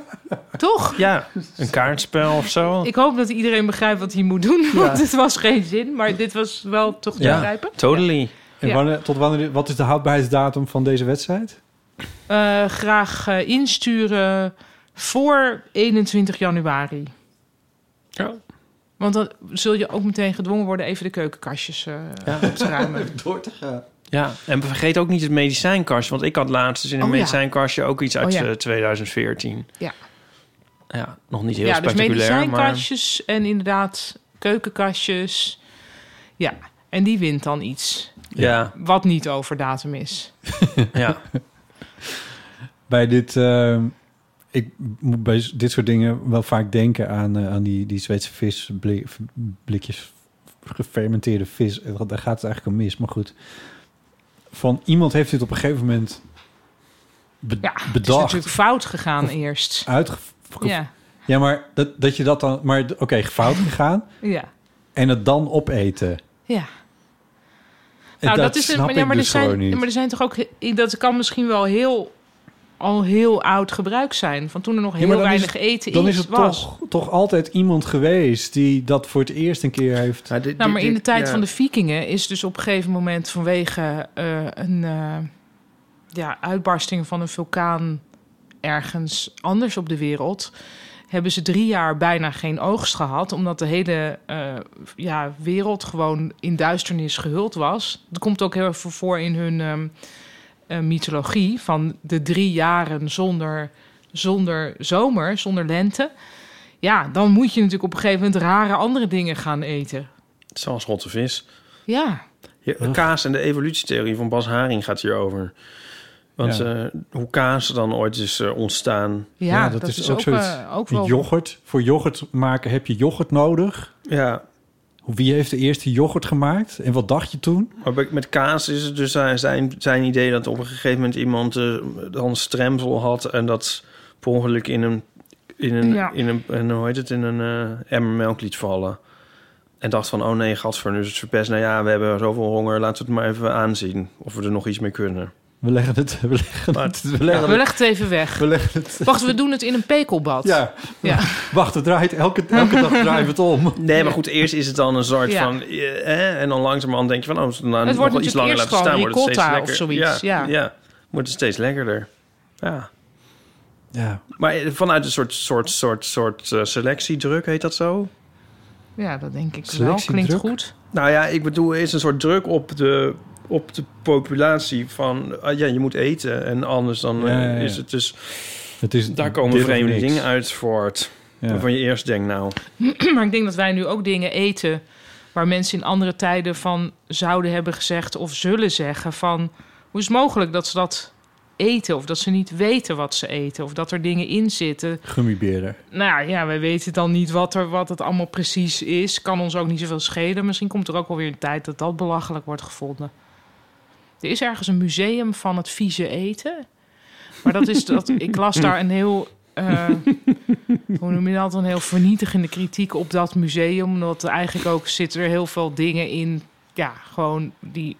S4: Toch?
S2: Ja. Een kaartspel of zo.
S4: Ik hoop dat iedereen begrijpt wat hij moet doen, want het was geen zin, maar dit was wel toch te begrijpen.
S2: Totally.
S1: En
S4: Ja.
S1: wanneer, tot wanneer, wat is de houdbaarheidsdatum van deze wedstrijd?
S4: Eh, graag eh, insturen voor 21 januari.
S2: Ja.
S4: Want dan zul je ook meteen gedwongen worden even de keukenkastjes eh op te ruimen.
S1: Door te gaan.
S2: Ja, en vergeet ook niet het medicijnkastje. Want ik had laatst dus in een
S4: Oh, ja.
S2: medicijnkastje ook iets uit
S4: Oh, ja.
S2: eh, 2014.
S4: Ja.
S2: Ja, nog niet heel
S4: ja, dus
S2: spectaculair, maar...
S4: medicijnkastjes en inderdaad keukenkastjes. Ja, en die wint dan iets.
S2: Ja.
S4: Wat niet over datum is.
S2: Ja.
S1: bij dit, eh, ik moet bij dit soort dingen wel vaak denken aan, eh, aan die, die Zweedse vis, bli- blikjes gefermenteerde vis. En dat- Daar gaat het eigenlijk om mis, maar goed. Van iemand heeft dit op een gegeven moment be-
S4: Het is
S1: bedacht.
S4: natuurlijk fout gegaan eerst.
S1: Uitge-
S4: Ja.
S1: ja, maar dat, dat je dat dan... Maar d- oké, fout gegaan
S4: Ja.
S1: en het dan opeten.
S4: Ja.
S1: En
S4: Nou, dat,
S1: dat
S4: is een-
S1: snap
S4: ja,
S1: ik
S4: maar
S1: dus
S4: er zijn,
S1: gewoon niet.
S4: Maar er zijn toch ook, he- dat kan misschien wel heel, al heel oud gebruik zijn. Van toen er nog
S1: Ja,
S4: heel
S1: maar dan is
S4: weinig
S1: het-
S4: eten
S1: Dan
S4: is,
S1: is het
S4: was.
S1: toch, toch altijd iemand geweest die dat voor het eerst een keer heeft...
S4: nou, maar in de tijd van de vikingen is dus op een gegeven moment vanwege eh, een eh, ja, uitbarsting van een vulkaan ergens anders op de wereld... hebben ze drie jaar bijna geen oogst gehad... omdat de hele eh, ja, wereld gewoon in duisternis gehuld was. Dat komt ook heel erg voor in hun ehm, eh, mythologie... van de drie jaren zonder, zonder zomer, zonder lente... Ja, dan moet je natuurlijk op een gegeven moment rare andere dingen gaan eten.
S2: Zoals rotte vis.
S4: Ja.
S2: Ja, kaas en de evolutietheorie van Bas Haring gaat hierover. Want
S1: Ja.
S2: eh, hoe kaas dan ooit is eh, ontstaan.
S4: Ja, Ja, dat dat is is ook ook, zoiets. eh, ook wel-
S1: Yoghurt. Voor yoghurt maken heb je yoghurt nodig.
S2: Ja.
S1: Wie heeft de eerste yoghurt gemaakt? En wat dacht je toen?
S2: Maar bij- met kaas is het dus zijn- zijn, zijn idee dat op een gegeven moment iemand eh, dan stremsel had en dat per ongeluk in een, in een,
S4: Ja.
S2: in een, en hoe heet het, in een eh, emmer melk liet vallen. En dacht van, oh nee, gadver, nu is het verpest. Nou ja, we hebben zoveel honger, laten we het maar even aanzien of we er nog iets mee kunnen.
S1: We leggen het, we leggen het, we leggen
S4: We
S1: het.
S4: leggen het even weg.
S1: We leggen het.
S4: Wacht, we doen het in een pekelbad.
S1: Ja.
S4: Ja.
S1: Wacht, het draait elke, elke dag draait het om.
S2: Nee, maar goed, eerst is het dan een soort
S4: Ja.
S2: van... eh, eh, en dan langzamerhand denk je van... Oh, als we het nou
S4: Het
S2: nog
S4: wordt
S2: wel iets
S4: natuurlijk
S2: langer
S4: eerst
S2: laten staan,
S4: gewoon
S2: wordt het steeds
S4: ricotta
S2: lekker.
S4: of zoiets,
S2: Ja,
S4: ja.
S2: ja, wordt het steeds lekkerder. Ja.
S1: Ja.
S2: Maar eh, vanuit een soort, soort, soort, soort eh, selectiedruk, heet dat zo?
S4: Ja, dat denk ik wel.
S2: Selectiedruk?
S4: Klinkt goed.
S2: Nou ja, ik bedoel, er is een soort druk op de, op de populatie van... ah ja, je moet eten en anders dan eh,
S1: Ja, ja, ja.
S2: is het dus...
S1: Het is
S2: daar
S1: dit
S2: komen
S1: of
S2: vreemde
S1: niks.
S2: dingen uit voort.
S1: Ja.
S2: Waarvan je eerst denkt, nou...
S4: maar ik denk dat wij nu ook dingen eten... waar mensen in andere tijden van zouden hebben gezegd... of zullen zeggen van... hoe is het mogelijk dat ze dat eten... of dat ze niet weten wat ze eten... of dat er dingen in zitten...
S1: Gummiberen.
S4: Nou ja, wij weten dan niet wat, er, wat het allemaal precies is. Kan ons ook niet zoveel schelen. Misschien komt er ook wel weer een tijd dat dat belachelijk wordt gevonden. Er is ergens een museum van het vieze eten. Maar dat is dat. Ik las daar een heel. eh, hoe noem je dat? Een heel vernietigende kritiek op dat museum. Omdat er eigenlijk ook zitten er heel veel dingen in. Ja, gewoon die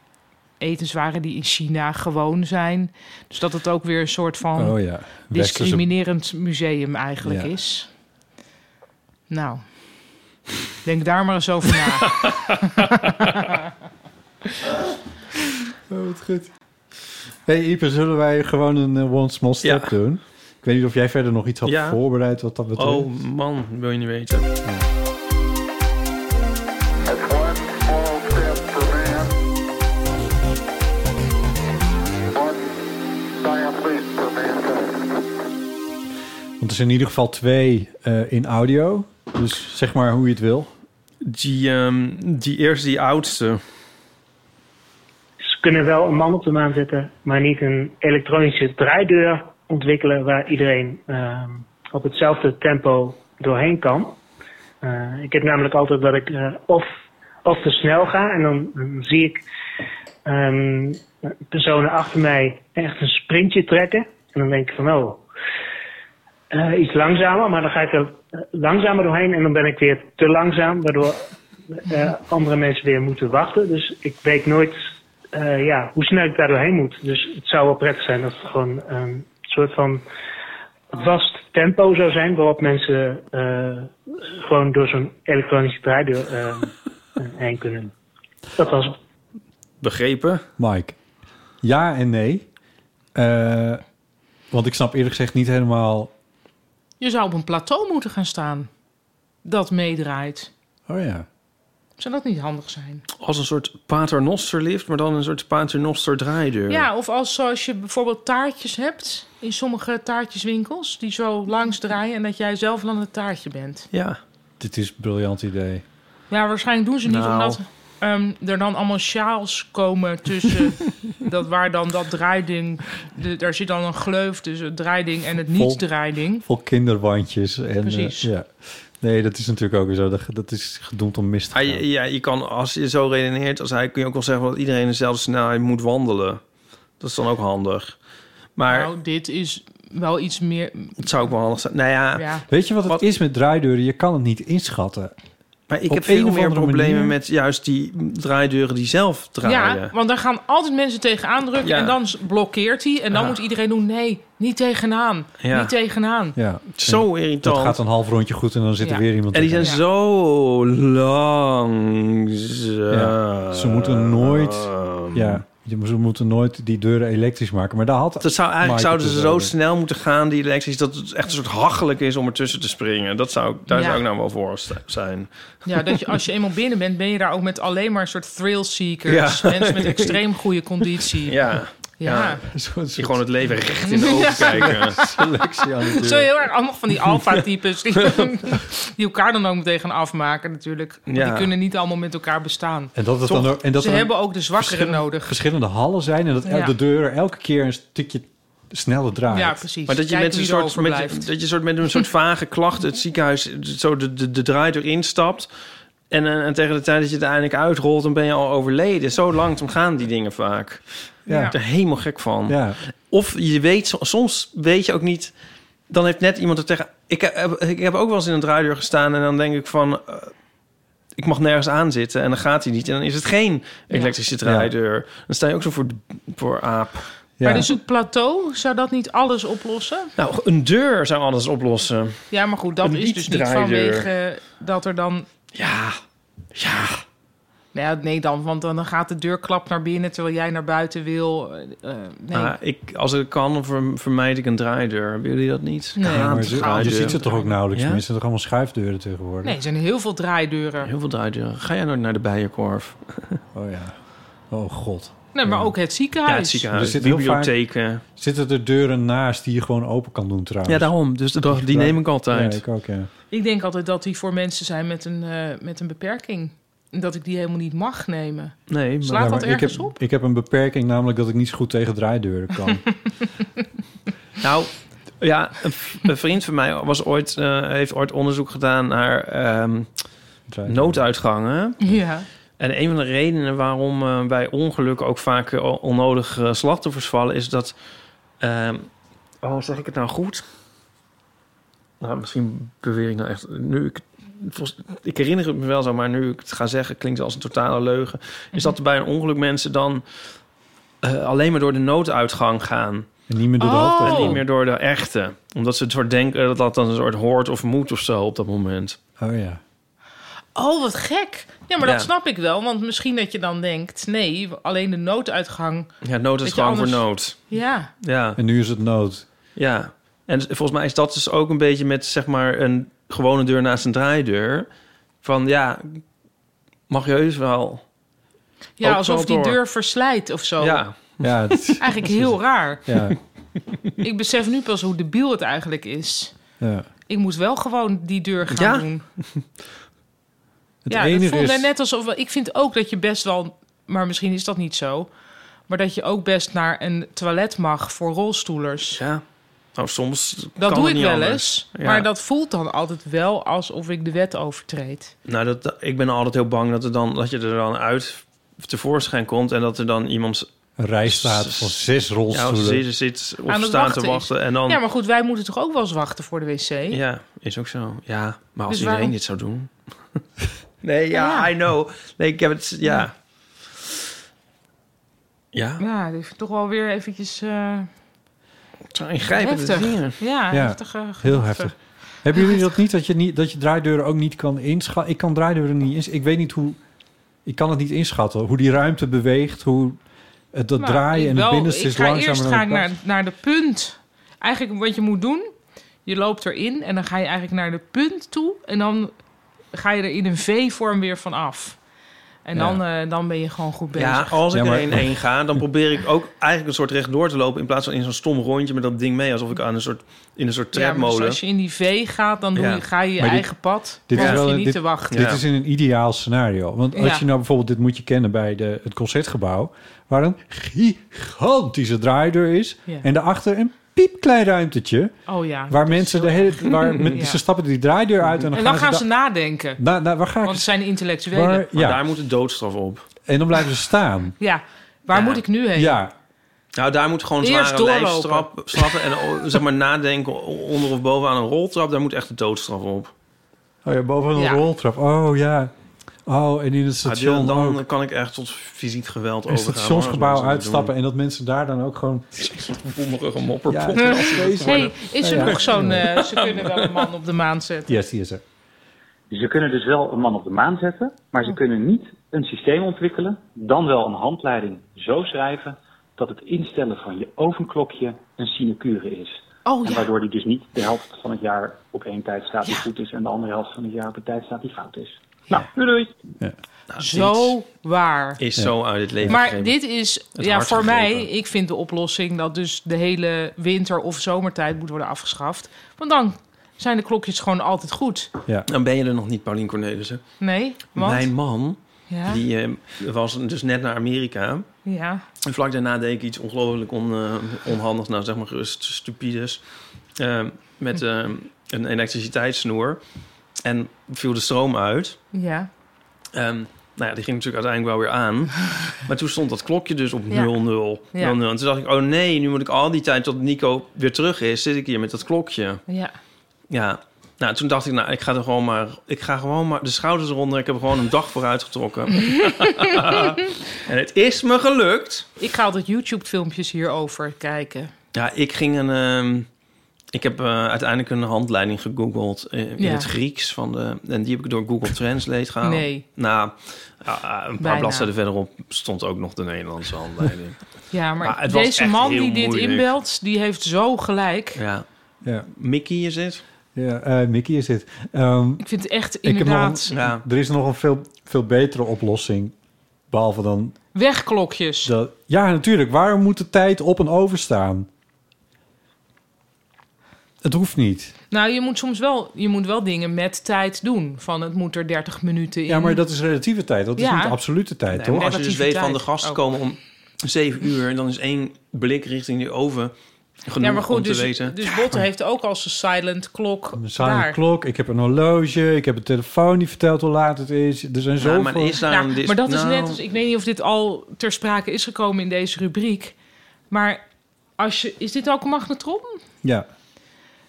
S4: etenswaren die in China gewoon zijn. Dus dat het ook weer een soort van
S1: Oh ja, westerse-
S4: discriminerend museum eigenlijk
S1: Ja.
S4: is. Nou, denk daar maar eens over na.
S1: Oh, wat goed. hey, Ieper, zullen wij gewoon een eh, one small step doen? Ik weet niet of jij verder nog iets had
S2: Ja.
S1: voorbereid wat dat betreft.
S2: Oh man, wil je niet weten.
S1: Want er zijn in ieder geval twee eh, in audio. Dus zeg maar hoe je het wil.
S2: Die, ehm, die eerste, die oudste.
S12: Ze kunnen wel een man op de maan zetten, maar niet een elektronische draaideur ontwikkelen waar iedereen ehm, op hetzelfde tempo doorheen kan. Eh, ik heb namelijk altijd dat ik eh, of of te snel ga. En dan, dan zie ik ehm, personen achter mij echt een sprintje trekken. En dan denk ik van, oh, eh, iets langzamer. Maar dan ga ik er eh, langzamer doorheen en dan ben ik weer te langzaam. Waardoor eh, andere mensen weer moeten wachten. Dus ik weet nooit eh, ja, hoe snel ik daar doorheen moet. Dus het zou wel prettig zijn dat het gewoon ehm, een soort van vast tempo zou zijn waarop mensen eh, gewoon door zo'n elektronische draaideur eh, heen kunnen. Dat was het.
S2: Begrepen?
S1: Mike, ja en nee. Eh, want ik snap eerlijk gezegd niet helemaal...
S4: Je zou op een plateau moeten gaan staan dat meedraait.
S1: Oh ja.
S4: Zou dat niet handig zijn?
S2: Als een soort paternosterlift, maar dan een soort paternoster draaideur.
S4: Ja, of als zoals je bijvoorbeeld taartjes hebt in sommige taartjeswinkels die zo langs draaien en dat jij zelf dan het taartje bent.
S2: Ja.
S1: Dit is een briljant idee.
S4: Ja, waarschijnlijk doen ze niet
S1: Nou.
S4: omdat ehm, er dan allemaal sjaals komen tussen dat waar dan dat draaiding, de, daar zit dan een gleuf tussen het draaiding en het
S1: Vol-
S4: niet-draaiding.
S1: Vol kinderwandjes. En, eh,
S4: Precies.
S1: ja. Nee, dat is natuurlijk ook weer zo. Dat, dat is gedoemd om mis te
S2: Ah,
S1: gaan.
S2: ja, ja, je kan, als je zo redeneert als hij, kun je ook wel zeggen dat iedereen dezelfde snelheid moet wandelen. Dat is dan ook handig. Maar
S4: Nou, dit is wel iets meer.
S2: het zou ook wel handig zijn. Nou ja,
S4: Ja.
S1: Weet je wat het is met draaideuren? Je kan het niet inschatten.
S2: maar ik
S1: Op
S2: heb
S1: een
S2: veel
S1: of
S2: meer
S1: andere
S2: problemen
S1: manier-
S2: met juist die draaideuren die zelf draaien.
S4: Ja, want daar gaan altijd mensen tegenaan drukken
S2: Ja.
S4: en dan s- blokkeert hij. En dan
S2: Ja.
S4: moet iedereen doen, nee, niet tegenaan,
S2: Ja.
S4: niet tegenaan.
S1: Ja.
S2: Zo
S1: En
S2: irritant.
S1: Dat gaat een half rondje goed en dan zit er
S4: Ja.
S1: weer iemand
S2: En die zijn
S1: tegen.
S2: zo langzaam.
S1: Ja. Ze moeten nooit... Ja, je- ze moeten nooit die deuren elektrisch maken. Maar daar had
S2: Dat zou, eigenlijk
S1: Mike het
S2: zouden ze
S1: dus
S2: zo
S1: over.
S2: snel moeten gaan, die elektrisch, dat het echt een soort hachelijk is om ertussen te springen. Dat zou, ik- daar
S4: Ja.
S2: zou ik nou wel voor st- zijn.
S4: Ja, dat je, als je eenmaal binnen bent, ben je daar ook met alleen maar een soort thrill seekers.
S2: Ja.
S4: Mensen met extreem goede conditie.
S2: Ja.
S4: Ja.
S2: Die gewoon het leven recht in de ogen kijken.
S1: Selectie aan
S4: Zo heel erg allemaal van die alfa-types die, die elkaar dan ook meteen gaan afmaken natuurlijk. Want
S1: Ja.
S4: Die kunnen niet allemaal met elkaar bestaan.
S1: En dat het
S4: Toch?
S1: dan ook- en dat
S4: Ze
S1: er-
S4: hebben ook de zwakkeren
S1: verschillende-
S4: nodig.
S1: Verschillende hallen zijn en dat el-
S4: Ja.
S1: de deuren elke keer een stukje sneller draait.
S4: Ja, precies.
S2: Maar dat je,
S4: Kijken
S2: met een
S4: wie er
S2: soort, met,
S4: overblijft.
S2: dat je soort, met een soort vage klacht het ziekenhuis zo de, de, de draaideur instapt. En, eh, en tegen de tijd dat je het eindelijk uitrolt, dan ben je al overleden. Zo langzaam gaan die dingen vaak.
S1: Ja.
S2: Ik ben er helemaal gek van.
S1: Ja.
S2: Of je weet, so- soms weet je ook niet... Dan heeft net iemand er tegen... Ik eh, heb, ik heb ook wel eens in een draaideur gestaan en dan denk ik van... eh, ik mag nergens aan zitten en dan gaat hij niet. En dan is het geen elektrische draaideur. Dan sta je ook zo voor, voor aap.
S4: Maar dus het plateau, zou dat niet alles oplossen?
S2: Nou, een deur zou alles oplossen.
S4: Ja, maar goed, dat
S2: Een
S4: is dus niet
S2: niet-draaideur.
S4: vanwege eh, dat er dan...
S2: Ja, ja.
S4: Nou ja, nee dan, want dan gaat de deurklap naar binnen terwijl jij naar buiten wil. Eh, eh, nee.
S2: Ah, ik, als het kan, dan ver- vermijd ik een draaideur. Hebben jullie dat niet?
S1: Ja,
S4: Nee.
S2: Een
S1: maar je, je
S2: draaideur.
S1: ziet ze toch ook nauwelijks
S2: Ja?
S1: meer. Ze zijn toch allemaal schuifdeuren tegenwoordig?
S4: nee, er zijn heel veel draaideuren.
S2: Heel veel draaideuren. Ga jij nooit naar de Bijenkorf?
S1: Oh ja. Oh god.
S4: Nee, maar ook het ziekenhuis.
S2: Ja, het ziekenhuis,
S1: dus- Er zitten heel vaak-
S2: bibliotheken.
S1: Zitten er deuren naast die je gewoon open kan doen trouwens?
S2: Ja, daarom. Dus dat- die neem ik altijd.
S1: Ja, ik ook, ja.
S4: Ik denk altijd dat die voor mensen zijn met een, eh, met een beperking. En dat ik die helemaal niet mag nemen.
S2: Nee,
S4: Slaat
S1: Ja,
S4: dat
S1: ik
S4: ergens
S1: heb,
S4: op?
S1: Ik heb een beperking, namelijk dat ik niet zo goed tegen draaideuren kan.
S2: Nou, ja, een, v- een vriend van mij was ooit, eh, heeft ooit onderzoek gedaan naar ehm, nooduitgangen.
S4: Ja.
S2: En een van de redenen waarom eh, bij ongelukken ook vaak eh, onnodig eh, slachtoffers vallen... is dat... ehm, oh, zeg ik het nou goed? Nou, misschien beweer ik nou echt... Nu ik, volgens- ik herinner het me wel zo, maar nu ik het ga zeggen... klinkt het als een totale leugen. Is dat er bij een ongeluk mensen dan... eh, alleen maar door de nooduitgang gaan.
S1: En niet meer
S4: door de Oh. hoofduitgang.
S2: En niet meer door de echte. Omdat ze het soort denken dat dat dan een soort hoort of moet of zo op dat moment.
S1: Oh ja.
S4: Oh, wat gek. Ja, maar
S2: Ja.
S4: dat snap ik wel. Want misschien dat je dan denkt... nee, alleen de nooduitgang.
S2: Ja, nooduitgang
S4: Dat je
S2: voor
S4: anders-
S2: nood.
S4: Ja.
S2: Ja.
S1: En nu is het nood.
S2: Ja, en s- volgens mij is dat dus ook een beetje met zeg maar een gewone deur naast een draaideur. Van ja, mag je heus wel.
S4: Ja,
S2: Ook
S4: alsof
S2: wel
S4: die
S2: door.
S4: deur verslijt of zo.
S2: Ja.
S1: Ja, dat-
S4: Eigenlijk heel raar.
S1: ja,
S4: Ik besef nu pas hoe debiel het eigenlijk is.
S1: ja.
S4: Ik moet wel gewoon die deur gaan
S2: Ja?
S4: doen.
S1: Het
S4: ja,
S1: enige
S4: dat voelde
S1: is-
S4: net alsof... Ik vind ook dat je best wel... Maar misschien is dat niet zo. Maar dat je ook best naar een toilet mag voor rolstoelers.
S2: Ja. Nou, soms
S4: Dat
S2: kan
S4: doe
S2: het
S4: ik
S2: niet
S4: wel
S2: anders.
S4: eens.
S2: Ja.
S4: Maar dat voelt dan altijd wel alsof ik de wet overtreed.
S2: Nou, dat, dat- ik ben altijd heel bang dat, er dan, dat je er dan uit tevoorschijn komt... en dat er dan iemand...
S1: Een rij staat van zes
S2: Ja,
S1: rolstoelen.
S2: zit, zit of
S4: Aan het
S2: staat te
S4: wachten is.
S2: wachten en dan...
S4: Ja, maar goed, wij moeten toch ook wel eens wachten voor de wc?
S2: Ja, is ook zo. Ja, maar als
S4: Dus
S2: iedereen
S4: waarom-
S2: dit zou doen. nee, ja, I know. Nee, ik heb het. Ja. Ja.
S4: Ja, dat vind ik toch wel weer eventjes... eh
S2: ingrijpende
S4: heftig.
S2: dingen.
S4: Ja,
S1: Ja,
S4: heftige
S1: heel
S4: gedachten.
S1: heftig. Hebben jullie dat niet dat je, niet, dat je draaideuren ook niet kan inschatten? Ik kan draaideuren niet inschatten. Ik weet niet hoe... Ik kan het niet inschatten. Hoe die ruimte beweegt, hoe het, dat
S4: Nou,
S1: draaien
S4: ik
S1: en
S4: wel.
S1: het binnenste is
S4: ik ga
S1: langzamer
S4: Eerst
S1: dan
S4: ga ik
S1: het
S4: naar,
S1: buitenste.
S4: naar de punt. Eigenlijk wat je moet doen, je loopt erin en dan ga je eigenlijk naar de punt toe. En dan ga je er in een V-vorm weer van af. En
S2: Ja.
S4: dan, eh, dan ben je gewoon goed bezig.
S2: Ja, oh, als ik
S1: Ja,
S2: er
S1: maar-
S2: één één ga, dan probeer ik ook eigenlijk een soort rechtdoor te lopen... in plaats van in zo'n stom rondje met dat ding mee... alsof ik aan een soort, in een soort
S4: Ja, maar dus
S2: tredmolen...
S4: als je in die V gaat, dan doe
S2: Ja.
S4: je, ga je je
S2: Maar dit-
S4: eigen pad.
S1: Dit
S4: dan
S1: is
S4: hoef
S1: wel
S4: je
S1: een-
S4: niet
S1: dit,
S4: te wachten.
S1: Dit is in een ideaal scenario. Want als
S4: Ja.
S1: je nou bijvoorbeeld, dit moet je kennen bij de, het concertgebouw, waar een gigantische draaideur is.
S4: Ja.
S1: En daarachter een piepklein ruimtetje.
S4: Oh ja.
S1: Waar mensen de hele. Waar, met,
S4: Ja.
S1: Ze stappen die draaideur uit en
S4: En
S1: dan,
S4: dan, gaan ze
S1: da-
S4: nadenken.
S1: na, na- waar ga ik,
S4: Want het zijn intellectuelen.
S1: Waar-
S2: Maar
S1: ja.
S2: daar moet de doodstraf op.
S1: en dan blijven ze staan.
S4: Ja, waar moet ik nu heen?
S1: Ja.
S2: Nou, daar moet gewoon
S4: Eerst
S2: zware
S4: doorlopen.
S2: lijfstrap, straffen... en o- zeg maar nadenken onder of boven aan een roltrap. Daar moet echt de doodstraf op.
S1: Oh ja, boven een
S2: Ja.
S1: roltrap. Oh ja. Oh, en in het
S2: Ah, dan
S1: station ook.
S2: dan kan ik echt tot fysiek geweld
S1: Een
S2: overgaan. hoor, als
S1: stationsgebouw
S2: mensen dat
S1: uitstappen
S2: doen.
S1: en dat mensen daar dan ook gewoon...
S2: Rommelige mopperpot.
S1: Ja.
S4: Hey, is er
S1: Ja, ja.
S4: nog zo'n... eh, ze kunnen wel een man op de maan zetten.
S1: Yes, die is er.
S13: Ze kunnen dus wel een man op de maan zetten, maar ze kunnen niet een systeem ontwikkelen, dan wel een handleiding zo schrijven dat het instellen van je ovenklokje een sinecure is.
S4: Oh,
S13: en
S4: ja.
S13: waardoor die dus niet de helft van het jaar op één tijd staat die goed is en de andere helft van het jaar op een tijd staat die fout is. Nou, doei doei.
S4: Zo waar.
S2: Nou, Is zo uit het leven
S4: Maar
S2: gegrepen.
S4: dit is,
S2: Het
S4: ja,
S2: hart
S4: voor
S2: gegrepen.
S4: mij, ik vind de oplossing dat dus de hele winter- of zomertijd moet worden afgeschaft. Want dan zijn de klokjes gewoon altijd goed.
S2: Dan ben je er nog niet, Paulien Cornelissen.
S4: Nee? Want?
S2: Mijn man,
S4: Ja.
S2: die eh, was dus net naar Amerika.
S4: Ja.
S2: En vlak daarna deed ik iets ongelooflijk on, eh, onhandigs. Nou, zeg maar gerust stupides. Eh, met
S4: Hm.
S2: eh, een elektriciteitssnoer. En viel de stroom uit.
S4: Ja.
S2: Ehm, nou ja, die ging natuurlijk uiteindelijk wel weer aan. Maar toen stond dat klokje dus op
S4: Ja.
S2: 00.
S4: Ja.
S2: 00. En toen dacht ik, oh nee, nu moet ik al die tijd tot Nico weer terug is... zit ik hier met dat klokje.
S4: Ja.
S2: Ja. Nou, toen dacht ik, nou, ik ga er gewoon maar, ik ga gewoon maar de schouders eronder. Ik heb er gewoon een dag vooruit getrokken. en het is me gelukt.
S4: Ik ga altijd YouTube-filmpjes hierover kijken.
S2: Ja, ik ging een, ehm, ik heb eh, uiteindelijk een handleiding gegoogeld eh, in
S4: Ja.
S2: het Grieks van de, en die heb ik door Google Translate gehaald.
S4: Nee.
S2: Nou, ah, ah, een paar
S4: Bijna.
S2: bladzijden verderop stond ook nog de Nederlandse handleiding.
S4: Ja, maar,
S2: Maar het was
S4: deze
S2: echt
S4: man
S2: heel
S4: die dit
S2: moeilijk.
S4: inbelt, die heeft zo gelijk.
S2: ja.
S1: Ja.
S2: Mickey is het.
S1: Ja, eh, Mickey is dit. Ehm,
S4: Ik vind het echt
S1: ik heb nog een-
S4: inderdaad...
S1: Er is nog een veel, veel betere oplossing. Behalve dan...
S4: Wegklokjes.
S1: Dat, ja, natuurlijk. Waarom moet de tijd op en over staan? Het hoeft niet.
S4: Nou, je moet soms wel, je moet wel dingen met tijd doen. Van het moet er 30 minuten in.
S1: Ja, maar dat is relatieve tijd. Dat is
S4: Ja.
S1: niet absolute tijd,
S2: Nee,
S1: toch?
S2: maar als je dus weet van
S4: Relativiteit
S2: de gasten
S4: ook.
S2: komen om zeven uur... en dan is één blik richting die oven genoeg
S4: ja, maar goed,
S2: om te
S4: dus,
S2: weten.
S4: dus Botte heeft ook als een silent klok
S1: Een silent
S4: daar.
S1: klok, ik heb een horloge, ik heb een telefoon die vertelt hoe laat het is. Er zijn zoveel...
S4: Nou, maar dat is net als... Ik weet niet of dit al ter sprake is gekomen in deze rubriek. Maar als je, is dit ook een magnetron?
S1: Ja. Oh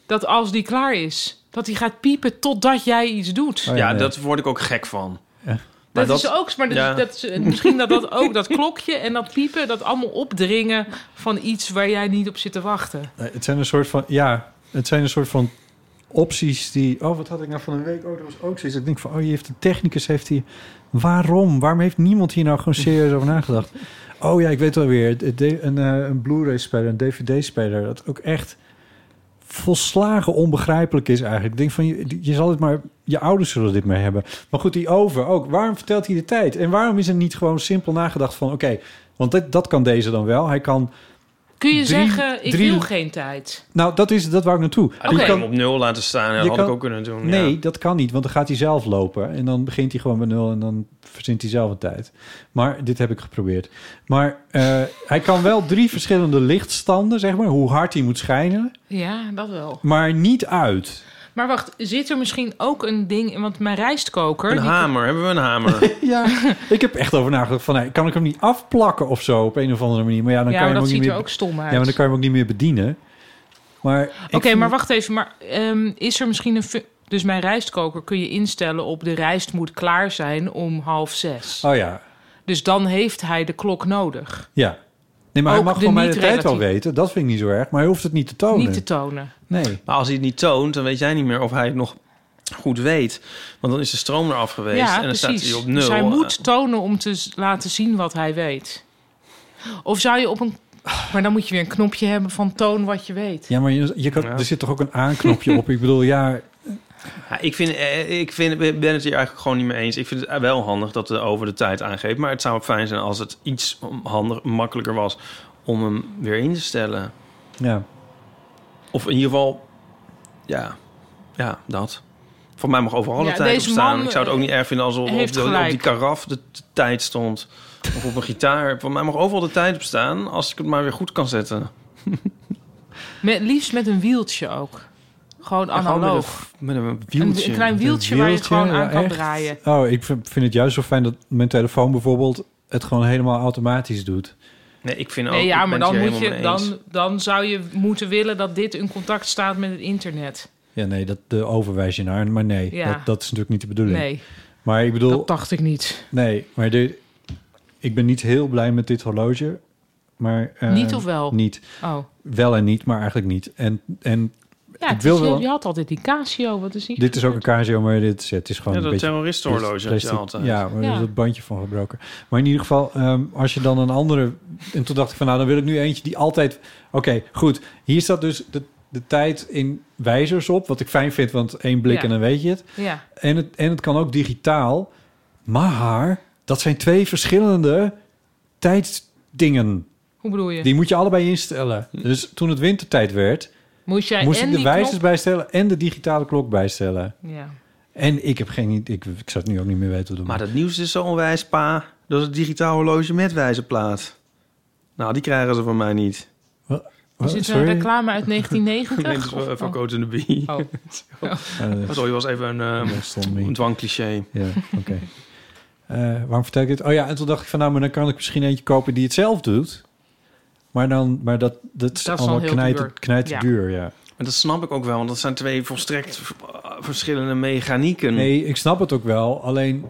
S4: Dat als die klaar is, dat die gaat piepen totdat jij iets doet.
S2: ja, dat word ik ook gek van.
S4: Dat, is ook, maar dat,
S2: ja.
S4: dat is- misschien dat dat ook, dat klokje en dat piepen, dat allemaal opdringen van iets waar jij niet op zit te wachten.
S1: Nee, Eh, Het zijn een soort van, ja, het zijn een soort van opties die. Oh, wat had ik nou van een week? Oh, dat was ook zoiets. Ik denk van, oh, je heeft de technicus, heeft hij. Waarom? Waarom heeft niemand hier nou gewoon serieus over nagedacht? Oh ja, ik weet wel weer. het- het- Een, eh, een Blu-ray-speler, een DVD-speler, dat ook echt volslagen onbegrijpelijk is eigenlijk. Ik denk van, je, je zal het maar, je ouders zullen dit mee hebben. Maar goed, die oven ook. Waarom vertelt hij de tijd? En waarom is er niet gewoon simpel nagedacht van, oké, want dat, dat kan deze dan wel. Hij kan
S4: Kun je
S1: drie-
S4: zeggen, ik
S1: drie-
S4: wil geen tijd?
S1: Nou, dat, is, dat wou ik naartoe.
S2: Ah, die
S1: Je
S2: kan
S1: kan-
S2: hem op nul laten staan. Dat
S1: je
S2: had
S1: kan-
S2: ik ook kunnen doen.
S1: Nee,
S2: ja.
S1: dat kan niet, want dan gaat hij zelf lopen. En dan begint hij gewoon bij nul en dan verzint hij zelf een tijd. Maar dit heb ik geprobeerd. Maar eh, hij kan wel drie verschillende lichtstanden, zeg maar, hoe hard hij moet schijnen,
S4: Ja, dat wel.
S1: maar niet uit.
S4: Maar wacht, zit er misschien ook een ding in? Want mijn rijstkoker...
S2: Een
S4: die-
S2: hamer. Hebben we een hamer?
S1: Ja, ik heb echt over nagedacht van, hey, kan ik hem niet afplakken of zo op een of andere manier? Maar ja, dan
S4: Ja,
S1: kan
S4: maar
S1: je hem
S4: dat
S1: ook niet
S4: ziet er
S1: meer-
S4: ook stom uit.
S1: Ja, maar dan kan je hem ook niet meer bedienen. Maar
S4: Oké, maar wacht even. Maar ehm, is er misschien een... fu- Dus mijn rijstkoker kun je instellen op de rijst moet klaar zijn om half zes.
S1: Oh ja,
S4: Dus dan heeft hij de klok nodig.
S1: ja. Nee, maar
S4: Ook
S1: hij mag
S4: de
S1: gewoon mij de tijd
S4: niet-relatief-
S1: wel weten. Dat vind ik niet zo erg, maar hij hoeft het niet te tonen.
S4: Niet te tonen.
S1: Nee.
S2: Maar als hij het niet toont, dan weet jij niet meer of hij het nog goed weet. Want dan is de stroom eraf geweest
S4: ja,
S2: en dan
S4: precies.
S2: staat hij op nul.
S4: Dus hij moet tonen om te s- laten zien wat hij weet. Of zou je op een... Maar dan moet je weer een knopje hebben van toon wat je weet.
S1: Ja, maar je, je kan, er zit toch ook een aanknopje op? Ik bedoel, ja...
S2: Ja, ik, vind, eh, ik vind, ik ben het hier eigenlijk gewoon niet mee eens. Ik vind het wel handig dat het over de tijd aangeeft. Maar het zou fijn zijn als het iets handig, makkelijker was om hem weer in te stellen.
S1: ja.
S2: Of in ieder geval, ja, ja dat. Voor mij mag overal
S4: Ja,
S2: de tijd op
S4: deze
S2: staan.
S4: man,
S2: ik zou het ook niet erg vinden als op, op,
S4: heeft
S2: de- op die
S4: gelijk.
S2: karaf de, de tijd stond. Of op een gitaar. Voor mij mag overal de tijd op staan als ik het maar weer goed kan zetten.
S4: Met, liefst met een wieltje ook. Gewoon
S2: En gewoon met
S4: analoog.
S2: een- Met een
S4: Een,
S2: wieltje.
S4: een klein wieltje, waar je het
S1: Wieltje,
S4: gewoon aan
S1: ja,
S4: kan
S1: echt.
S4: draaien.
S1: Oh, ik vind, vind het juist zo fijn dat mijn telefoon bijvoorbeeld... het gewoon helemaal automatisch doet.
S2: Nee, Nou, ik vind ook...
S4: Nee, ja, maar dan, moet je,
S2: Dan...
S4: dan, dan zou je moeten willen dat dit in contact staat met het internet.
S1: Ja, nee, dat de overwijs je naar. Maar nee,
S4: Ja.
S1: dat, dat is natuurlijk niet de bedoeling.
S4: Nee.
S1: Maar ik bedoel...
S4: Dat dacht ik niet.
S1: Nee, maar de, ik ben niet heel blij met dit horloge. Maar, eh,
S4: Niet of wel?
S1: Niet.
S4: Oh.
S1: Wel en niet, maar eigenlijk niet. En, en
S4: Ja,
S1: ik
S4: het
S1: wil
S4: is-
S1: wel...
S4: je had altijd die Casio. Wat is die?
S1: Dit is ook een Casio, maar dit is, het is gewoon
S2: Ja,
S1: een
S2: dat
S1: beetje...
S2: terroristenhorloge had je
S1: plastic-
S2: altijd.
S1: Ja, maar
S2: Ja.
S1: er is dat bandje van gebroken. Maar in ieder geval, ehm, als je dan een andere... En toen dacht ik van, nou, dan wil ik nu eentje die altijd... Oké, goed. Hier staat dus de, de tijd in wijzers op. Wat ik fijn vind, want één blik
S4: Ja.
S1: en dan weet je het.
S4: Ja.
S1: En het, en het kan ook digitaal. Maar dat zijn twee verschillende tijdsdingen.
S4: Hoe bedoel je?
S1: Die moet je allebei instellen.
S2: Hm.
S1: Dus toen het wintertijd werd,
S4: Moest jij
S1: moest
S4: en
S1: ik de
S4: die
S1: wijzers
S4: knop-
S1: bijstellen en de digitale klok bijstellen.
S4: Ja.
S1: En ik heb geen idee, ik, ik zou het nu ook niet meer weten hoe dat
S2: Maar dat nieuws is zo onwijs, pa. Dat is het digitaal horloge met wijzerplaat. Nou, die krijgen ze van mij niet.
S4: Is dit een reclame uit 1990?
S2: Nee, dat is
S4: Of-
S2: van
S4: oh.
S2: Coat and the Bee.
S4: Oh.
S1: Eh,
S2: Sorry, was even een, eh een dwangcliché.
S1: Ja, oké. Eh, waarom vertel ik dit? Oh ja, en toen dacht ik van nou, maar dan kan ik misschien eentje kopen die het zelf doet. Maar, dan, maar dat, dat is
S2: dan
S1: allemaal
S2: heel
S1: knijter,
S2: duur. Ja.
S1: duur, ja.
S2: En dat snap ik ook wel, want dat zijn twee volstrekt v- eh, verschillende mechanieken.
S1: Nee, ik snap het ook wel. Alleen...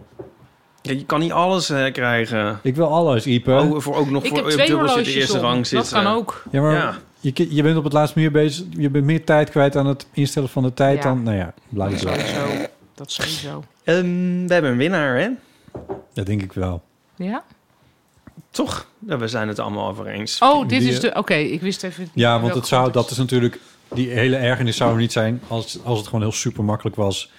S2: Ja, je kan niet alles eh, krijgen.
S1: Ik wil alles, Ipe.
S2: Oh, voor, ook nog
S4: Ik
S2: voor
S4: heb
S2: eh,
S4: twee
S2: dubbel zit de
S4: horloges
S2: eerste
S4: om.
S2: rang
S4: Dat
S2: zitten.
S4: kan ook.
S1: Ja, maar
S2: Ja.
S1: Je, ki- je bent op het laatst meer bezig. Je bent meer tijd kwijt aan het instellen van de tijd
S4: Ja.
S1: dan... Nou ja, blijkbaar.
S4: Sowieso. Dat sowieso.
S2: Ehm, we hebben een winnaar, hè?
S1: Dat denk ik wel.
S4: Ja?
S2: Toch? Ja, we zijn het allemaal over eens.
S4: Oh, dit is de...
S1: Die- eh,
S4: Oké, ik wist even...
S1: Ja, want
S4: welke
S1: het zou, dat is natuurlijk... Die hele ergernis zou er niet zijn als, als het gewoon heel super makkelijk was.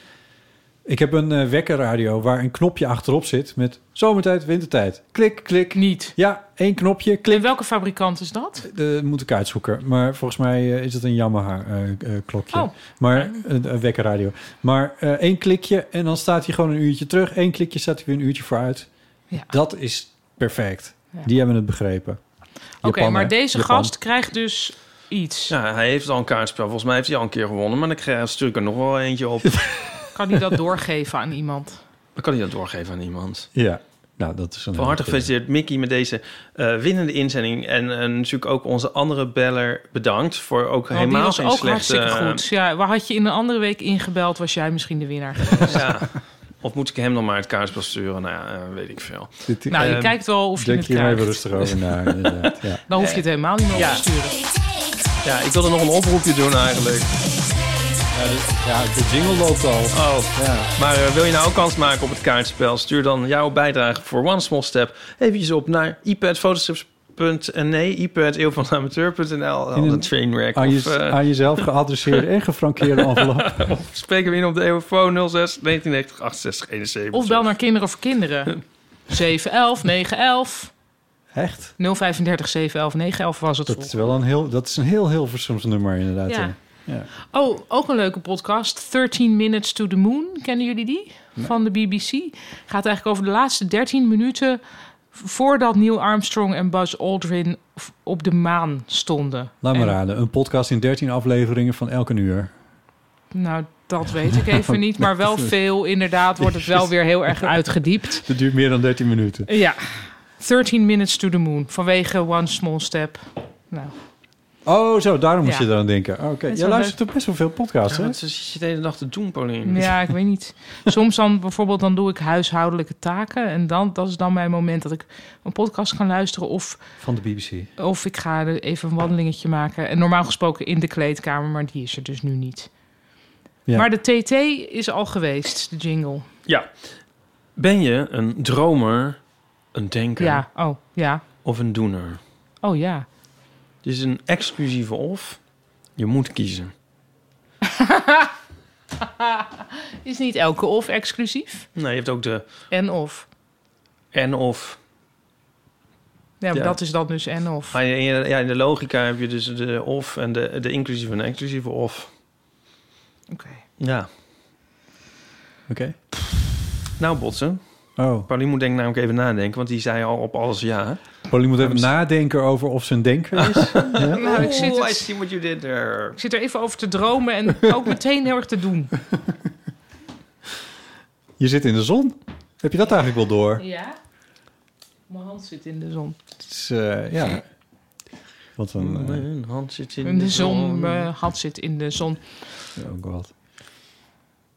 S1: Ik heb een eh, wekkerradio waar een knopje achterop zit met zomertijd, wintertijd. Klik, klik.
S4: Niet.
S1: Ja, één knopje, klik.
S4: welke fabrikant is dat?
S1: Dat moet ik uitzoeken. Maar volgens mij eh, is het een Yamaha eh, eh, klokje.
S4: Oh.
S1: Maar eh, een een wekkerradio. Maar eh, één klikje en dan staat hij gewoon een uurtje terug. Eén klikje staat hij weer een uurtje vooruit. Dat is perfect.
S4: Ja.
S1: Die hebben het begrepen.
S4: Oké,
S1: Japan,
S4: maar
S1: hè?
S4: deze
S1: Japan.
S4: gast krijgt dus iets.
S2: Ja, hij heeft al een kaartspel. Volgens mij heeft hij al een keer gewonnen, maar dan krijg- stuur ik er nog wel eentje op.
S4: Kan hij dat doorgeven aan iemand?
S2: dan kan hij dat doorgeven aan iemand.
S1: Ja, nou dat is een...
S2: Van harte gefeliciteerd Mickey met deze eh, winnende inzending. En eh, natuurlijk ook onze andere beller bedankt voor ook
S4: Want Oh, die
S2: helemaal
S4: was
S2: geen
S4: ook
S2: slechte... eh, ehm,
S4: hartstikke goed. Ja, waar had je in een andere week ingebeld, was jij misschien de winnaar.
S2: Ja. Of moet ik hem dan maar het kaartspel sturen? Nou ja, eh, weet ik veel.
S1: Dit-
S4: Nou, je
S2: Ehm,
S4: kijkt wel of je het krijgt. Dan hoef je het helemaal niet meer
S2: Ja.
S4: op te sturen.
S2: Ja, ik wilde nog een oproepje doen eigenlijk.
S1: Ja, de jingle loopt al.
S2: Oh, maar eh, wil je nou ook kans maken op het kaartspel? Stuur dan jouw bijdrage voor One Small Step eventjes op naar ipadfotostrips.nl, nee, iPad eeuw van amateur.nl,
S1: In
S2: al
S1: een-
S2: een trainwreck.
S1: Aan, je, ah,
S2: of, eh,
S1: aan jezelf geadresseerde en gefrankeerde envelop.
S2: of spreken we in op de eeuwfoon 06 1990 68 71.
S4: Of bel naar kinderen voor kinderen. 711, 911.
S1: Echt?
S4: 035 711 911 was het.
S1: Dat is wel een heel, dat is een heel Hilversums nummer inderdaad.
S4: Ja.
S1: Ja. Ja.
S4: Oh, ook een leuke podcast. 13 Minutes to the Moon. Kennen jullie die?
S1: Nee.
S4: Van de BBC. Gaat eigenlijk over de laatste 13 minuten voordat Neil Armstrong en Buzz Aldrin v- op de maan stonden.
S1: Laat maar
S4: En-
S1: raden, een podcast in 13 afleveringen van elke uur.
S4: Nou, dat weet ik even niet. Maar wel veel, inderdaad, wordt het wel weer heel erg uitgediept.
S1: Dat duurt meer dan 13 minuten.
S4: Ja, 13 Minutes to the Moon vanwege One Small Step. Nou,
S1: Oh, zo, daarom moest
S4: Ja.
S1: je eraan denken. Oké,
S4: is
S1: jij
S4: wel
S1: luistert toch best wel veel podcasts,
S2: Ja,
S1: hè?
S2: wat zit je de hele dag te doen, Pauline?
S4: ja, ik weet niet. Soms dan bijvoorbeeld dan doe ik huishoudelijke taken en dan dat is dan mijn moment dat ik een podcast kan luisteren of
S1: Van de BBC.
S4: of ik ga er even een wandelingetje maken. En normaal gesproken in de kleedkamer, maar die is er dus nu niet.
S2: Ja.
S4: Maar de TT is al geweest, de jingle.
S2: Ja. Ben je een dromer, een denker
S4: Ja, oh ja,
S2: of een doener?
S4: oh ja.
S2: Het is een exclusieve of. Je moet kiezen.
S4: Is niet elke of exclusief?
S2: Nou, je hebt ook de
S4: En of.
S2: en of.
S4: Ja, maar
S2: Ja.
S4: dat is dan dus en of.
S2: Maar in, je- ja, in de logica heb je dus de of en de, de inclusieve en exclusieve of.
S4: Oké.
S2: Ja.
S1: Oké.
S2: Nou, botsen.
S1: Oh.
S2: Pauline moet denk ik namelijk even nadenken, want die zei al op alles ja.
S1: Pauline moet even nadenken over of ze een denker is. ja.
S4: Nou, ik zit
S2: Oh, I
S4: het-
S2: see what you did there.
S4: Ik zit er even over te dromen en ook meteen heel erg te doen.
S1: Je zit in de zon. Heb je dat eigenlijk wel door?
S4: Ja? Mijn hand zit in de zon.
S1: Het is, eh, ja. Wat een... eh,
S2: Mijn hand zit in,
S4: In de zon, eh. mijn hand zit in de zon.
S1: eh, Ja, ook wat.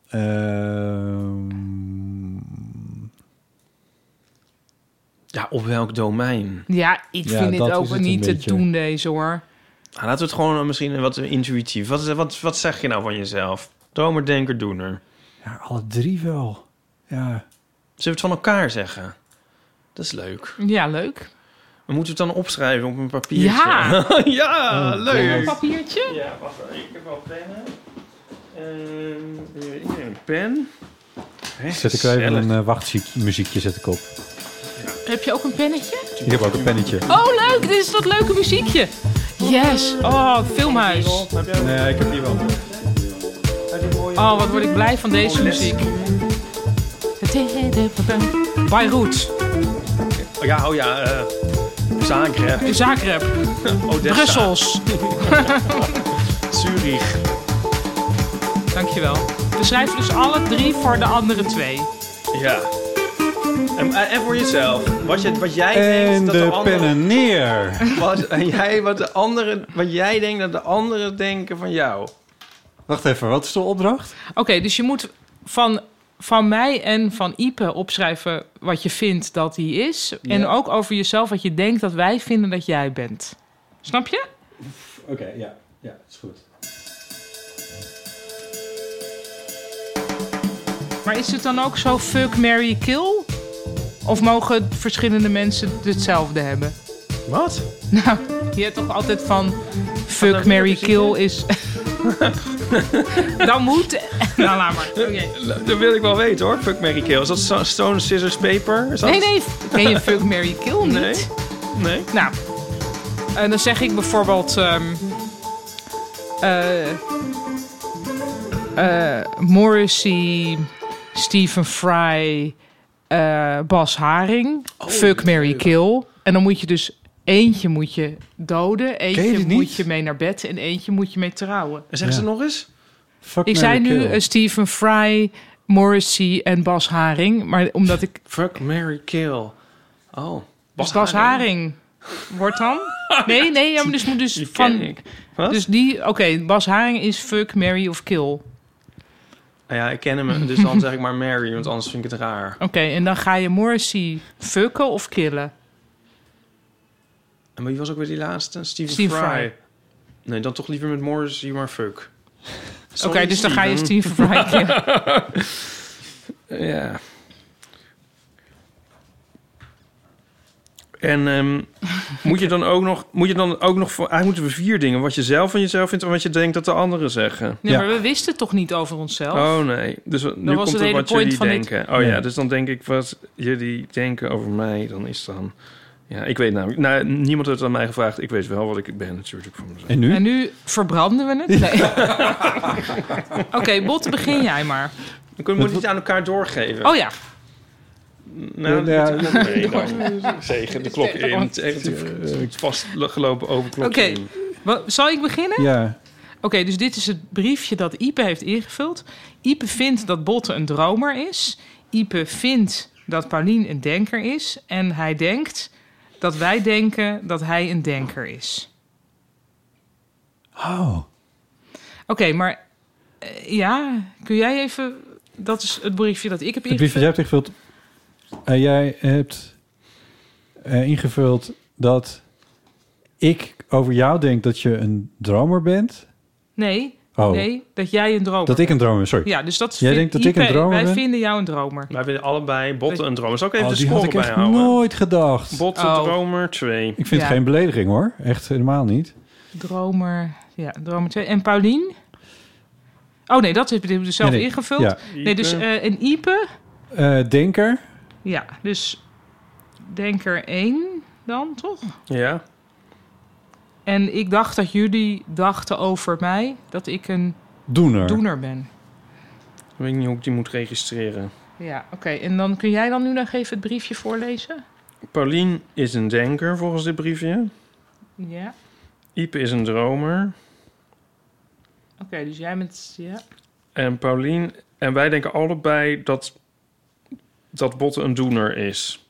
S1: Ehm,
S2: Ja, op welk domein?
S4: Ja, ik
S2: Ja,
S4: vind dit
S2: dat
S4: ook
S2: is het
S4: niet
S2: een
S4: te
S2: beetje.
S4: doen deze hoor.
S2: Nou, laten we het gewoon misschien wat intuïtief. Wat, wat, wat zeg je nou van jezelf? Dromer, denker, doener.
S1: ja, alle drie wel. Ja.
S2: Ze hebben het van elkaar zeggen. Dat is leuk.
S4: Ja, leuk.
S2: We moeten het dan opschrijven op een papiertje.
S4: Ja.
S2: ja,
S4: Oh,
S2: leuk.
S4: Een papiertje?
S2: Ja, wacht even. Ik heb al pennen. Ehm, hier, ik neem een pen. Hè,
S1: Zet ik wel even
S2: gezellig.
S1: een eh, wachtmuziekje zet ik op.
S4: Heb je ook een pennetje?
S1: Ik heb ook een pennetje.
S4: Oh, leuk! Dit is dat leuke muziekje. Yes! Oh, filmhuis.
S1: Nee, ik heb hier wel.
S4: Oh, wat word ik blij van deze muziek. Beirut.
S2: Oh ja, oh ja. eh Zagreb.
S4: Zagreb.
S2: Odessa.
S4: Brussels.
S2: Zurich.
S4: Dankjewel. We schrijven dus alle drie voor de andere twee.
S2: Ja. En, eh, en voor jezelf. Wat, je, wat jij
S1: En
S2: denkt dat de,
S1: de
S2: andere-
S1: pennen neer.
S2: Wat, en jij, wat, de andere, wat jij denkt dat de anderen denken van jou.
S1: Wacht even, wat is de opdracht?
S4: Oké, dus je moet van, van mij en van Ipe opschrijven wat je vindt dat hij is. En ook over jezelf wat je denkt dat wij vinden dat jij bent. Snap je?
S1: Oké, ja. Ja, is goed.
S4: Maar is het dan ook zo fuck, marry, kill? Of mogen verschillende mensen hetzelfde hebben?
S2: Wat?
S4: Nou, je hebt toch altijd van fuck, marry, kill is... dan moet... Nou, laat maar. Oké.
S2: Dat wil ik wel weten hoor, Fuck Mary Kill. Is dat Sto- Stone Scissors Paper? Is dat-
S4: Nee, nee. Ken je fuck, marry, kill niet?
S2: Nee. Nee.
S4: Nou, en dan zeg ik bijvoorbeeld... ehm, eh, eh, Morrissey, Stephen Fry, eh, Bas Haring,
S1: Oh,
S4: Fuck, Mary Kill. En dan moet je dus... Eentje moet je doden,
S1: je
S4: eentje
S1: dit
S4: moet
S1: niet?
S4: je mee naar bed en eentje moet je mee trouwen.
S2: En Zeggen ze nog eens?
S1: Fuck,
S4: Ik
S1: marry,
S4: zei nu
S1: kill.
S4: eh, Stephen Fry, Morrissey en Bas Haring, maar omdat ik...
S2: Fuck Mary Kill. Oh.
S4: Dus Bas Haring wordt dan? Nee, nee, ja, maar dus moet dus van...
S2: Wat?
S4: Dus die, oké, Bas Haring is fuck, marry of kill. Oké,
S2: Nou ja, ik ken hem, dus dan zeg ik maar Mary, want anders vind ik het raar.
S4: en dan ga je Morrissey fucken of killen?
S2: En wie was ook weer die laatste? Steven,
S4: Steve
S2: Fry.
S4: Fry.
S2: Nee, dan toch liever met Morrissey, maar fuck.
S4: Oké, dus dan ga je Steve Fry killen.
S2: Ja. En ehm, moet je dan ook nog, moet je dan ook nog, voor- eigenlijk moeten we vier dingen. Wat je zelf van jezelf vindt en wat je denkt dat de anderen zeggen.
S4: Nee, maar we wisten het toch niet over onszelf?
S2: Oh nee, dus nu
S4: was
S2: komt
S4: het
S2: er
S4: hele
S2: wat
S4: point
S2: jullie
S4: van dit.
S2: denken. Oh ja,
S4: Ja.
S2: dus dan denk ik wat jullie denken over mij, dan is dan Ja, ik weet namelijk. Nou, niemand heeft het aan mij gevraagd. Ik weet wel wat ik ben natuurlijk voor mezelf.
S1: En nu?
S4: En nu verbranden we het. Nee. Oké, Botte, begin jij maar.
S2: Dan kunnen we het aan elkaar doorgeven.
S4: Oh ja.
S2: Nou,
S4: Ja,
S2: dat
S4: ja.
S2: nee, nou, tegen de klok in. Tegen de vastgelopen overklok
S4: Oké,
S2: in.
S4: wa- zal ik beginnen?
S1: Ja.
S4: Oké, dus dit is het briefje dat Ipe heeft ingevuld. Ipe vindt dat Botte een dromer is. Ipe vindt dat Paulien een denker is. En hij denkt dat wij denken dat hij een denker is.
S1: Oh.
S4: Oké, maar eh, ja, kun jij even... Dat is het briefje dat ik heb
S1: Het briefje dat
S4: ingevuld.
S1: jij hebt ingevuld. eh, jij hebt eh, ingevuld dat ik over jou denk dat je een dromer bent.
S4: Nee,
S1: Oh.
S4: nee, dat jij een dromer
S1: Dat ik een dromer, sorry.
S4: Ja, dus
S1: Jij
S4: dat
S1: denkt
S4: vindt
S1: dat ik een
S4: Ipe-
S1: dromer
S4: Wij
S1: ben?
S4: vinden jou een dromer.
S2: Wij vinden allebei Botte een dromer. Zal ik even
S1: Oh,
S2: de
S1: die had
S2: score
S1: ik echt
S2: bijhouden?
S1: nooit gedacht.
S2: Botte
S4: Oh.
S2: dromer 2.
S1: Ik vind het geen belediging hoor. Echt helemaal niet.
S4: Dromer, ja, dromer 2. En Paulien? Oh nee, dat heb je dus zelf
S1: Nee, nee.
S4: ingevuld.
S1: Ja.
S4: Nee, dus
S1: Ipe.
S4: eh een Ipe.
S1: Eh, denker.
S4: Ja, dus denker 1 dan, toch?
S2: Ja.
S4: En ik dacht dat jullie dachten over mij dat ik een
S1: Doener.
S4: doener ben.
S2: Ik weet niet hoe ik die moet registreren.
S4: Ja, oké. En dan kun jij dan nu nog even het briefje voorlezen?
S2: Paulien is een denker volgens dit briefje.
S4: Ja.
S2: Ipe is een dromer.
S4: Oké, dus jij bent... Ja.
S2: En Paulien... En wij denken allebei dat, dat Botte een doener is.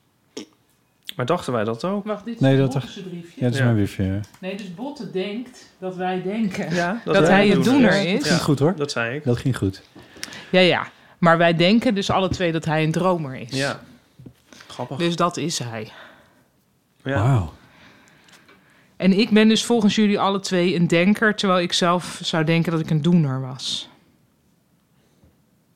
S2: Maar dachten wij dat ook?
S4: Wacht, dit is
S1: Nee,
S4: een
S1: dat
S4: Botte's
S1: dacht-
S4: briefje.
S1: Ja, dat is mijn briefje. ja.
S4: Nee, dus Botte denkt dat wij denken dat,
S2: wij
S4: hij
S2: een
S4: een
S2: doener
S4: doener
S2: is.
S4: is.
S1: Dat ging goed hoor.
S2: Dat zei ik.
S1: Dat ging goed.
S4: Ja, ja. Maar wij denken dus alle twee dat hij een dromer is.
S2: Ja. Grappig.
S4: Dus dat is hij.
S2: Ja.
S1: Wauw.
S4: En ik ben dus volgens jullie alle twee een denker, terwijl ik zelf zou denken dat ik een doener was.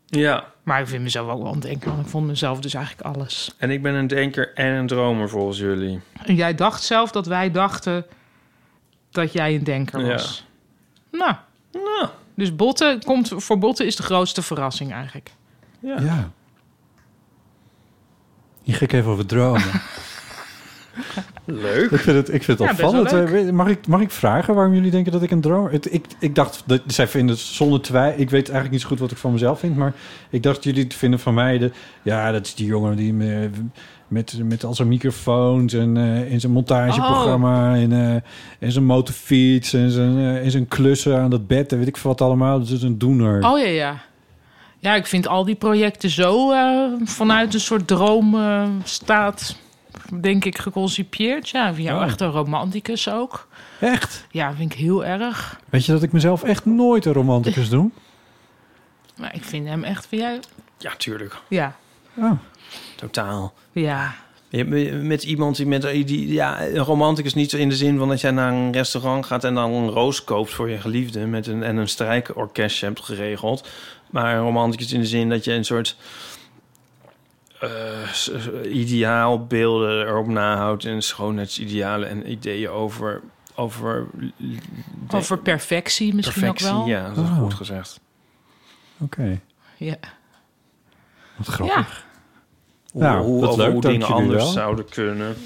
S2: Ja.
S4: Maar ik vind mezelf ook wel een denker, want ik vond mezelf dus eigenlijk alles.
S2: En ik ben een denker en een dromer volgens jullie.
S4: En jij dacht zelf dat wij dachten dat jij een denker was. Nou.
S2: nou.
S4: Dus Botten komt, voor Botten is de grootste verrassing eigenlijk.
S2: Ja.
S1: ja. Hier ga ik even over dromen.
S2: Leuk.
S1: Ik vind het, ik vind het
S2: Ja, best wel
S1: opvallend.
S2: leuk.
S1: Eh, weet- Mag ik, mag ik vragen waarom jullie denken dat ik een droom... Het, ik, ik dacht, dat, zij vinden het zonder twijfel... Ik weet eigenlijk niet zo goed wat ik van mezelf vind... maar ik dacht jullie te vinden van mij... De, ja, dat is die jongen die me- met, met al zijn microfoons... en, eh, en zijn montageprogramma...
S2: Oh.
S1: En, eh, en zijn motorfiets... En zijn, eh, en zijn klussen aan dat bed... en weet ik veel wat allemaal. Dus Dat is een doener.
S4: Oh ja, ja. Ja, ik vind al die projecten zo eh, vanuit een soort droomstaat, denk ik, geconcipieerd. Ja, ik vind jou
S1: Oh.
S4: echt een romanticus ook.
S1: Echt?
S4: Ja, vind ik heel erg.
S1: Weet je dat ik mezelf echt nooit een romanticus doe?
S4: Maar ik vind hem echt, vind jij...
S2: Ja, tuurlijk.
S4: Ja,
S2: Totaal.
S4: ja.
S2: Je hebt met iemand die met die, ja, een romanticus niet zo in de zin van dat jij naar een restaurant gaat en dan een roos koopt voor je geliefde met een, en een strijkorkestje hebt geregeld. Maar een romanticus in de zin dat je een soort eh, s- ideaalbeelden erop nahoudt en schoonheidsidealen en ideeën over. Over,
S4: Over perfectie misschien
S2: perfectie,
S4: ook wel.
S2: ja, dat is
S1: Oh.
S2: goed gezegd.
S1: Oké,
S4: Ja.
S1: wat grappig.
S2: Hoe,
S1: Nou,
S2: hoe,
S1: wat
S2: over
S1: leuk,
S2: hoe
S1: dank
S2: dingen
S1: jullie
S2: anders
S1: wel.
S2: zouden kunnen.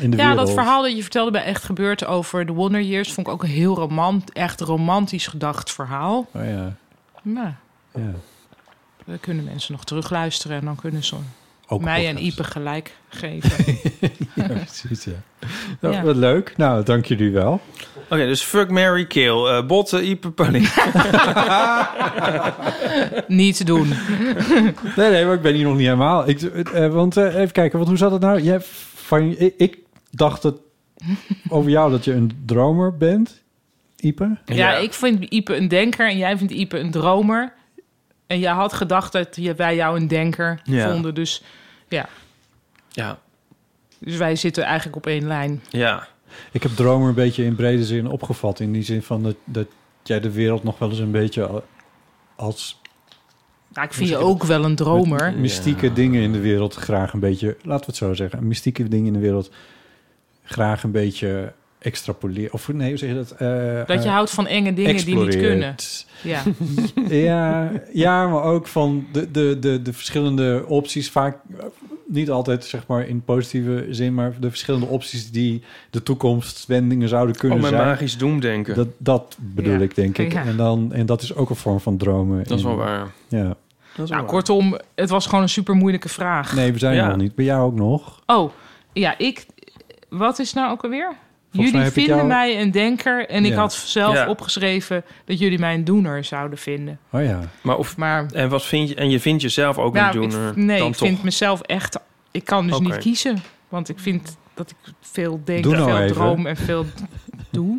S1: In de
S4: ja,
S1: wereld.
S4: dat verhaal dat je vertelde bij Echt Gebeurd over de Wonder Years... vond ik ook een heel romant, echt romantisch gedacht verhaal.
S1: Oh ja,
S4: Nou,
S1: ja.
S4: dan kunnen mensen nog terugluisteren... en dan kunnen ze
S1: Ook
S4: mij en Ipe gelijk geven.
S1: Ja, precies, ja. Nou,
S4: Ja.
S1: Wat leuk. Nou, dank jullie wel.
S2: Oké, dus fuck, Mary kill. Eh, botten, Ipe, Paulien.
S4: Niet te doen.
S1: Nee, nee, maar ik ben hier nog niet helemaal. Ik, eh, want eh, even kijken, want hoe zat het nou? Jij, van, ik, ik dacht het over jou dat je een dromer bent, Ipe.
S4: Ja, ik vind Ipe een denker en jij vindt Ipe een dromer. En jij had gedacht dat je- wij jou een denker
S2: Ja.
S4: vonden. Dus ja,
S2: Ja,
S4: dus wij zitten eigenlijk op één lijn.
S2: ja.
S1: Ik heb dromer een beetje in brede zin opgevat. In die zin van dat, dat jij de wereld nog wel eens een beetje als...
S4: Nou, ik vind je ook wel een dromer.
S1: met Mystieke dingen in de wereld graag een beetje... Laten we het zo zeggen. Mystieke dingen in de wereld graag een beetje extrapoleren. Of nee, hoe zeg je dat? Eh,
S4: Dat je
S1: eh,
S4: houdt van enge dingen die niet kunnen.
S1: exploreert.
S4: Ja.
S1: Ja, ja, maar ook van de, de, de, de verschillende opties. Vaak eh, niet altijd zeg maar in positieve zin, maar de verschillende opties die de toekomstwendingen zouden kunnen
S2: Oh, mijn
S1: zijn.
S2: magisch doemdenken.
S1: Dat, dat bedoel
S2: Ja.
S1: ik, denk ik.
S2: Ja.
S1: En, dan, en dat is ook een vorm van dromen.
S2: Dat is
S1: in-
S2: wel waar.
S1: Ja.
S4: Nou, kortom, het was gewoon een super moeilijke vraag.
S1: Nee, we zijn
S4: Ja.
S1: er nog niet. Bij jou ook nog.
S4: Oh, ja, ik. Wat is nou ook alweer?
S1: mij
S4: jullie
S1: heb ik
S4: vinden
S1: jou-
S4: mij een denker. En ik
S2: Ja.
S4: had zelf
S2: Ja.
S4: opgeschreven dat jullie mij een doener zouden vinden.
S1: Oh ja.
S2: Maar of,
S4: maar
S2: en, wat vind je, en je vindt jezelf ook
S4: Nou,
S2: een
S4: ik-
S2: doener?
S4: nee,
S2: dan
S4: ik
S2: toch.
S4: vind mezelf echt. Ik kan dus
S2: Oké.
S4: niet kiezen. Want ik vind dat ik veel denk,
S1: Doe nou
S4: veel
S1: even.
S4: droom en veel doe.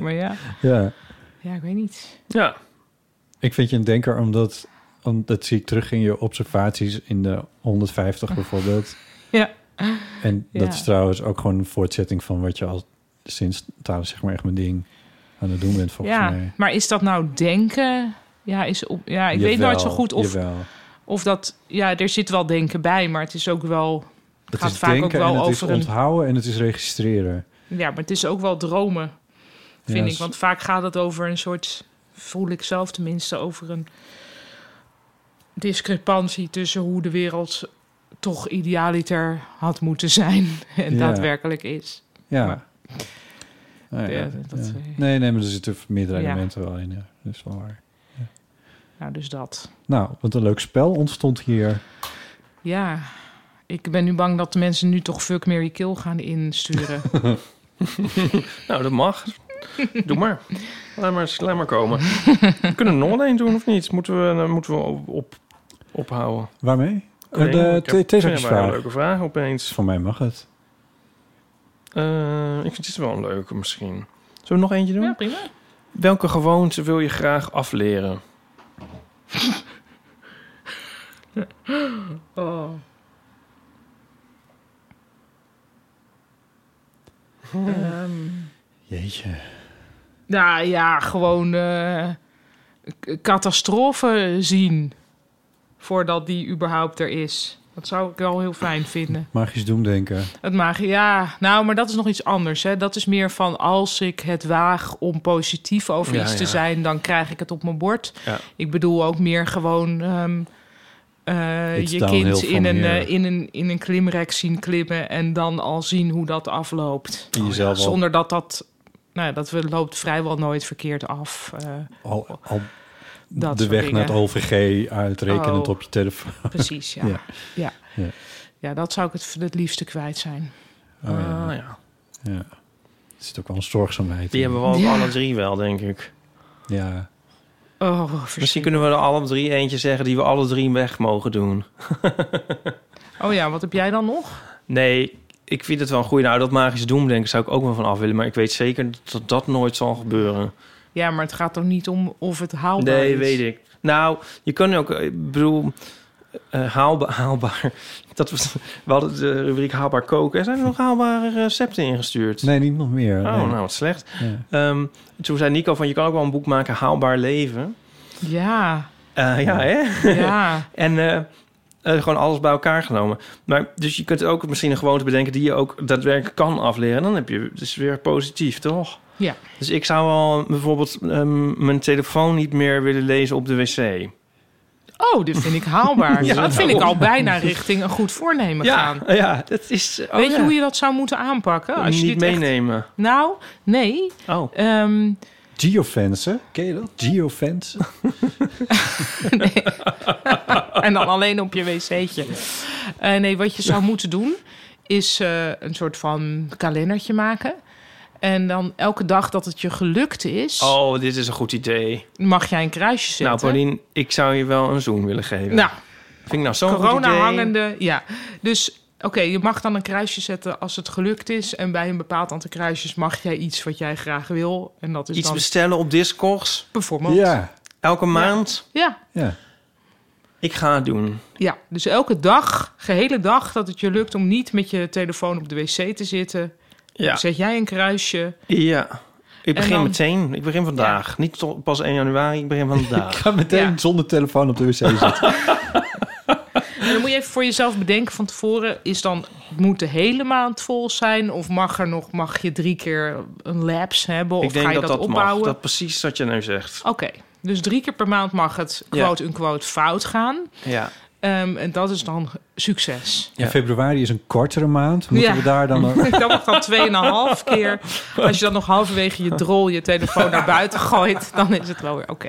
S4: Maar ja,
S1: Ja.
S4: ja, ik weet niet.
S2: Ja.
S1: Ik vind je een denker omdat, omdat dat zie ik terug in je observaties in de 150 bijvoorbeeld.
S4: Ja.
S1: En dat
S4: Ja.
S1: is trouwens ook gewoon een voortzetting van wat je al sinds trouwens zeg maar echt mijn ding aan het doen bent volgens
S4: ja,
S1: mij.
S4: maar is dat nou denken? Ja, is op, ja ik weet
S1: Jawel,
S4: nooit zo goed of,
S1: jawel.
S4: of dat... Ja, er zit wel denken bij, maar het is ook wel... Het
S1: Het
S4: gaat
S1: is
S4: vaak
S1: denken
S4: ook wel
S1: en het
S4: over
S1: is
S4: een...
S1: onthouden en het is registreren.
S4: Ja, maar het is ook wel dromen,
S1: Ja,
S4: vind ik.
S1: is-
S4: Want vaak gaat het over een soort... Voel ik zelf tenminste over een discrepantie tussen hoe de wereld toch idealiter had moeten zijn en
S1: Ja.
S4: daadwerkelijk is.
S1: Ja.
S4: Maar-
S1: Nou ja,
S4: Ja, dat-
S1: ja. Nee, nee, maar er zitten meerdere
S4: Ja.
S1: elementen wel in. Ja. Dat is wel waar.
S4: nou, dus dat.
S1: Nou, wat een leuk spel ontstond hier.
S4: Ja, ik ben nu bang dat de mensen nu toch Fuck, Mary Kill gaan insturen.
S2: nou, dat mag. Doe maar. Laat maar, laat maar komen. We kunnen er nog wel één doen of niet? Moeten we, eh, moeten we op, op- ophouden?
S1: Waarmee?
S2: Ik weet
S1: Eh,
S2: niet,
S1: de
S2: ik heb-
S1: t- theezakjesvraag.
S2: vind jij wel een leuke vraag opeens.
S1: Voor mij mag het.
S2: Eh, ik vind dit wel een leuke misschien. Zullen we nog eentje doen? Ja,
S4: prima.
S2: Welke gewoonte wil je graag afleren?
S4: Oh. Ehm,
S1: Jeetje.
S4: nou ja, gewoon eh, k- catastrofe zien voordat die überhaupt er is. Dat zou ik wel heel fijn vinden.
S1: Magisch doemdenken.
S4: Het mag, ja. Nou, maar dat is nog iets anders. Hè. Dat is meer van als ik het waag om positief over
S2: Ja,
S4: iets te
S2: ja.
S4: zijn, dan krijg ik het op mijn bord.
S2: Ja.
S4: Ik bedoel ook meer gewoon ehm, eh,
S1: It's
S4: je
S1: downhill
S4: kind
S1: from
S4: in een,
S1: here.
S4: eh, in, een, in een klimrek zien klimmen en dan al zien hoe dat afloopt.
S1: En jezelf al-
S4: Zonder dat dat, nou, ja, dat we- loopt vrijwel nooit verkeerd af. eh.
S1: Al, al
S4: Dat
S1: de
S4: soort
S1: weg
S4: dingen.
S1: naar het OVG uitrekenend
S4: Oh.
S1: op je telefoon.
S4: Precies, ja.
S1: ja.
S4: Ja. Ja.
S1: Ja.
S4: dat zou ik het, het liefste kwijt zijn.
S1: Oh, ja.
S2: Ah, ja.
S1: Ja. Er zit ook wel een zorgzaamheid
S2: Die
S1: in.
S2: hebben we ook
S4: Ja.
S2: alle drie wel, denk ik.
S1: Ja.
S4: Oh,
S2: Misschien kunnen we er alle drie eentje zeggen die we alle drie weg mogen doen.
S4: oh ja, wat heb jij dan nog?
S2: Nee, ik vind het wel een goede. Nou, dat magische doemdenken zou ik ook wel van af willen. Maar ik weet zeker dat dat nooit zal gebeuren.
S4: Ja, maar het gaat toch niet om of het haalbaar
S2: nee,
S4: is?
S2: weet ik. Nou, je kan ook... eh, Ik bedoel, eh, haalba- haalbaar... Dat was, we hadden de rubriek haalbaar koken. Er zijn er nog haalbare recepten ingestuurd.
S1: Nee, niet nog meer.
S2: Oh,
S1: nee.
S2: nou, wat slecht.
S1: Ja.
S2: Ehm, toen zei Nico van, je kan ook wel een boek maken, Haalbaar Leven.
S4: Ja.
S2: Eh, ja, hè?
S4: Ja.
S2: en eh, eh, gewoon alles bij elkaar genomen. Maar, dus je kunt ook misschien een gewoonte bedenken... die je ook daadwerkelijk kan afleren. Dan heb je dus weer positief, toch?
S4: Ja.
S2: Dus ik zou wel bijvoorbeeld ehm, mijn telefoon niet meer willen lezen op de wc.
S4: Oh, dit vind ik haalbaar.
S2: Ja,
S4: dat vind ik al
S2: daarom.
S4: bijna richting een goed voornemen gaan.
S2: ja, dat is... oh
S4: Weet je
S2: ja.
S4: hoe je dat zou moeten aanpakken? Als je
S2: niet
S4: dit echt-
S2: meenemen.
S4: Nou, nee. Ehm,
S2: Oh.
S1: Geofence, hè? ken je dat? Geofence?
S4: en dan alleen op je wc'tje. Eh, nee, wat je zou moeten doen is eh, een soort van kalendertje maken. En dan elke dag dat het je gelukt is,
S2: Oh, dit is een goed idee.
S4: mag jij een kruisje zetten.
S2: Nou, Paulien, ik zou je wel een zoen willen geven.
S4: Nou,
S2: Vind ik nou zo'n goed idee.
S4: corona hangende, ja. Dus oké, je mag dan een kruisje zetten als het gelukt is. En bij een bepaald aantal kruisjes mag jij iets wat jij graag wil. En dat is
S2: Iets
S4: dan
S2: bestellen op Discogs.
S4: Bijvoorbeeld.
S1: Ja.
S2: Elke maand.
S4: Ja,
S1: Ja.
S2: Ik ga het doen.
S4: ja. Dus elke dag, gehele dag, dat het je lukt om niet met je telefoon op de wc te zitten.
S2: Ja.
S4: Zet jij een kruisje.
S2: Ja. Ik
S4: En
S2: begin
S4: dan-
S2: meteen. Ik begin vandaag. Niet tot pas 1 januari. Ik begin vandaag.
S1: Ik ga meteen zonder telefoon op de wc zitten.
S4: En Nou, dan moet je even voor jezelf bedenken van tevoren: is dan moet de hele maand vol zijn? Of mag er nog, mag je drie keer een lapse hebben? Of
S2: ik denk
S4: ga je
S2: dat
S4: dat,
S2: dat, mag.
S4: opbouwen?
S2: Dat precies wat je nu zegt.
S4: Oké, dus drie keer per maand mag het
S2: Ja.
S4: quote-unquote fout gaan.
S2: Ja.
S4: Ehm, en dat is dan succes.
S1: En februari is een kortere maand. Moeten
S4: Ja.
S1: we daar dan... ook-
S4: dat mag dan tweeënhalf keer. Als je dan nog halverwege je drol je telefoon naar buiten gooit, dan is het wel weer oké.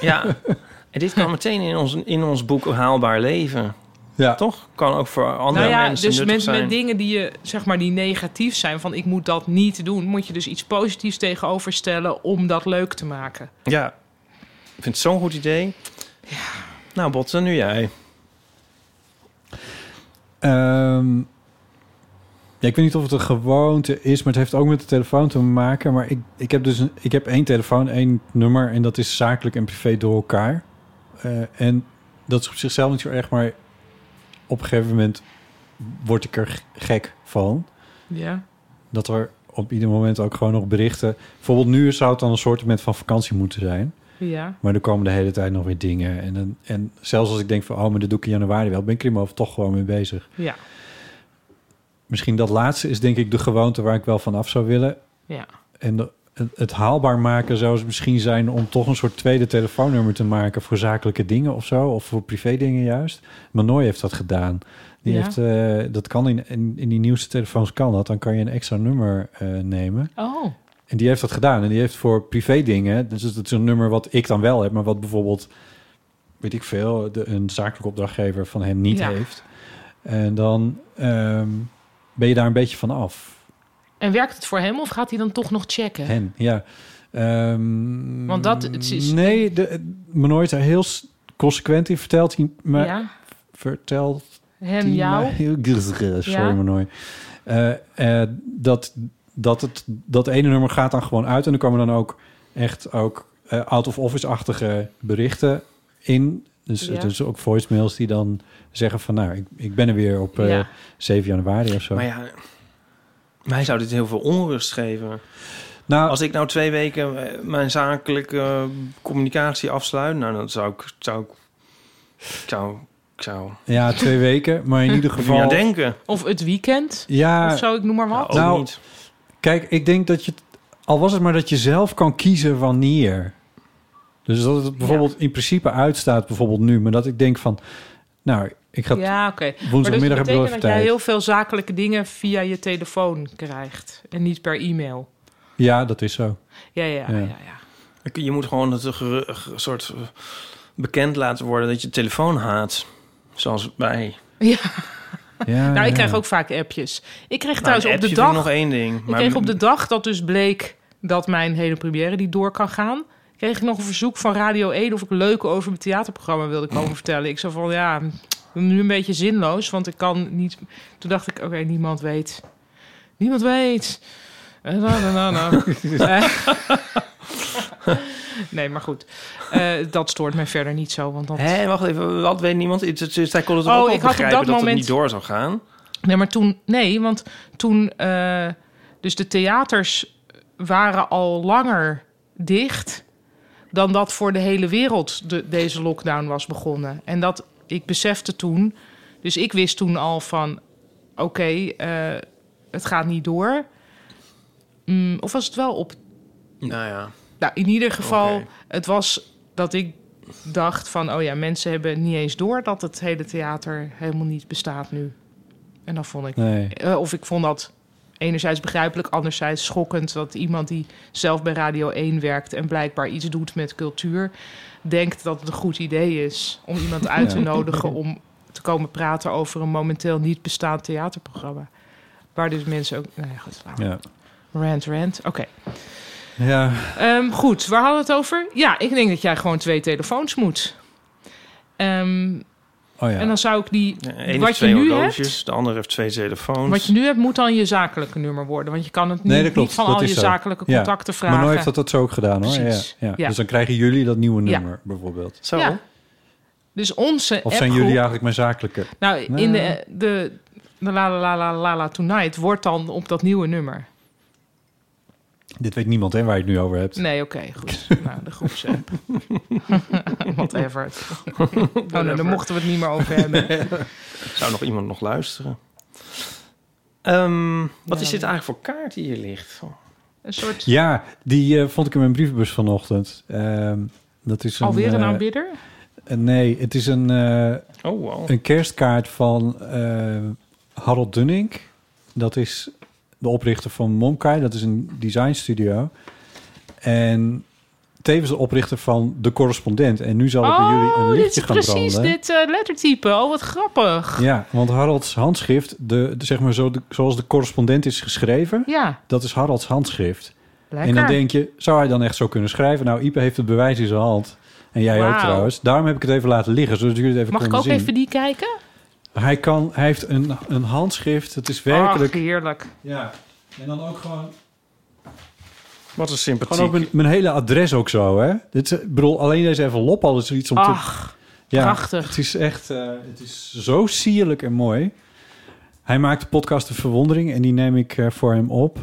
S2: Ja. En dit kan meteen in ons, in ons boek Haalbaar Leven.
S1: Ja.
S2: Toch? Kan ook voor andere
S4: nou ja,
S2: mensen
S4: dus
S2: nuttig
S4: met,
S2: zijn.
S4: met dingen die je zeg maar die negatief zijn, van ik moet dat niet doen, moet je dus iets positiefs tegenover stellen om dat leuk te maken.
S2: Ja. Ik vind het zo'n goed idee. Nou, Botten, nu jij.
S1: Ehm, ja, ik weet niet of het een gewoonte is, maar het heeft ook met de telefoon te maken. Maar ik, ik heb dus een, ik heb één telefoon, één nummer en dat is zakelijk en privé door elkaar. Eh, en dat is op zichzelf niet zo erg, maar op een gegeven moment word ik er gek van.
S4: Ja.
S1: Dat er op ieder moment ook gewoon nog berichten. Bijvoorbeeld nu zou het dan een soort van vakantie moeten zijn.
S4: Ja.
S1: Maar er komen de hele tijd nog weer dingen. En, dan- en zelfs als ik denk van, oh, maar dat doe ik in januari wel. Ben ik er in mijn hoofd toch gewoon mee bezig.
S4: Ja.
S1: Misschien dat laatste is denk ik de gewoonte waar ik wel van af zou willen.
S4: Ja.
S1: En de- het- het haalbaar maken zou het misschien zijn om toch een soort tweede telefoonnummer te maken voor zakelijke dingen of zo. Of voor privé dingen juist. Maar Nooy heeft dat gedaan. Die
S4: Ja.
S1: heeft, eh, dat kan in, in, in die nieuwste telefoons kan dat. Dan kan je een extra nummer eh, nemen.
S4: Oh.
S1: En die heeft dat gedaan. En die heeft voor privé dingen. Dus dat is een nummer wat ik dan wel heb, maar wat bijvoorbeeld, weet ik veel, de, een zakelijke opdrachtgever van hem niet
S4: Ja.
S1: heeft. En dan ehm, ben je daar een beetje van af.
S4: En werkt het voor hem of gaat hij dan toch nog checken?
S1: Hen, ja. Ehm,
S4: Want dat- het is-
S1: Nee, de, me nooit er heel s- consequent in vertelt hij me...
S4: Ja.
S1: Vertelt
S4: Hen
S1: hij
S4: jou?
S1: me- eh, heel grrr, Sorry,
S4: Ja.
S1: me nooit. Eh, eh, dat, dat, het, dat ene nummer gaat dan gewoon uit. En er komen dan ook echt ook eh, out-of-office-achtige berichten in. Dus
S2: Ja.
S1: het is ook voicemails die dan zeggen van... nou, ik, ik ben er weer op eh,
S2: Ja.
S1: 7 januari of zo.
S2: Maar ja, mij zou dit heel veel onrust geven.
S1: Nou,
S2: Als ik nou twee weken eh, mijn zakelijke eh, communicatie afsluit, nou dan zou ik, zou ik, ik zou, ik zou
S1: Ja, twee weken. Maar in ieder geval...
S2: Ja, denken.
S4: Of het weekend?
S1: Ja.
S4: Of zo, ik noem maar wat.
S1: nou, Kijk, ik denk dat je, al was het maar dat je zelf kan kiezen wanneer. Dus dat het bijvoorbeeld in principe uitstaat, bijvoorbeeld nu, maar dat ik denk van, nou, ik ga
S4: ja, oké.
S1: woensdagmiddag heb
S4: maar
S1: ik
S4: dus
S1: wel
S4: betekent
S1: even
S4: dat jij
S1: tijd.
S4: heel veel zakelijke dingen via je telefoon krijgt en niet per e-mail.
S1: Ja, dat is zo.
S4: Ja, ja, ja. ja.
S2: Ik- Je moet gewoon het geru- ge- soort eh, bekend laten worden dat je telefoon haat. Zoals wij.
S1: Ja,
S4: nou, ik
S2: ja.
S4: krijg ook vaak appjes. Ik kreeg
S2: Nou,
S4: trouwens
S2: een
S4: op de
S2: appje vind
S4: dag
S2: ik nog één ding,
S4: Ik
S2: maar-
S4: kreeg op de dag dat dus bleek dat mijn hele première die door kan gaan, kreeg ik nog een verzoek van Radio 1 of ik leuk over mijn theaterprogramma wilde komen vertellen. Ik zei van ja, nu een beetje zinloos, want ik kan niet. Toen dacht ik, oké, niemand weet. Niemand weet. Eh, na, na, na, na. Eh, nee, maar goed. Eh, dat stoort mij verder niet zo. Want dat...
S2: Hé, wacht even, wat weet niemand? Het- het- Zij kon het toch
S4: Oh,
S2: ook al
S4: ik had op
S2: begrijpen
S4: dat
S2: dat het
S4: moment-
S2: niet door zou gaan.
S4: Nee, maar toen, nee, want toen, eh, dus de theaters waren al langer dicht dan dat voor de hele wereld de, deze lockdown was begonnen. En dat ik besefte toen, dus ik wist toen al van, oké, eh, het gaat niet door. Mm, of was het wel op?
S2: Nou ja.
S4: Nou, in ieder geval,
S2: Oké.
S4: het was dat ik dacht van, oh ja, mensen hebben niet eens door dat het hele theater helemaal niet bestaat nu. En dan vond ik,
S1: Nee.
S4: eh, of ik vond dat enerzijds begrijpelijk, anderzijds schokkend dat iemand die zelf bij Radio 1 werkt en blijkbaar iets doet met cultuur, denkt dat het een goed idee is om iemand uit te
S1: Ja.
S4: nodigen om te komen praten over een momenteel niet bestaand theaterprogramma. Waar dus mensen ook. Nou ja, goed. laat maar.
S1: Ja.
S4: Rant, rant. Oké.
S1: Ja,
S4: Ehm, goed, waar hadden we het over? Ja, ik denk dat jij gewoon twee telefoons moet. Ehm,
S1: Oh
S4: En dan zou ik die.
S2: De een heeft
S4: wat je
S2: twee
S4: nu
S2: horloges,
S4: hebt.
S2: de ander heeft twee telefoons.
S4: Wat je nu hebt moet dan je zakelijke nummer worden. Want je kan het niet,
S1: nee, dat klopt.
S4: niet van
S1: dat
S4: al
S1: is
S4: je
S1: zo.
S4: zakelijke
S1: Ja.
S4: contacten vragen.
S1: Maar nooit heeft dat dat zo ook gedaan hoor. Ja,
S4: Precies.
S1: ja.
S4: Ja.
S1: Dus dan krijgen jullie dat nieuwe
S4: Ja.
S1: nummer bijvoorbeeld.
S2: Zo.
S4: Ja. Dus onze
S1: Of zijn
S4: appgroep-
S1: jullie eigenlijk mijn zakelijke?
S4: Nou,
S1: Nee.
S4: in de, de, de la, la, la, la, la, la Tonight wordt dan op dat nieuwe nummer.
S1: Dit weet niemand hè, waar je het nu over hebt.
S4: Nee, oké, goed. nou, de groepsapp. Whatever. oh, nou,
S2: Whatever.
S4: daar mochten we het niet meer over hebben.
S2: Zou nog iemand nog luisteren? Ehm, wat
S4: Ja.
S2: is dit eigenlijk voor kaart die hier ligt? Oh,
S4: Een soort...
S1: Ja, die eh, vond ik in mijn brievenbus vanochtend. Ehm, dat is een,
S4: Alweer een
S1: eh,
S4: aanbieder?
S1: Nee, het is een, eh,
S2: Oh, wow.
S1: een kerstkaart van eh, Harold Dunning. Dat is de oprichter van Momkai. Dat is een designstudio. En tevens de oprichter van De Correspondent. En nu zal ik bij jullie
S4: Oh,
S1: een
S4: dit is
S1: lichtje gaan branden.
S4: precies dit eh, lettertype. Oh, wat grappig.
S1: Ja, want Harolds handschrift, de, de- zeg maar zo de- zoals de correspondent is geschreven,
S4: Ja.
S1: dat is Harolds handschrift.
S4: Lekker.
S1: En dan denk je, zou hij dan echt zo kunnen schrijven? Nou, Ipe heeft het bewijs in zijn hand. En jij ook
S4: Wauw.
S1: trouwens. Daarom heb ik het even laten liggen, zodat jullie het even
S4: Mag ik
S1: konden
S4: ook
S1: zien.
S4: even die kijken?
S1: Hij, kan, hij heeft een, een handschrift, het is werkelijk...
S4: Ach, heerlijk.
S1: Ja, en dan ook gewoon...
S2: Wat een sympathiek.
S1: Gewoon ook mijn, mijn hele adres ook zo, hè? Dit, is- ik bedoel, alleen deze even lop al is er iets om
S4: Ach,
S1: te... Ja,
S4: prachtig.
S1: Het is echt... eh, het is zo sierlijk en mooi. Hij maakt de podcast De Verwondering en die neem ik eh, voor hem op.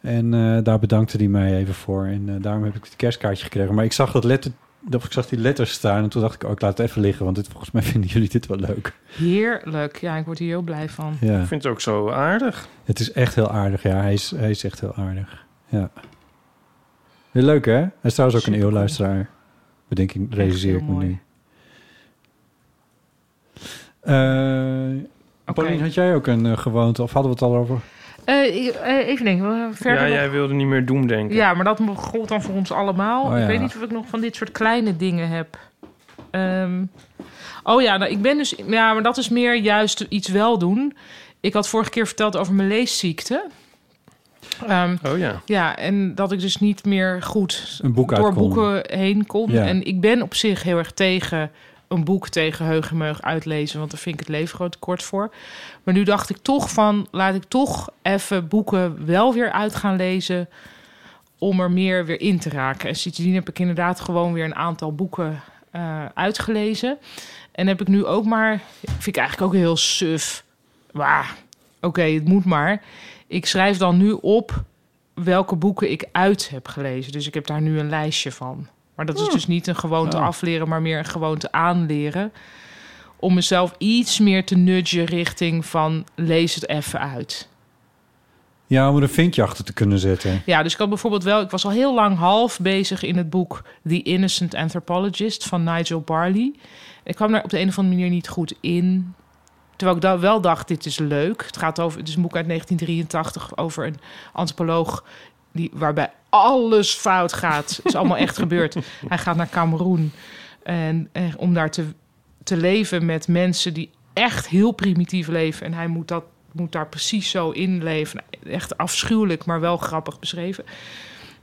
S1: En eh, daar bedankte hij mij even voor. En eh, daarom heb ik het kerstkaartje gekregen. Maar ik zag, dat letter, dat, ik zag die letters staan en toen dacht ik, oh, ik laat het even liggen. Want dit, volgens mij vinden jullie dit wel leuk.
S4: Heerlijk. Ja, ik word hier heel blij van.
S1: Ja.
S2: Ik vind het ook zo aardig.
S1: Het is echt heel aardig, ja. Hij is, hij is echt heel aardig. Ja. Heel leuk, hè? Hij is trouwens ook een eeuwluisteraar. Bedenk ik, realiseer ik me nu. Eh Paulien, had jij ook een eh, gewoonte? Of hadden we het al over?
S4: Eh, ik- eh, even denken. eh, Verder
S2: ja,
S4: nog-
S2: jij wilde niet meer doen, denk ik.
S4: Ja, maar dat gold dan voor ons allemaal.
S2: Oh, ja.
S4: Ik weet niet of ik nog van dit soort kleine dingen heb. Ehm, oh ja, nou, ik ben dus... Ja, maar dat is meer juist iets wel doen. Ik had vorige keer verteld over mijn leesziekte. Ehm,
S2: Oh ja.
S4: Ja, en dat ik dus niet meer goed
S1: Een boek
S4: door
S1: uit kon.
S4: boeken heen kon.
S1: Ja.
S4: En ik ben op zich heel erg tegen een boek tegen heug en meug uitlezen... want daar vind ik het leven gewoon te kort voor. Maar nu dacht ik toch van... laat ik toch even boeken wel weer uit gaan lezen... om er meer weer in te raken. En sindsdien heb ik inderdaad gewoon weer een aantal boeken eh, uitgelezen. En heb ik nu ook maar... vind ik eigenlijk ook heel suf. Maar oké, het moet maar. Ik schrijf dan nu op welke boeken ik uit heb gelezen. Dus ik heb daar nu een lijstje van. Maar dat is
S11: Hmm.
S4: dus niet een gewoonte
S11: Oh.
S4: afleren, maar meer een gewoonte aanleren. Om mezelf iets meer te nudgen richting van lees het even uit.
S1: Ja, om er een vinkje achter te kunnen zetten.
S4: Ja, dus ik had bijvoorbeeld wel... Ik was al heel lang half bezig in het boek... The Innocent Anthropologist van Nigel Barley. Ik kwam daar op de een of andere manier niet goed in. Terwijl ik da- wel dacht, dit is leuk. Het, gaat over, het is een boek uit 1983 over een antropoloog... Die, waarbij alles fout gaat. Het is allemaal echt gebeurd. Hij gaat naar Cameroen. En, eh, om daar te, te leven met mensen die echt heel primitief leven. En hij moet, dat, moet daar precies zo in leven. Echt afschuwelijk, maar wel grappig beschreven.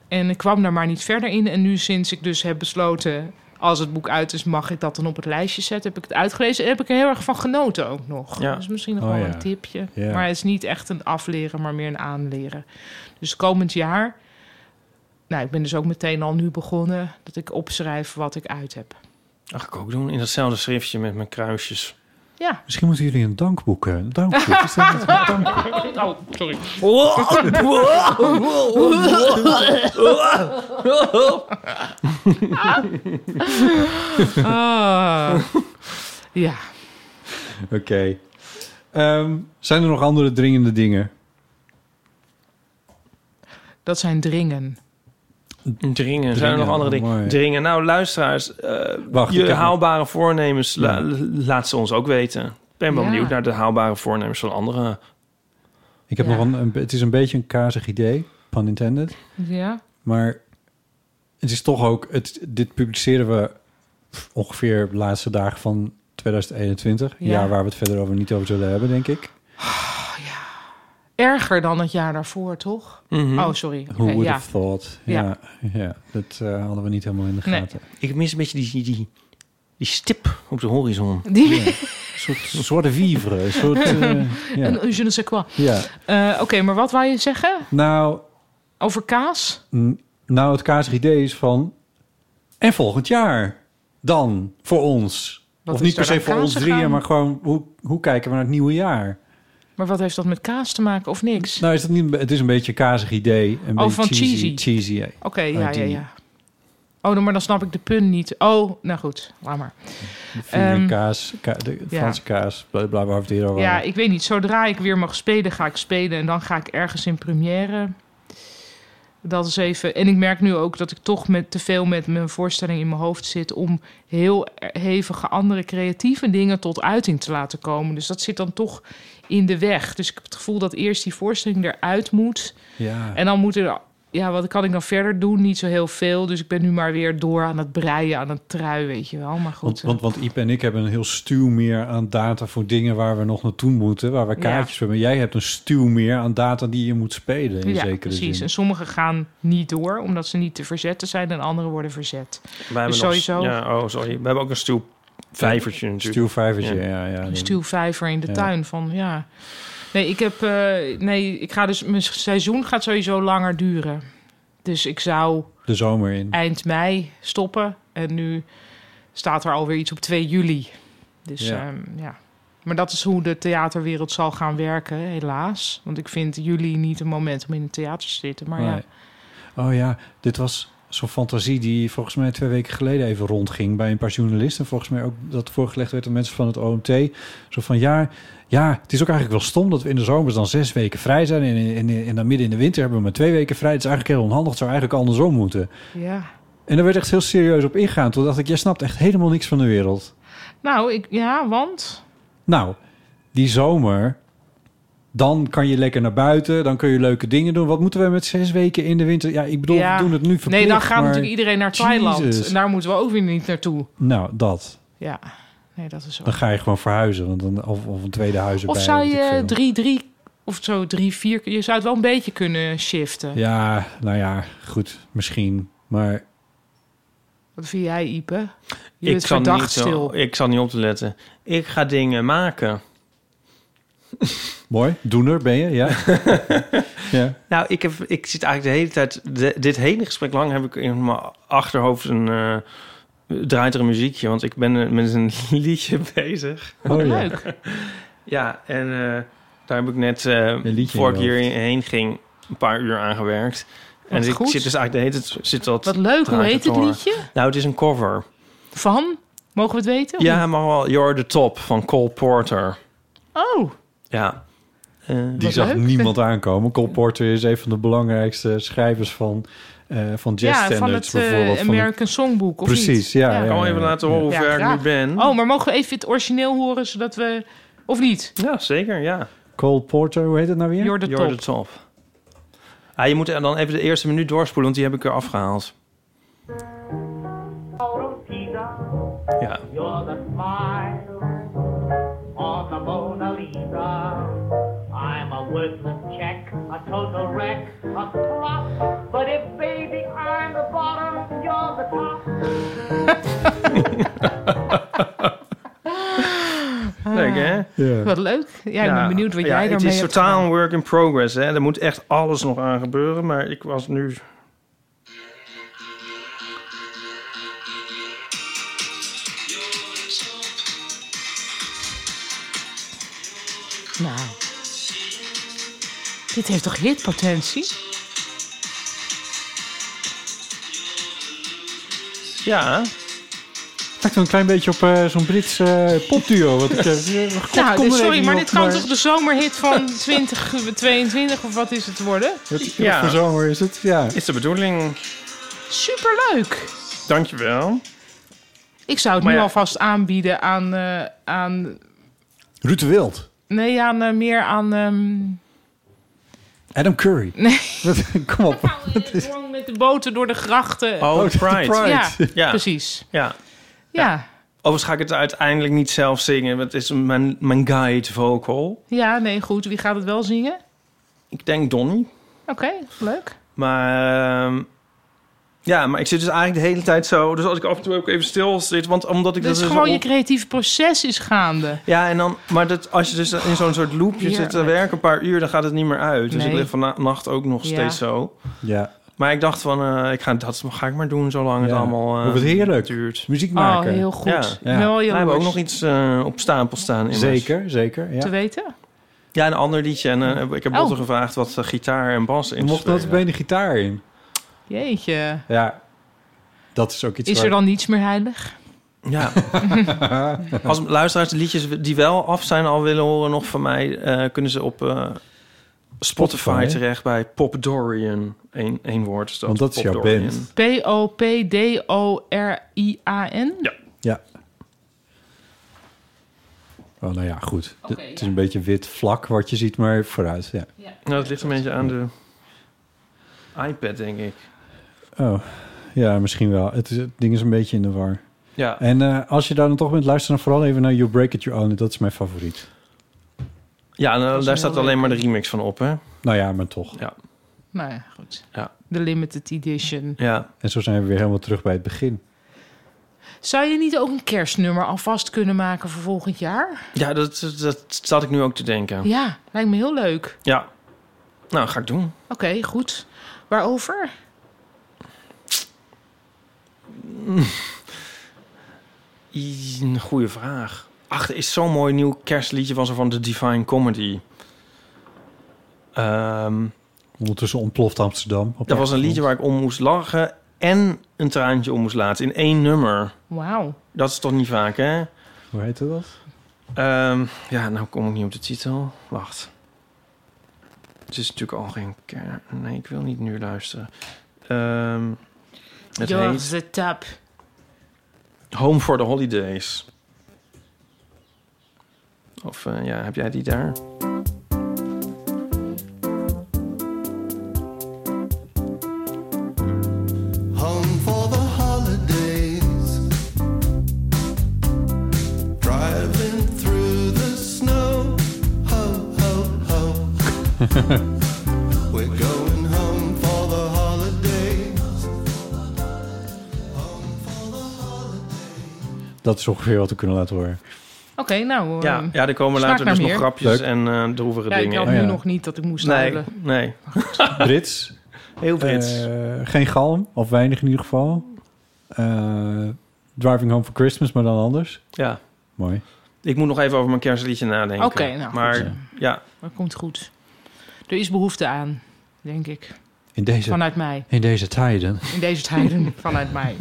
S4: En ik kwam daar maar niet verder in. En nu sinds ik dus heb besloten... als het boek uit is, mag ik dat dan op het lijstje zetten. Heb ik het uitgelezen en heb ik er heel erg van genoten ook nog.
S2: Ja.
S4: Dat is misschien nog
S2: Oh,
S4: wel
S2: ja.
S4: een tipje.
S2: Ja.
S4: Maar het is niet echt een afleren, maar meer een aanleren. Dus komend jaar... Nou, ik ben dus ook meteen al nu begonnen... dat ik opschrijf wat ik uit heb.
S2: Ach, ik ook doen in datzelfde schriftje met mijn kruisjes.
S4: Ja.
S1: Misschien moeten jullie een dankboek... eh, Een dankboek. Is dat-
S4: Oh, sorry. Ah. ja.
S1: Oké. Ehm, zijn er nog andere dringende dingen?
S4: Dat zijn dringen.
S2: Dringen. Zijn er nog andere dingen?
S1: mooi.
S2: Dringen. Nou, luisteraars, eh,
S1: Wacht, ik
S2: je
S1: heb nog-
S2: haalbare voornemens la-
S1: Ja.
S2: laat ze ons ook weten. Ik ben wel
S4: Ja.
S2: benieuwd naar de haalbare voornemens van anderen.
S1: Ik heb
S4: Ja.
S1: nog een, een- Het is een beetje een kazig idee. Pun intended.
S4: Ja.
S1: Maar het is toch ook... Het, dit publiceren we ongeveer de laatste dagen van 2021.
S4: Ja.
S1: jaar waar we het verder over niet over zullen hebben, denk ik.
S4: Erger dan het jaar daarvoor, toch?
S2: Hm?
S1: Mhm.
S4: Oh, sorry. Oké,
S1: Who would
S4: ja.
S1: have thought? Ja,
S4: Ja.
S1: ja. dat eh, hadden we niet helemaal in de
S4: Nee.
S1: gaten.
S2: Ik mis een beetje die, die, die, die stip op de horizon.
S4: Die-
S1: Ja. Een soort, een soort vivre. Een soort... eh, ja.
S4: Een je ne sais quoi.
S1: ja.
S4: Eh, Oké, maar wat wou je zeggen?
S1: Nou,
S4: Over kaas?
S1: N- Nou, het kazig idee is van... En volgend jaar dan voor ons.
S4: Wat
S1: of
S4: is
S1: niet per
S4: daar
S1: se
S4: dan
S1: voor ons
S4: kazig
S1: drieën,
S4: aan?
S1: maar gewoon hoe, hoe kijken we naar het nieuwe jaar?
S4: Maar wat heeft dat met kaas te maken of niks?
S1: Nou, is dat niet, het is een beetje een kazig idee. Een
S4: Oh,
S1: beetje
S4: van cheesy.
S1: cheesy eh,
S4: Oké, ja, ja,
S1: idee.
S4: ja. Oh, dan- maar dan snap ik de pun niet. Oh, nou goed, laat maar.
S1: De vinger,
S4: Ehm,
S1: kaas, ka- de
S4: ja.
S1: Franse kaas, bla bla waar we het hier over
S4: Ja,
S1: hadden.
S4: ik weet niet. Zodra ik weer mag spelen, ga ik spelen. En dan ga ik ergens in première. Dat is even. En ik merk nu ook dat ik toch met, te veel met mijn voorstelling in mijn hoofd zit. om heel e-, hevige andere creatieve dingen tot uiting te laten komen. Dus dat zit dan toch in de weg. Dus ik heb het gevoel dat eerst die voorstelling eruit moet.
S1: Ja.
S4: En dan moet er. Ja, wat kan ik dan verder doen? Niet zo heel veel. Dus ik ben nu maar weer door aan het breien, aan een trui, weet je wel. Maar
S1: Want,
S4: goed.
S1: want, want Iep en ik hebben een heel stuw meer aan data voor dingen waar we nog naartoe moeten, waar we
S4: Ja.
S1: kaartjes voor hebben. Jij hebt een stuw meer aan data die je moet spelen in
S4: eh, ja,
S1: zekere
S4: precies.
S1: zin.
S4: En sommige gaan niet door, omdat ze niet te verzetten zijn. En anderen worden verzet.
S2: Wij hebben
S4: dus
S2: nog-
S4: sowieso
S2: ja, oh, sorry. We hebben ook een stoep. Vijvertje natuurlijk.
S1: Stuwvijvertje, ja, ja.
S4: een stuwvijver in de
S2: Ja.
S4: tuin van, ja... Nee, ik heb... eh, nee, ik ga dus... Mijn seizoen gaat sowieso langer duren. Dus ik zou
S1: De zomer in.
S4: eind mei stoppen. En nu staat er alweer iets op 2 juli. Dus
S1: Ja.
S4: ja. ja. Maar dat is hoe de theaterwereld zal gaan werken, helaas. Want ik vind juli niet een moment om in het theater te zitten. Maar ja,
S1: Nee. Oh ja, dit was zo'n fantasie die volgens mij twee weken geleden even rondging bij een paar journalisten. Volgens mij ook dat voorgelegd werd aan mensen van het OMT. Zo van ja, ja, het is ook eigenlijk wel stom dat we in de zomers dan zes weken vrij zijn. En, en, en dan midden in de winter hebben we maar twee weken vrij. Het is eigenlijk heel onhandig. Het zou eigenlijk andersom moeten.
S4: ja.
S1: En daar werd echt heel serieus op ingegaan. Toen dacht ik, jij snapt echt helemaal niks van de wereld.
S4: Nou, ik, ja, want...
S1: Nou, die zomer, dan kan je lekker naar buiten. Dan kun je leuke dingen doen. Wat moeten we met zes weken in de winter? Ja, ik bedoel,
S4: Ja.
S1: we doen het nu verplicht.
S4: nee, dan gaat
S1: maar-
S4: natuurlijk iedereen naar Thailand.
S1: Jezus.
S4: En daar moeten we ook weer niet naartoe.
S1: Nou, dat.
S4: Ja, nee, dat is zo.
S1: Dan ga je gewoon verhuizen. Want dan, of, of een tweede huis erbij.
S4: Of zou
S1: weet ik
S4: je
S1: veel.
S4: 3-3 of zo 3-4... Je zou het wel een beetje kunnen shiften.
S1: Ja, nou ja, goed. Misschien. Maar
S4: Wat vind jij, Ipe? Je
S2: Ik
S4: bent
S2: zat, niet
S4: verdacht
S2: zo-
S4: stil.
S2: ik zat niet op te letten. Ik ga dingen maken.
S1: mooi. Doener ben je, ja. ja.
S2: Nou, ik, heb, ik zit eigenlijk de hele tijd... de- dit hele gesprek lang heb ik in mijn achterhoofd een... eh, draait er een muziekje, want ik ben eh, met een liedje bezig.
S1: Oh, ja.
S4: Leuk.
S2: Ja, en eh, daar heb ik net, eh
S1: liedje
S2: voor ik
S1: in je
S2: hierheen ging, een paar uur aan gewerkt. en
S4: Wat
S2: ik
S4: goed.
S2: zit dus eigenlijk de hele tijd... Zit dat
S4: Wat leuk, hoe
S2: draait
S4: heet
S2: te
S4: het
S2: horen.
S4: liedje?
S2: Nou, het is een cover.
S4: Van? Mogen we het weten? of
S2: Ja,
S4: niet?
S2: maar wel You're the Top van Cole Porter.
S4: Oh,
S2: Ja. Eh,
S1: Die zag niemand aankomen. Cole Porter is een van de belangrijkste schrijvers van, eh van jazz
S4: ja, van
S1: standards
S4: het eh,
S1: bijvoorbeeld. Van de-
S4: American Songbook, of niet?
S1: Precies, ja, ja, Kan ja, even ja. laten horen hoe ver ik nu
S4: graag.
S2: ben.
S4: Oh, maar mogen we even het origineel horen, zodat we... Of niet?
S2: Ja, zeker, ja.
S1: Cole Porter, hoe heet het nou weer?
S4: You're the
S2: You're
S4: top.
S2: the Top. Ah, je moet er dan even de eerste minuut doorspoelen, want die heb ik er afgehaald. Ja.
S7: You're the smile on the Mona Lisa. I'm a worthless check, a total wreck, a flop. But if baby I'm the bottom, you're the top.
S2: Leuk, hè?
S1: Ja.
S4: Wat leuk. Ja, ik Ah, ben benieuwd wat
S2: ja,
S4: jij
S2: Het
S4: daarmee
S2: is
S4: hebt
S2: totaal een work in progress, hè. Er moet echt alles nog aan gebeuren, maar ik was nu...
S4: Nou. Dit heeft toch hitpotentie?
S2: Ja.
S1: Het lijkt wel een klein beetje op eh, zo'n Brits eh, popduo. Wat ik, eh, God,
S4: nou,
S1: kom
S4: dit-
S1: er
S4: sorry,
S1: even
S4: maar
S1: op,
S4: dit kan toch de zomerhit van 2022 of wat is het worden?
S1: Wat voor zomer is het? Ja.
S2: Is de bedoeling.
S4: Superleuk.
S2: Dankjewel.
S4: Ik zou het
S2: Maar
S4: nu
S2: ja.
S4: alvast aanbieden aan, eh, aan...
S1: Ruud de Wild.
S4: Nee, aan, eh, meer aan... ehm,
S1: Adam Curry.
S4: Nee.
S1: Wat- Kom op.
S4: Gewoon met de boten door de grachten.
S2: Oh, de Pride.
S4: Ja, Dus-
S2: precies. Ja.
S4: ja.
S2: Overigens ga ik het uiteindelijk niet zelf zingen. want Het is mijn, mijn guide vocal.
S4: Ja, nee, goed. Wie gaat het wel zingen?
S2: Ik denk Donnie.
S4: Oké, leuk.
S2: Maar ehm, ja, maar ik zit dus eigenlijk de hele tijd zo. Dus als ik af en toe ook even stil zit, want omdat ik
S4: Dus
S2: dat dus
S4: gewoon je
S2: op-
S4: creatieve proces is gaande. Oh,
S2: ja, en dan, maar dat, als je dus in zo'n soort loopje zit te
S4: Heerlijk.
S2: werken een paar uur, dan gaat het niet meer uit. Dus ik
S4: Nee.
S2: lig vannacht ook nog
S4: Ja.
S2: steeds zo.
S1: Ja.
S2: Maar ik dacht van, eh, ik ga, dat ga ik maar doen zolang het
S1: Ja.
S2: allemaal eh,
S1: Hoe het heerlijk.
S2: duurt.
S1: dus Muziek maken.
S4: Oh, heel goed.
S2: Ja.
S4: Ik ben wel
S2: We
S4: jaloers.
S2: hebben ook nog iets eh, op stapel staan. Immers.
S1: Zeker, zeker.
S4: Te
S1: Ja.
S4: weten?
S2: Ja, een ander liedje. En eh, ik heb
S4: Oh.
S2: Botte gevraagd wat eh, gitaar en bas
S1: Er
S2: in te
S1: mocht dat
S2: spelen.
S1: bij de gitaar in.
S4: Jeetje.
S1: Ja. Dat is ook iets
S4: Is
S1: waar-
S4: er dan niets meer heilig?
S2: Ja. Als luisteraars de liedjes die wel af zijn al willen horen nog van mij, eh, kunnen ze op eh Spotify, terecht bij Pop Dorian. Eén, één woord is dat.
S1: Want dat is
S2: Pop
S1: jouw
S2: Dorian.
S1: band.
S4: P-O-P-D-O-R-I-A-N?
S2: Ja.
S1: Ja. Oh, nou ja, goed. D- het is een beetje wit vlak wat je ziet, maar vooruit. Ja.
S2: Nou, het ligt een beetje aan de iPad, denk ik.
S1: Oh, ja, misschien wel. Het, is, het ding is een beetje in de war.
S2: Ja.
S1: En eh, als je daar dan toch bent, luister dan vooral even naar You Break It Your Own. It. Dat is mijn favoriet.
S2: Ja, nou,
S4: is
S2: daar
S4: een
S2: staat
S4: heel
S2: alleen maar de remix van op, hè?
S1: Nou ja, maar toch.
S2: Ja.
S4: Nou ja, goed.
S2: Ja.
S4: De limited edition.
S2: Ja.
S1: En zo zijn we weer helemaal terug bij het begin.
S4: Zou je niet ook een kerstnummer alvast kunnen maken voor volgend jaar?
S2: Ja, dat, dat, dat zat ik nu ook te denken.
S4: Ja, lijkt me heel leuk.
S2: Ja. Nou, ga ik doen.
S4: Oké, goed. Waarover?
S2: I- Een goede vraag. Ach, er is zo'n mooi nieuw kerstliedje van zo van de Divine Comedy. Ehm,
S1: Ondertussen ontploft Amsterdam.
S2: dat was een liedje waar ik om moest lachen en een traantje om moest laten in één nummer.
S4: Wauw.
S2: Dat is toch niet vaak, hè?
S1: Hoe heette dat?
S2: Ehm, ja, nou kom ik niet op de titel. Wacht. Het is natuurlijk al geen ker. Nee, ik wil niet nu luisteren. Ehm, het heet
S4: the Tap.
S2: Home for the Holidays. Of eh, ja, heb jij die daar?
S7: Home for the holidays. Driving through the snow. Ho, ho, ho. We're going home for the holidays.
S1: Dat is ongeveer wat we kunnen laten horen.
S4: Oké, nou.
S2: Ja,
S4: ehm,
S2: ja, er komen
S4: smaak
S2: later
S4: naar
S2: dus nog
S4: meer.
S2: grapjes en eh droevige
S4: Ja, ik
S2: dingen.
S4: had
S1: Oh,
S4: nu nog niet dat ik moest
S2: Nee,
S4: huilen.
S2: nee.
S1: Brits.
S2: Heel Brits.
S1: Eh, geen galm, of weinig in ieder geval. Eh, driving Home for Christmas, maar dan anders.
S2: Ja.
S1: Mooi.
S2: Ik moet nog even over mijn kerstliedje nadenken.
S4: Oké, nou, goed.
S2: Maar
S4: Ja.
S2: ja,
S4: Dat komt goed. Er is behoefte aan, denk ik.
S1: In deze,
S4: Vanuit mij.
S1: In deze tijden.
S4: In deze tijden vanuit mij.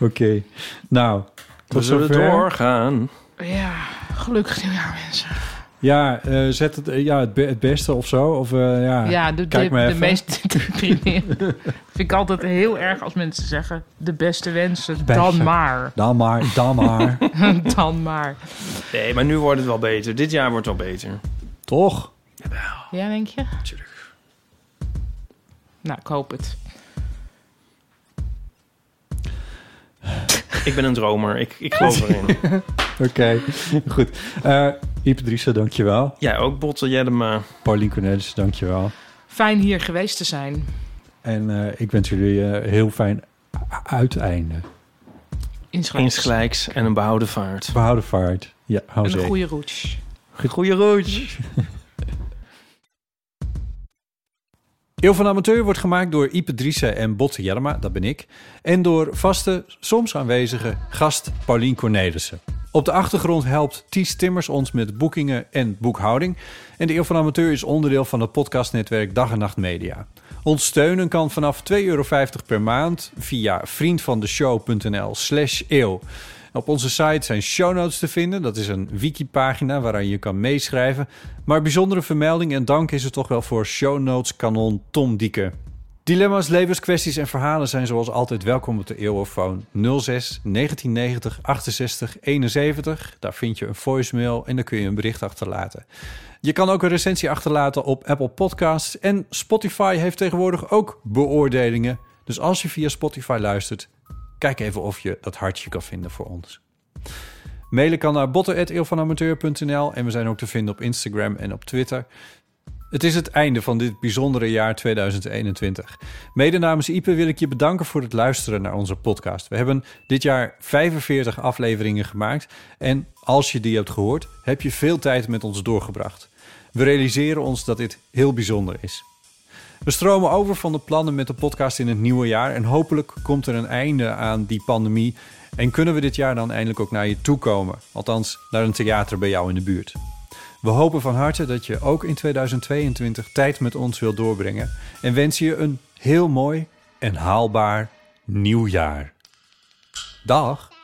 S1: Oké. Nou,
S2: we
S1: tot
S2: zullen
S1: zover.
S2: doorgaan.
S4: Ja, gelukkig nieuwjaar mensen.
S1: Ja, eh, zet het, eh, ja, het, be- het beste of zo. Of, eh, ja,
S4: Ja, de, de,
S1: Kijk maar
S4: de
S1: even.
S4: meest deprimerende. Vind ik altijd heel erg als mensen zeggen... de beste wensen,
S1: Beste.
S4: dan maar.
S1: Dan maar, dan maar.
S4: dan maar.
S2: Nee, maar nu wordt het wel beter. Dit jaar wordt het wel beter.
S1: Toch?
S4: Ja, denk je? Natuurlijk. Nou, ik hoop het.
S2: Ik ben een dromer. Ik, ik geloof erin.
S1: Oké, goed. Eh Ipe Driessen, dankjewel.
S2: Jij eh, ook, Botte Jellema.
S1: Paulien Cornelissen, dankjewel.
S4: Fijn hier geweest te zijn.
S1: En eh, ik wens jullie eh, heel fijn u- uiteinde.
S4: Insgelijks.
S2: Insgelijks en een behouden vaart.
S1: Behouden vaart. Ja, hou Oh,
S4: En een
S1: zeker.
S4: goede roets.
S2: Goeie roodje.
S1: Eeuw van de Amateur wordt gemaakt door Ipe Driessen en Botte Jellema, dat ben ik. En door vaste, soms aanwezige gast Paulien Cornelissen. Op de achtergrond helpt Ties Timmers ons met boekingen en boekhouding. En de Eeuw van de Amateur is onderdeel van het podcastnetwerk Dag en Nacht Media. Ons steunen kan vanaf 2,50 euro per maand via vriendvandeshow.nl slash eeuw. Op onze site zijn show notes te vinden. Dat is een wikipagina waaraan je kan meeschrijven. Maar bijzondere vermelding en dank is er toch wel voor show notes kanon Tom Dieke. Dilemma's, levenskwesties en verhalen zijn zoals altijd welkom op de Eeuwofoon 06 1990 68 71. Daar vind je een voicemail en daar kun je een bericht achterlaten. Je kan ook een recensie achterlaten op Apple Podcasts en Spotify heeft tegenwoordig ook beoordelingen. Dus als je via Spotify luistert, kijk even of je dat hartje kan vinden voor ons. Mailen kan naar botten.eeuwvanamateur.nl en we zijn ook te vinden op Instagram en op Twitter. Het is het einde van dit bijzondere jaar 2021. Mede namens Ipe wil ik je bedanken voor het luisteren naar onze podcast. We hebben dit jaar 45 afleveringen gemaakt en als je die hebt gehoord, heb je veel tijd met ons doorgebracht. We realiseren ons dat dit heel bijzonder is. We stromen over van de plannen met de podcast in het nieuwe jaar en hopelijk komt er een einde aan die pandemie en kunnen we dit jaar dan eindelijk ook naar je toe komen, althans naar een theater bij jou in de buurt. We hopen van harte dat je ook in 2022 tijd met ons wilt doorbrengen en wensen je een heel mooi en haalbaar nieuw jaar. Dag!